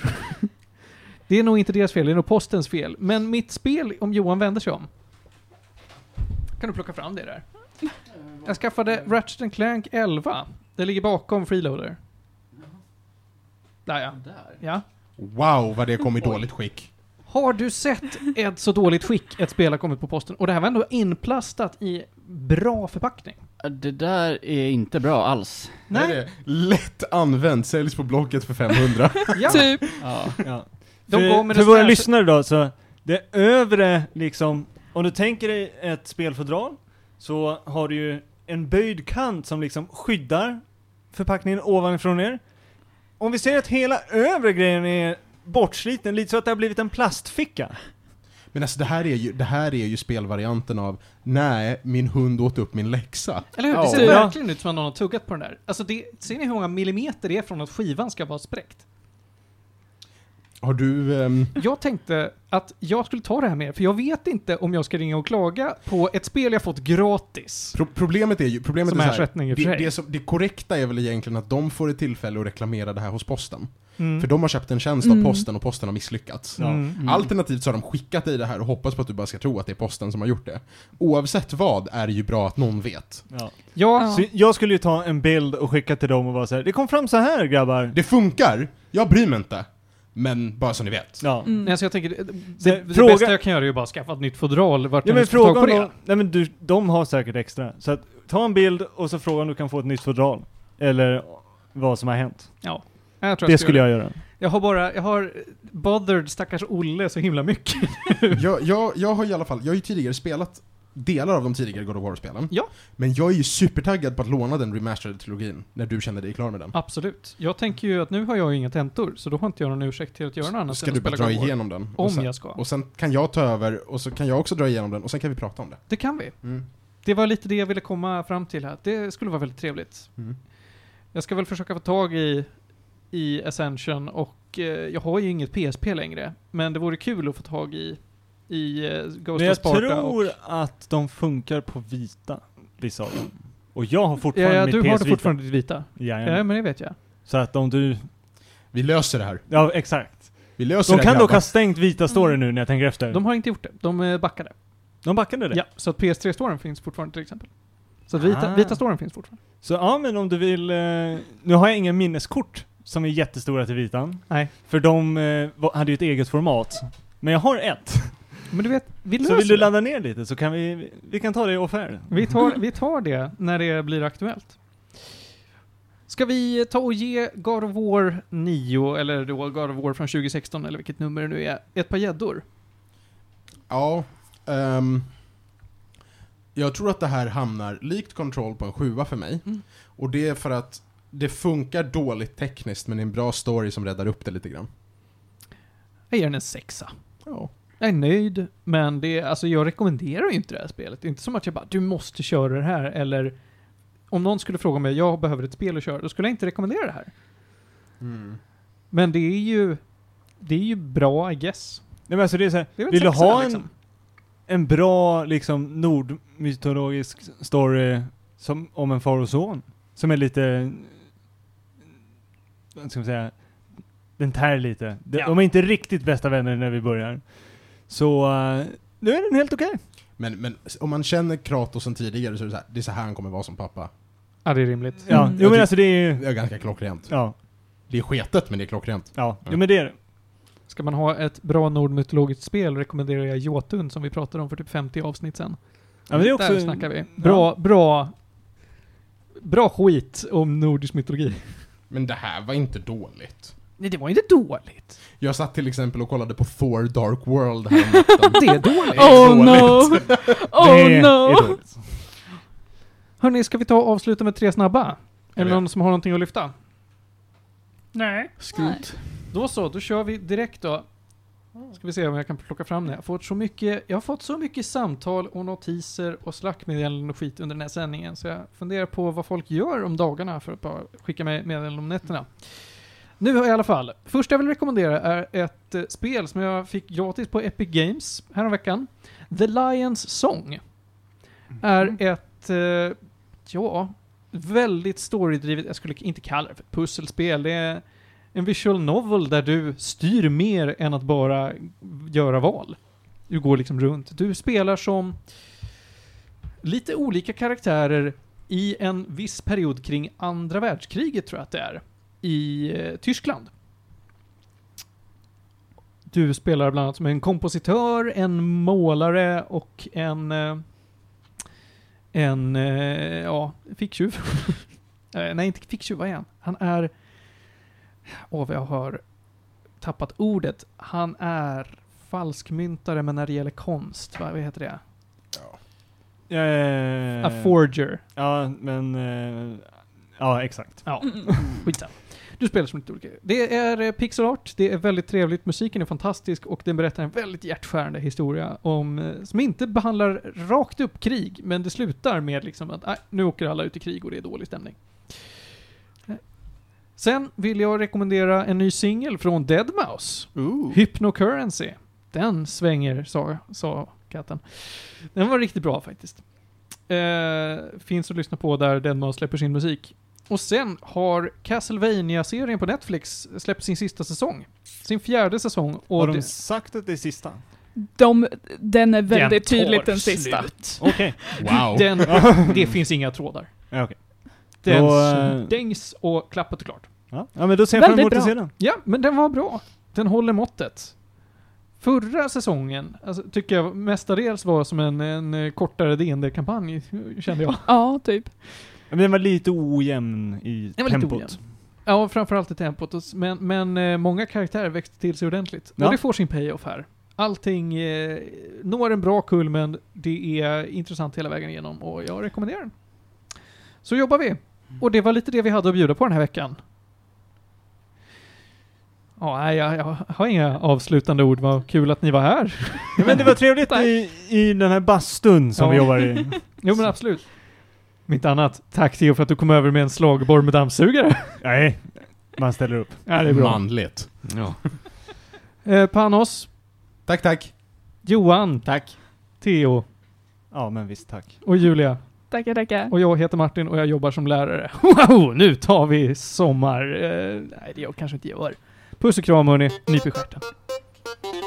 [SPEAKER 3] *laughs* det är nog inte deras fel, det är nog postens fel. Men mitt spel, om Johan vänder sig om. Kan du plocka fram det där? Jag skaffade Ratchet and Clank 11. Det ligger bakom Freeloader. Där ja.
[SPEAKER 5] Där.
[SPEAKER 3] ja.
[SPEAKER 1] Wow, vad det kom i dåligt skick.
[SPEAKER 3] Har du sett ett så dåligt skick ett spel har kommit på posten? Och det här var ändå inplastat i bra förpackning.
[SPEAKER 5] Det där är inte bra alls.
[SPEAKER 1] Nej. Det är lätt använt, säljs på Blocket för
[SPEAKER 3] *laughs*
[SPEAKER 1] 500.
[SPEAKER 3] Ja.
[SPEAKER 2] Typ.
[SPEAKER 5] Ja.
[SPEAKER 4] Ja.
[SPEAKER 3] De
[SPEAKER 4] för
[SPEAKER 3] går med
[SPEAKER 4] för
[SPEAKER 3] det
[SPEAKER 4] våra
[SPEAKER 3] snäsa-
[SPEAKER 4] lyssnare då, så det övre liksom, om du tänker dig ett spelfodral så har du ju en böjd kant som liksom skyddar förpackningen ovanifrån er. Om vi säger att hela övre grejen är bortsliten, lite så att det har blivit en plastficka.
[SPEAKER 1] Men alltså det här är ju, det här är ju spelvarianten av Nej, min hund åt upp min läxa.
[SPEAKER 3] Eller hur? Det
[SPEAKER 5] Ja.
[SPEAKER 3] ser
[SPEAKER 4] Ja.
[SPEAKER 3] verkligen ut som att någon har tuggat på den där. Alltså det, ser ni hur många millimeter det är från att skivan ska vara spräckt?
[SPEAKER 1] Har du... ehm,
[SPEAKER 3] Jag tänkte att jag skulle ta det här med er, för jag vet inte om jag ska ringa och klaga på ett spel jag fått gratis.
[SPEAKER 1] pro problemet är ju... Problemet
[SPEAKER 3] Som
[SPEAKER 1] är så här,
[SPEAKER 3] ersättning i och för
[SPEAKER 1] det,
[SPEAKER 3] sig.
[SPEAKER 1] det, som, det korrekta är väl egentligen att de får ett tillfälle att reklamera det här hos posten.
[SPEAKER 3] Mm.
[SPEAKER 1] För de har köpt en tjänst av
[SPEAKER 2] Mm.
[SPEAKER 1] posten och posten har misslyckats.
[SPEAKER 4] Ja.
[SPEAKER 3] Mm.
[SPEAKER 5] Mm.
[SPEAKER 1] Alternativt så har de skickat dig det här och hoppas på att du bara ska tro att det är posten som har gjort det. Oavsett vad är det ju bra att någon vet.
[SPEAKER 4] Ja.
[SPEAKER 3] Ja,
[SPEAKER 4] Så jag skulle ju ta en bild och skicka till dem och vara så här, det kom fram så här grabbar.
[SPEAKER 1] Det funkar, jag bryr mig inte. Men bara så ni vet.
[SPEAKER 4] *laughs* Ja.
[SPEAKER 3] Nej, alltså jag tänker, det,
[SPEAKER 4] Så
[SPEAKER 3] det, det
[SPEAKER 4] fråga-
[SPEAKER 3] bästa jag kan göra är ju bara skaffa ett nytt fodral vart
[SPEAKER 4] Ja
[SPEAKER 3] jag nu
[SPEAKER 4] men
[SPEAKER 3] ska få tag
[SPEAKER 4] fråga
[SPEAKER 3] på
[SPEAKER 4] om
[SPEAKER 3] det.
[SPEAKER 4] de, nej men du, de har säkert extra. Så att, ta en bild och så fråga om du kan få ett nytt fodral. Eller vad som har hänt.
[SPEAKER 3] Ja, jag tror
[SPEAKER 4] Det
[SPEAKER 3] jag ska
[SPEAKER 4] skulle
[SPEAKER 3] göra
[SPEAKER 4] jag göra.
[SPEAKER 3] Jag har bara, jag har bothered stackars Olle så himla mycket.
[SPEAKER 1] Jag, jag, jag har i alla fall, jag har ju tidigare spelat delar av de tidigare God of War-spelen.
[SPEAKER 3] Ja.
[SPEAKER 1] Men jag är ju supertaggad på att låna den remasterade trilogin när du känner dig klar med den.
[SPEAKER 3] *laughs* Absolut. Jag tänker ju att nu har jag ju inga tentor, så då har inte jag någon ursäkt till att göra något annat
[SPEAKER 1] Ska
[SPEAKER 3] än
[SPEAKER 1] du
[SPEAKER 3] att
[SPEAKER 1] bara
[SPEAKER 3] spela
[SPEAKER 1] dra
[SPEAKER 3] God of War.
[SPEAKER 1] igenom den? och,
[SPEAKER 3] Om
[SPEAKER 1] sen,
[SPEAKER 3] jag ska.
[SPEAKER 1] och sen kan jag ta över, och så kan jag också dra igenom den, och sen kan vi prata om det.
[SPEAKER 3] Det kan vi.
[SPEAKER 1] Mm.
[SPEAKER 3] Det var lite det jag ville komma fram till här. Det skulle vara väldigt trevligt.
[SPEAKER 1] Mm.
[SPEAKER 3] Jag ska väl försöka få tag i, i Ascension och eh, jag har ju inget PSP längre. Men det vore kul att få tag i, i eh, Ghost
[SPEAKER 4] Men
[SPEAKER 3] of
[SPEAKER 4] jag
[SPEAKER 3] Sparta
[SPEAKER 4] tror
[SPEAKER 3] och...
[SPEAKER 4] att de funkar på vita, vissa av dem. Och jag har
[SPEAKER 3] Ja,
[SPEAKER 4] fortfarande
[SPEAKER 3] ja,
[SPEAKER 4] mitt
[SPEAKER 3] du
[SPEAKER 4] PS
[SPEAKER 3] har det
[SPEAKER 4] Vita.
[SPEAKER 3] fortfarande ditt vita.
[SPEAKER 1] Mm.
[SPEAKER 3] Ja,
[SPEAKER 4] Jajamän.
[SPEAKER 3] men det vet jag.
[SPEAKER 4] Så att om du...
[SPEAKER 1] Vi löser det här.
[SPEAKER 4] Ja, exakt.
[SPEAKER 1] Vi löser
[SPEAKER 4] De
[SPEAKER 1] det
[SPEAKER 4] kan
[SPEAKER 1] här,
[SPEAKER 4] dock ha
[SPEAKER 1] grabbar.
[SPEAKER 4] stängt vita story nu när jag tänker efter.
[SPEAKER 3] De har inte gjort det. De eh, backade.
[SPEAKER 4] De backade det.
[SPEAKER 3] Ja, så att PS3-storen finns fortfarande till exempel. Så att vita,
[SPEAKER 4] Ah.
[SPEAKER 3] vita storen finns fortfarande.
[SPEAKER 4] Så ja, men om du vill... Eh, nu har jag inga minneskort som är jättestora till vitan.
[SPEAKER 3] Nej.
[SPEAKER 4] För de eh, var- hade ju ett eget format. Men jag har ett.
[SPEAKER 3] Men du vet, vi
[SPEAKER 4] Så
[SPEAKER 3] löser
[SPEAKER 4] vill du
[SPEAKER 3] det.
[SPEAKER 4] ladda ner lite så kan vi... Vi kan ta det off air.
[SPEAKER 3] Vi tar, vi tar det när det blir aktuellt. Ska vi ta och ge God of War 9, eller då God of War från 2016, eller vilket nummer det nu är, ett par gäddor?
[SPEAKER 1] Ja. ehm, jag tror att det här hamnar, likt Control, på en sjua för mig.
[SPEAKER 3] Mm.
[SPEAKER 1] Och det är för att det funkar dåligt tekniskt, men det är en bra story som räddar upp det lite grann.
[SPEAKER 3] Jag ger den en sexa.
[SPEAKER 1] Ja.
[SPEAKER 3] Jag är nöjd, men det, alltså jag rekommenderar ju inte det här spelet. Det är inte som att jag bara, du måste köra det här, eller om någon skulle fråga mig, jag behöver ett spel att köra, då skulle jag inte rekommendera det här. Men det är ju, det är ju bra, I guess.
[SPEAKER 4] Nej men alltså det är så här,
[SPEAKER 3] Det är väl
[SPEAKER 4] Vill du
[SPEAKER 3] sexa,
[SPEAKER 4] ha en-
[SPEAKER 3] liksom.
[SPEAKER 4] en bra liksom nordmytologisk story som, om en far och son. Som är lite... Vad ska man säga? Den tär lite. De,
[SPEAKER 3] Ja.
[SPEAKER 4] de är inte riktigt bästa vänner när vi börjar. Så eh, nu är den helt okej.
[SPEAKER 1] Men, men om man känner Kratos sen tidigare så är det så här, det är så här han kommer vara som pappa.
[SPEAKER 3] Ja, det är rimligt.
[SPEAKER 4] Ja,
[SPEAKER 2] Mm.
[SPEAKER 4] jo men alltså det är ju...
[SPEAKER 1] Det är ganska klockrent.
[SPEAKER 4] Ja,
[SPEAKER 1] Det är sketet, men det är klockrent.
[SPEAKER 4] ja.
[SPEAKER 1] Ja.
[SPEAKER 4] Jo men det är det.
[SPEAKER 3] Ska man ha ett bra nordmytologiskt spel rekommenderar jag Jotun som vi pratade om för typ 50 avsnitt sen.
[SPEAKER 4] Ja, men det är också...
[SPEAKER 3] Där snackar vi. Bra, bra... Bra skit om nordisk mytologi.
[SPEAKER 1] Men det här var inte dåligt.
[SPEAKER 3] Nej, det var inte dåligt.
[SPEAKER 1] Jag satt till exempel och kollade på Thor Dark World här om natten.
[SPEAKER 3] *laughs* Det är dåligt.
[SPEAKER 1] är
[SPEAKER 2] Oh no! Oh
[SPEAKER 4] det Är
[SPEAKER 2] no!
[SPEAKER 4] dåligt.
[SPEAKER 3] Hörni, ska vi ta och avsluta med tre snabba?
[SPEAKER 1] Ja,
[SPEAKER 3] Eller
[SPEAKER 1] ja.
[SPEAKER 3] någon som har någonting att lyfta? Nej.
[SPEAKER 5] Skrot.
[SPEAKER 3] Då så, då kör vi direkt då. Ska vi se om jag kan plocka fram det. Jag har fått så mycket, jag har fått så mycket samtal och notiser och slackmeddelanden och skit under den här sändningen så jag funderar på vad folk gör om dagarna för att bara skicka med meddelanden om nätterna. Nu i alla fall. Första jag vill rekommendera är ett eh, spel som jag fick gratis på Epic Games häromveckan. The Lions Song. Är ett, eh, ja, väldigt storydrivet, jag skulle inte kalla det för ett pusselspel. Det är en visual novel där du styr mer än att bara göra val. Du går liksom runt. Du spelar som lite olika karaktärer i en viss period kring andra världskriget tror jag att det är. I eh, Tyskland. Du spelar bland annat som en kompositör, en målare och en... Eh, en, eh, ja, ficktjuv. *laughs* Eh, Nej, inte ficktjuv, vad är han? Han är... Åh, vad jag har tappat ordet. Han är falskmyntare, men när det gäller konst, vad, vad heter det?
[SPEAKER 4] Eh,
[SPEAKER 3] A forger.
[SPEAKER 4] Ja, men... eh, ja, exakt.
[SPEAKER 3] Ja,
[SPEAKER 2] Mm.
[SPEAKER 3] skitsamma. Du spelar som lite olika. Det är eh, pixelart, det är väldigt trevligt, musiken är fantastisk och den berättar en väldigt hjärtskärande historia om, eh, som inte behandlar rakt upp krig, men det slutar med liksom att "Nej, nu åker alla ut i krig och det är dålig stämning. Eh. Sen vill jag rekommendera en ny singel från Deadmau5. Hypnocurrency. Den svänger, sa, sa katten. Den var riktigt bra faktiskt. Eh, finns att lyssna på där den man släpper sin musik. Och sen har Castlevania-serien på Netflix släppt sin sista säsong. Sin fjärde säsong. Och
[SPEAKER 4] Har de
[SPEAKER 3] det-
[SPEAKER 4] sagt att det är sista?
[SPEAKER 2] De, den är väldigt
[SPEAKER 3] Den tar
[SPEAKER 2] tydligt den sista.
[SPEAKER 3] slut.
[SPEAKER 4] Okej.
[SPEAKER 1] Wow.
[SPEAKER 3] Den, det finns inga trådar.
[SPEAKER 4] *laughs* Ja, okej.
[SPEAKER 3] Den
[SPEAKER 4] Då, eh,
[SPEAKER 3] stängs och klappat och klart.
[SPEAKER 4] Ja. ja, men då ser jag fram
[SPEAKER 2] Väldigt
[SPEAKER 4] emot att
[SPEAKER 2] bra.
[SPEAKER 4] se den.
[SPEAKER 3] Ja, men den var bra. Den håller måttet. Förra säsongen alltså, tycker jag mestadels var som en, en eh, kortare DND-kampanj, kände jag.
[SPEAKER 2] Ja, typ.
[SPEAKER 4] Men den var lite ojämn i
[SPEAKER 3] Den var lite
[SPEAKER 4] tempot.
[SPEAKER 3] ojämn. Ja, framförallt i tempot. och s- Men, men eh, många karaktärer växte till sig ordentligt.
[SPEAKER 4] Ja.
[SPEAKER 3] Och det får sin payoff här. Allting eh, når en bra kulmen. Det är intressant hela vägen igenom och jag rekommenderar den. Så jobbar vi. Och det var lite det vi hade att bjuda på den här veckan. Ja, nej, jag, jag har inga avslutande ord. Vad kul att ni var här.
[SPEAKER 4] Ja, men det var
[SPEAKER 3] *laughs*
[SPEAKER 4] trevligt
[SPEAKER 2] Tack.
[SPEAKER 4] i, i den här bastun som
[SPEAKER 3] Ja.
[SPEAKER 4] vi
[SPEAKER 3] *laughs*
[SPEAKER 4] jobbar i.
[SPEAKER 3] Jo men absolut. Om inte annat, tack Theo för att du kom över med en slagborr med dammsugare.
[SPEAKER 4] Nej, man ställer upp.
[SPEAKER 3] Ja, det är bra.
[SPEAKER 1] Manligt.
[SPEAKER 3] Eh, Panos,
[SPEAKER 1] Tack, tack.
[SPEAKER 3] Johan,
[SPEAKER 5] Tack.
[SPEAKER 3] Theo
[SPEAKER 4] Ja, men visst tack.
[SPEAKER 3] och Julia.
[SPEAKER 2] Tackar, tackar.
[SPEAKER 3] Och jag heter Martin och jag jobbar som lärare. *laughs* Wow, nu tar vi sommar... Eh, nej, det jag kanske inte gör. Puss och kram hörni, nyp i stjärten.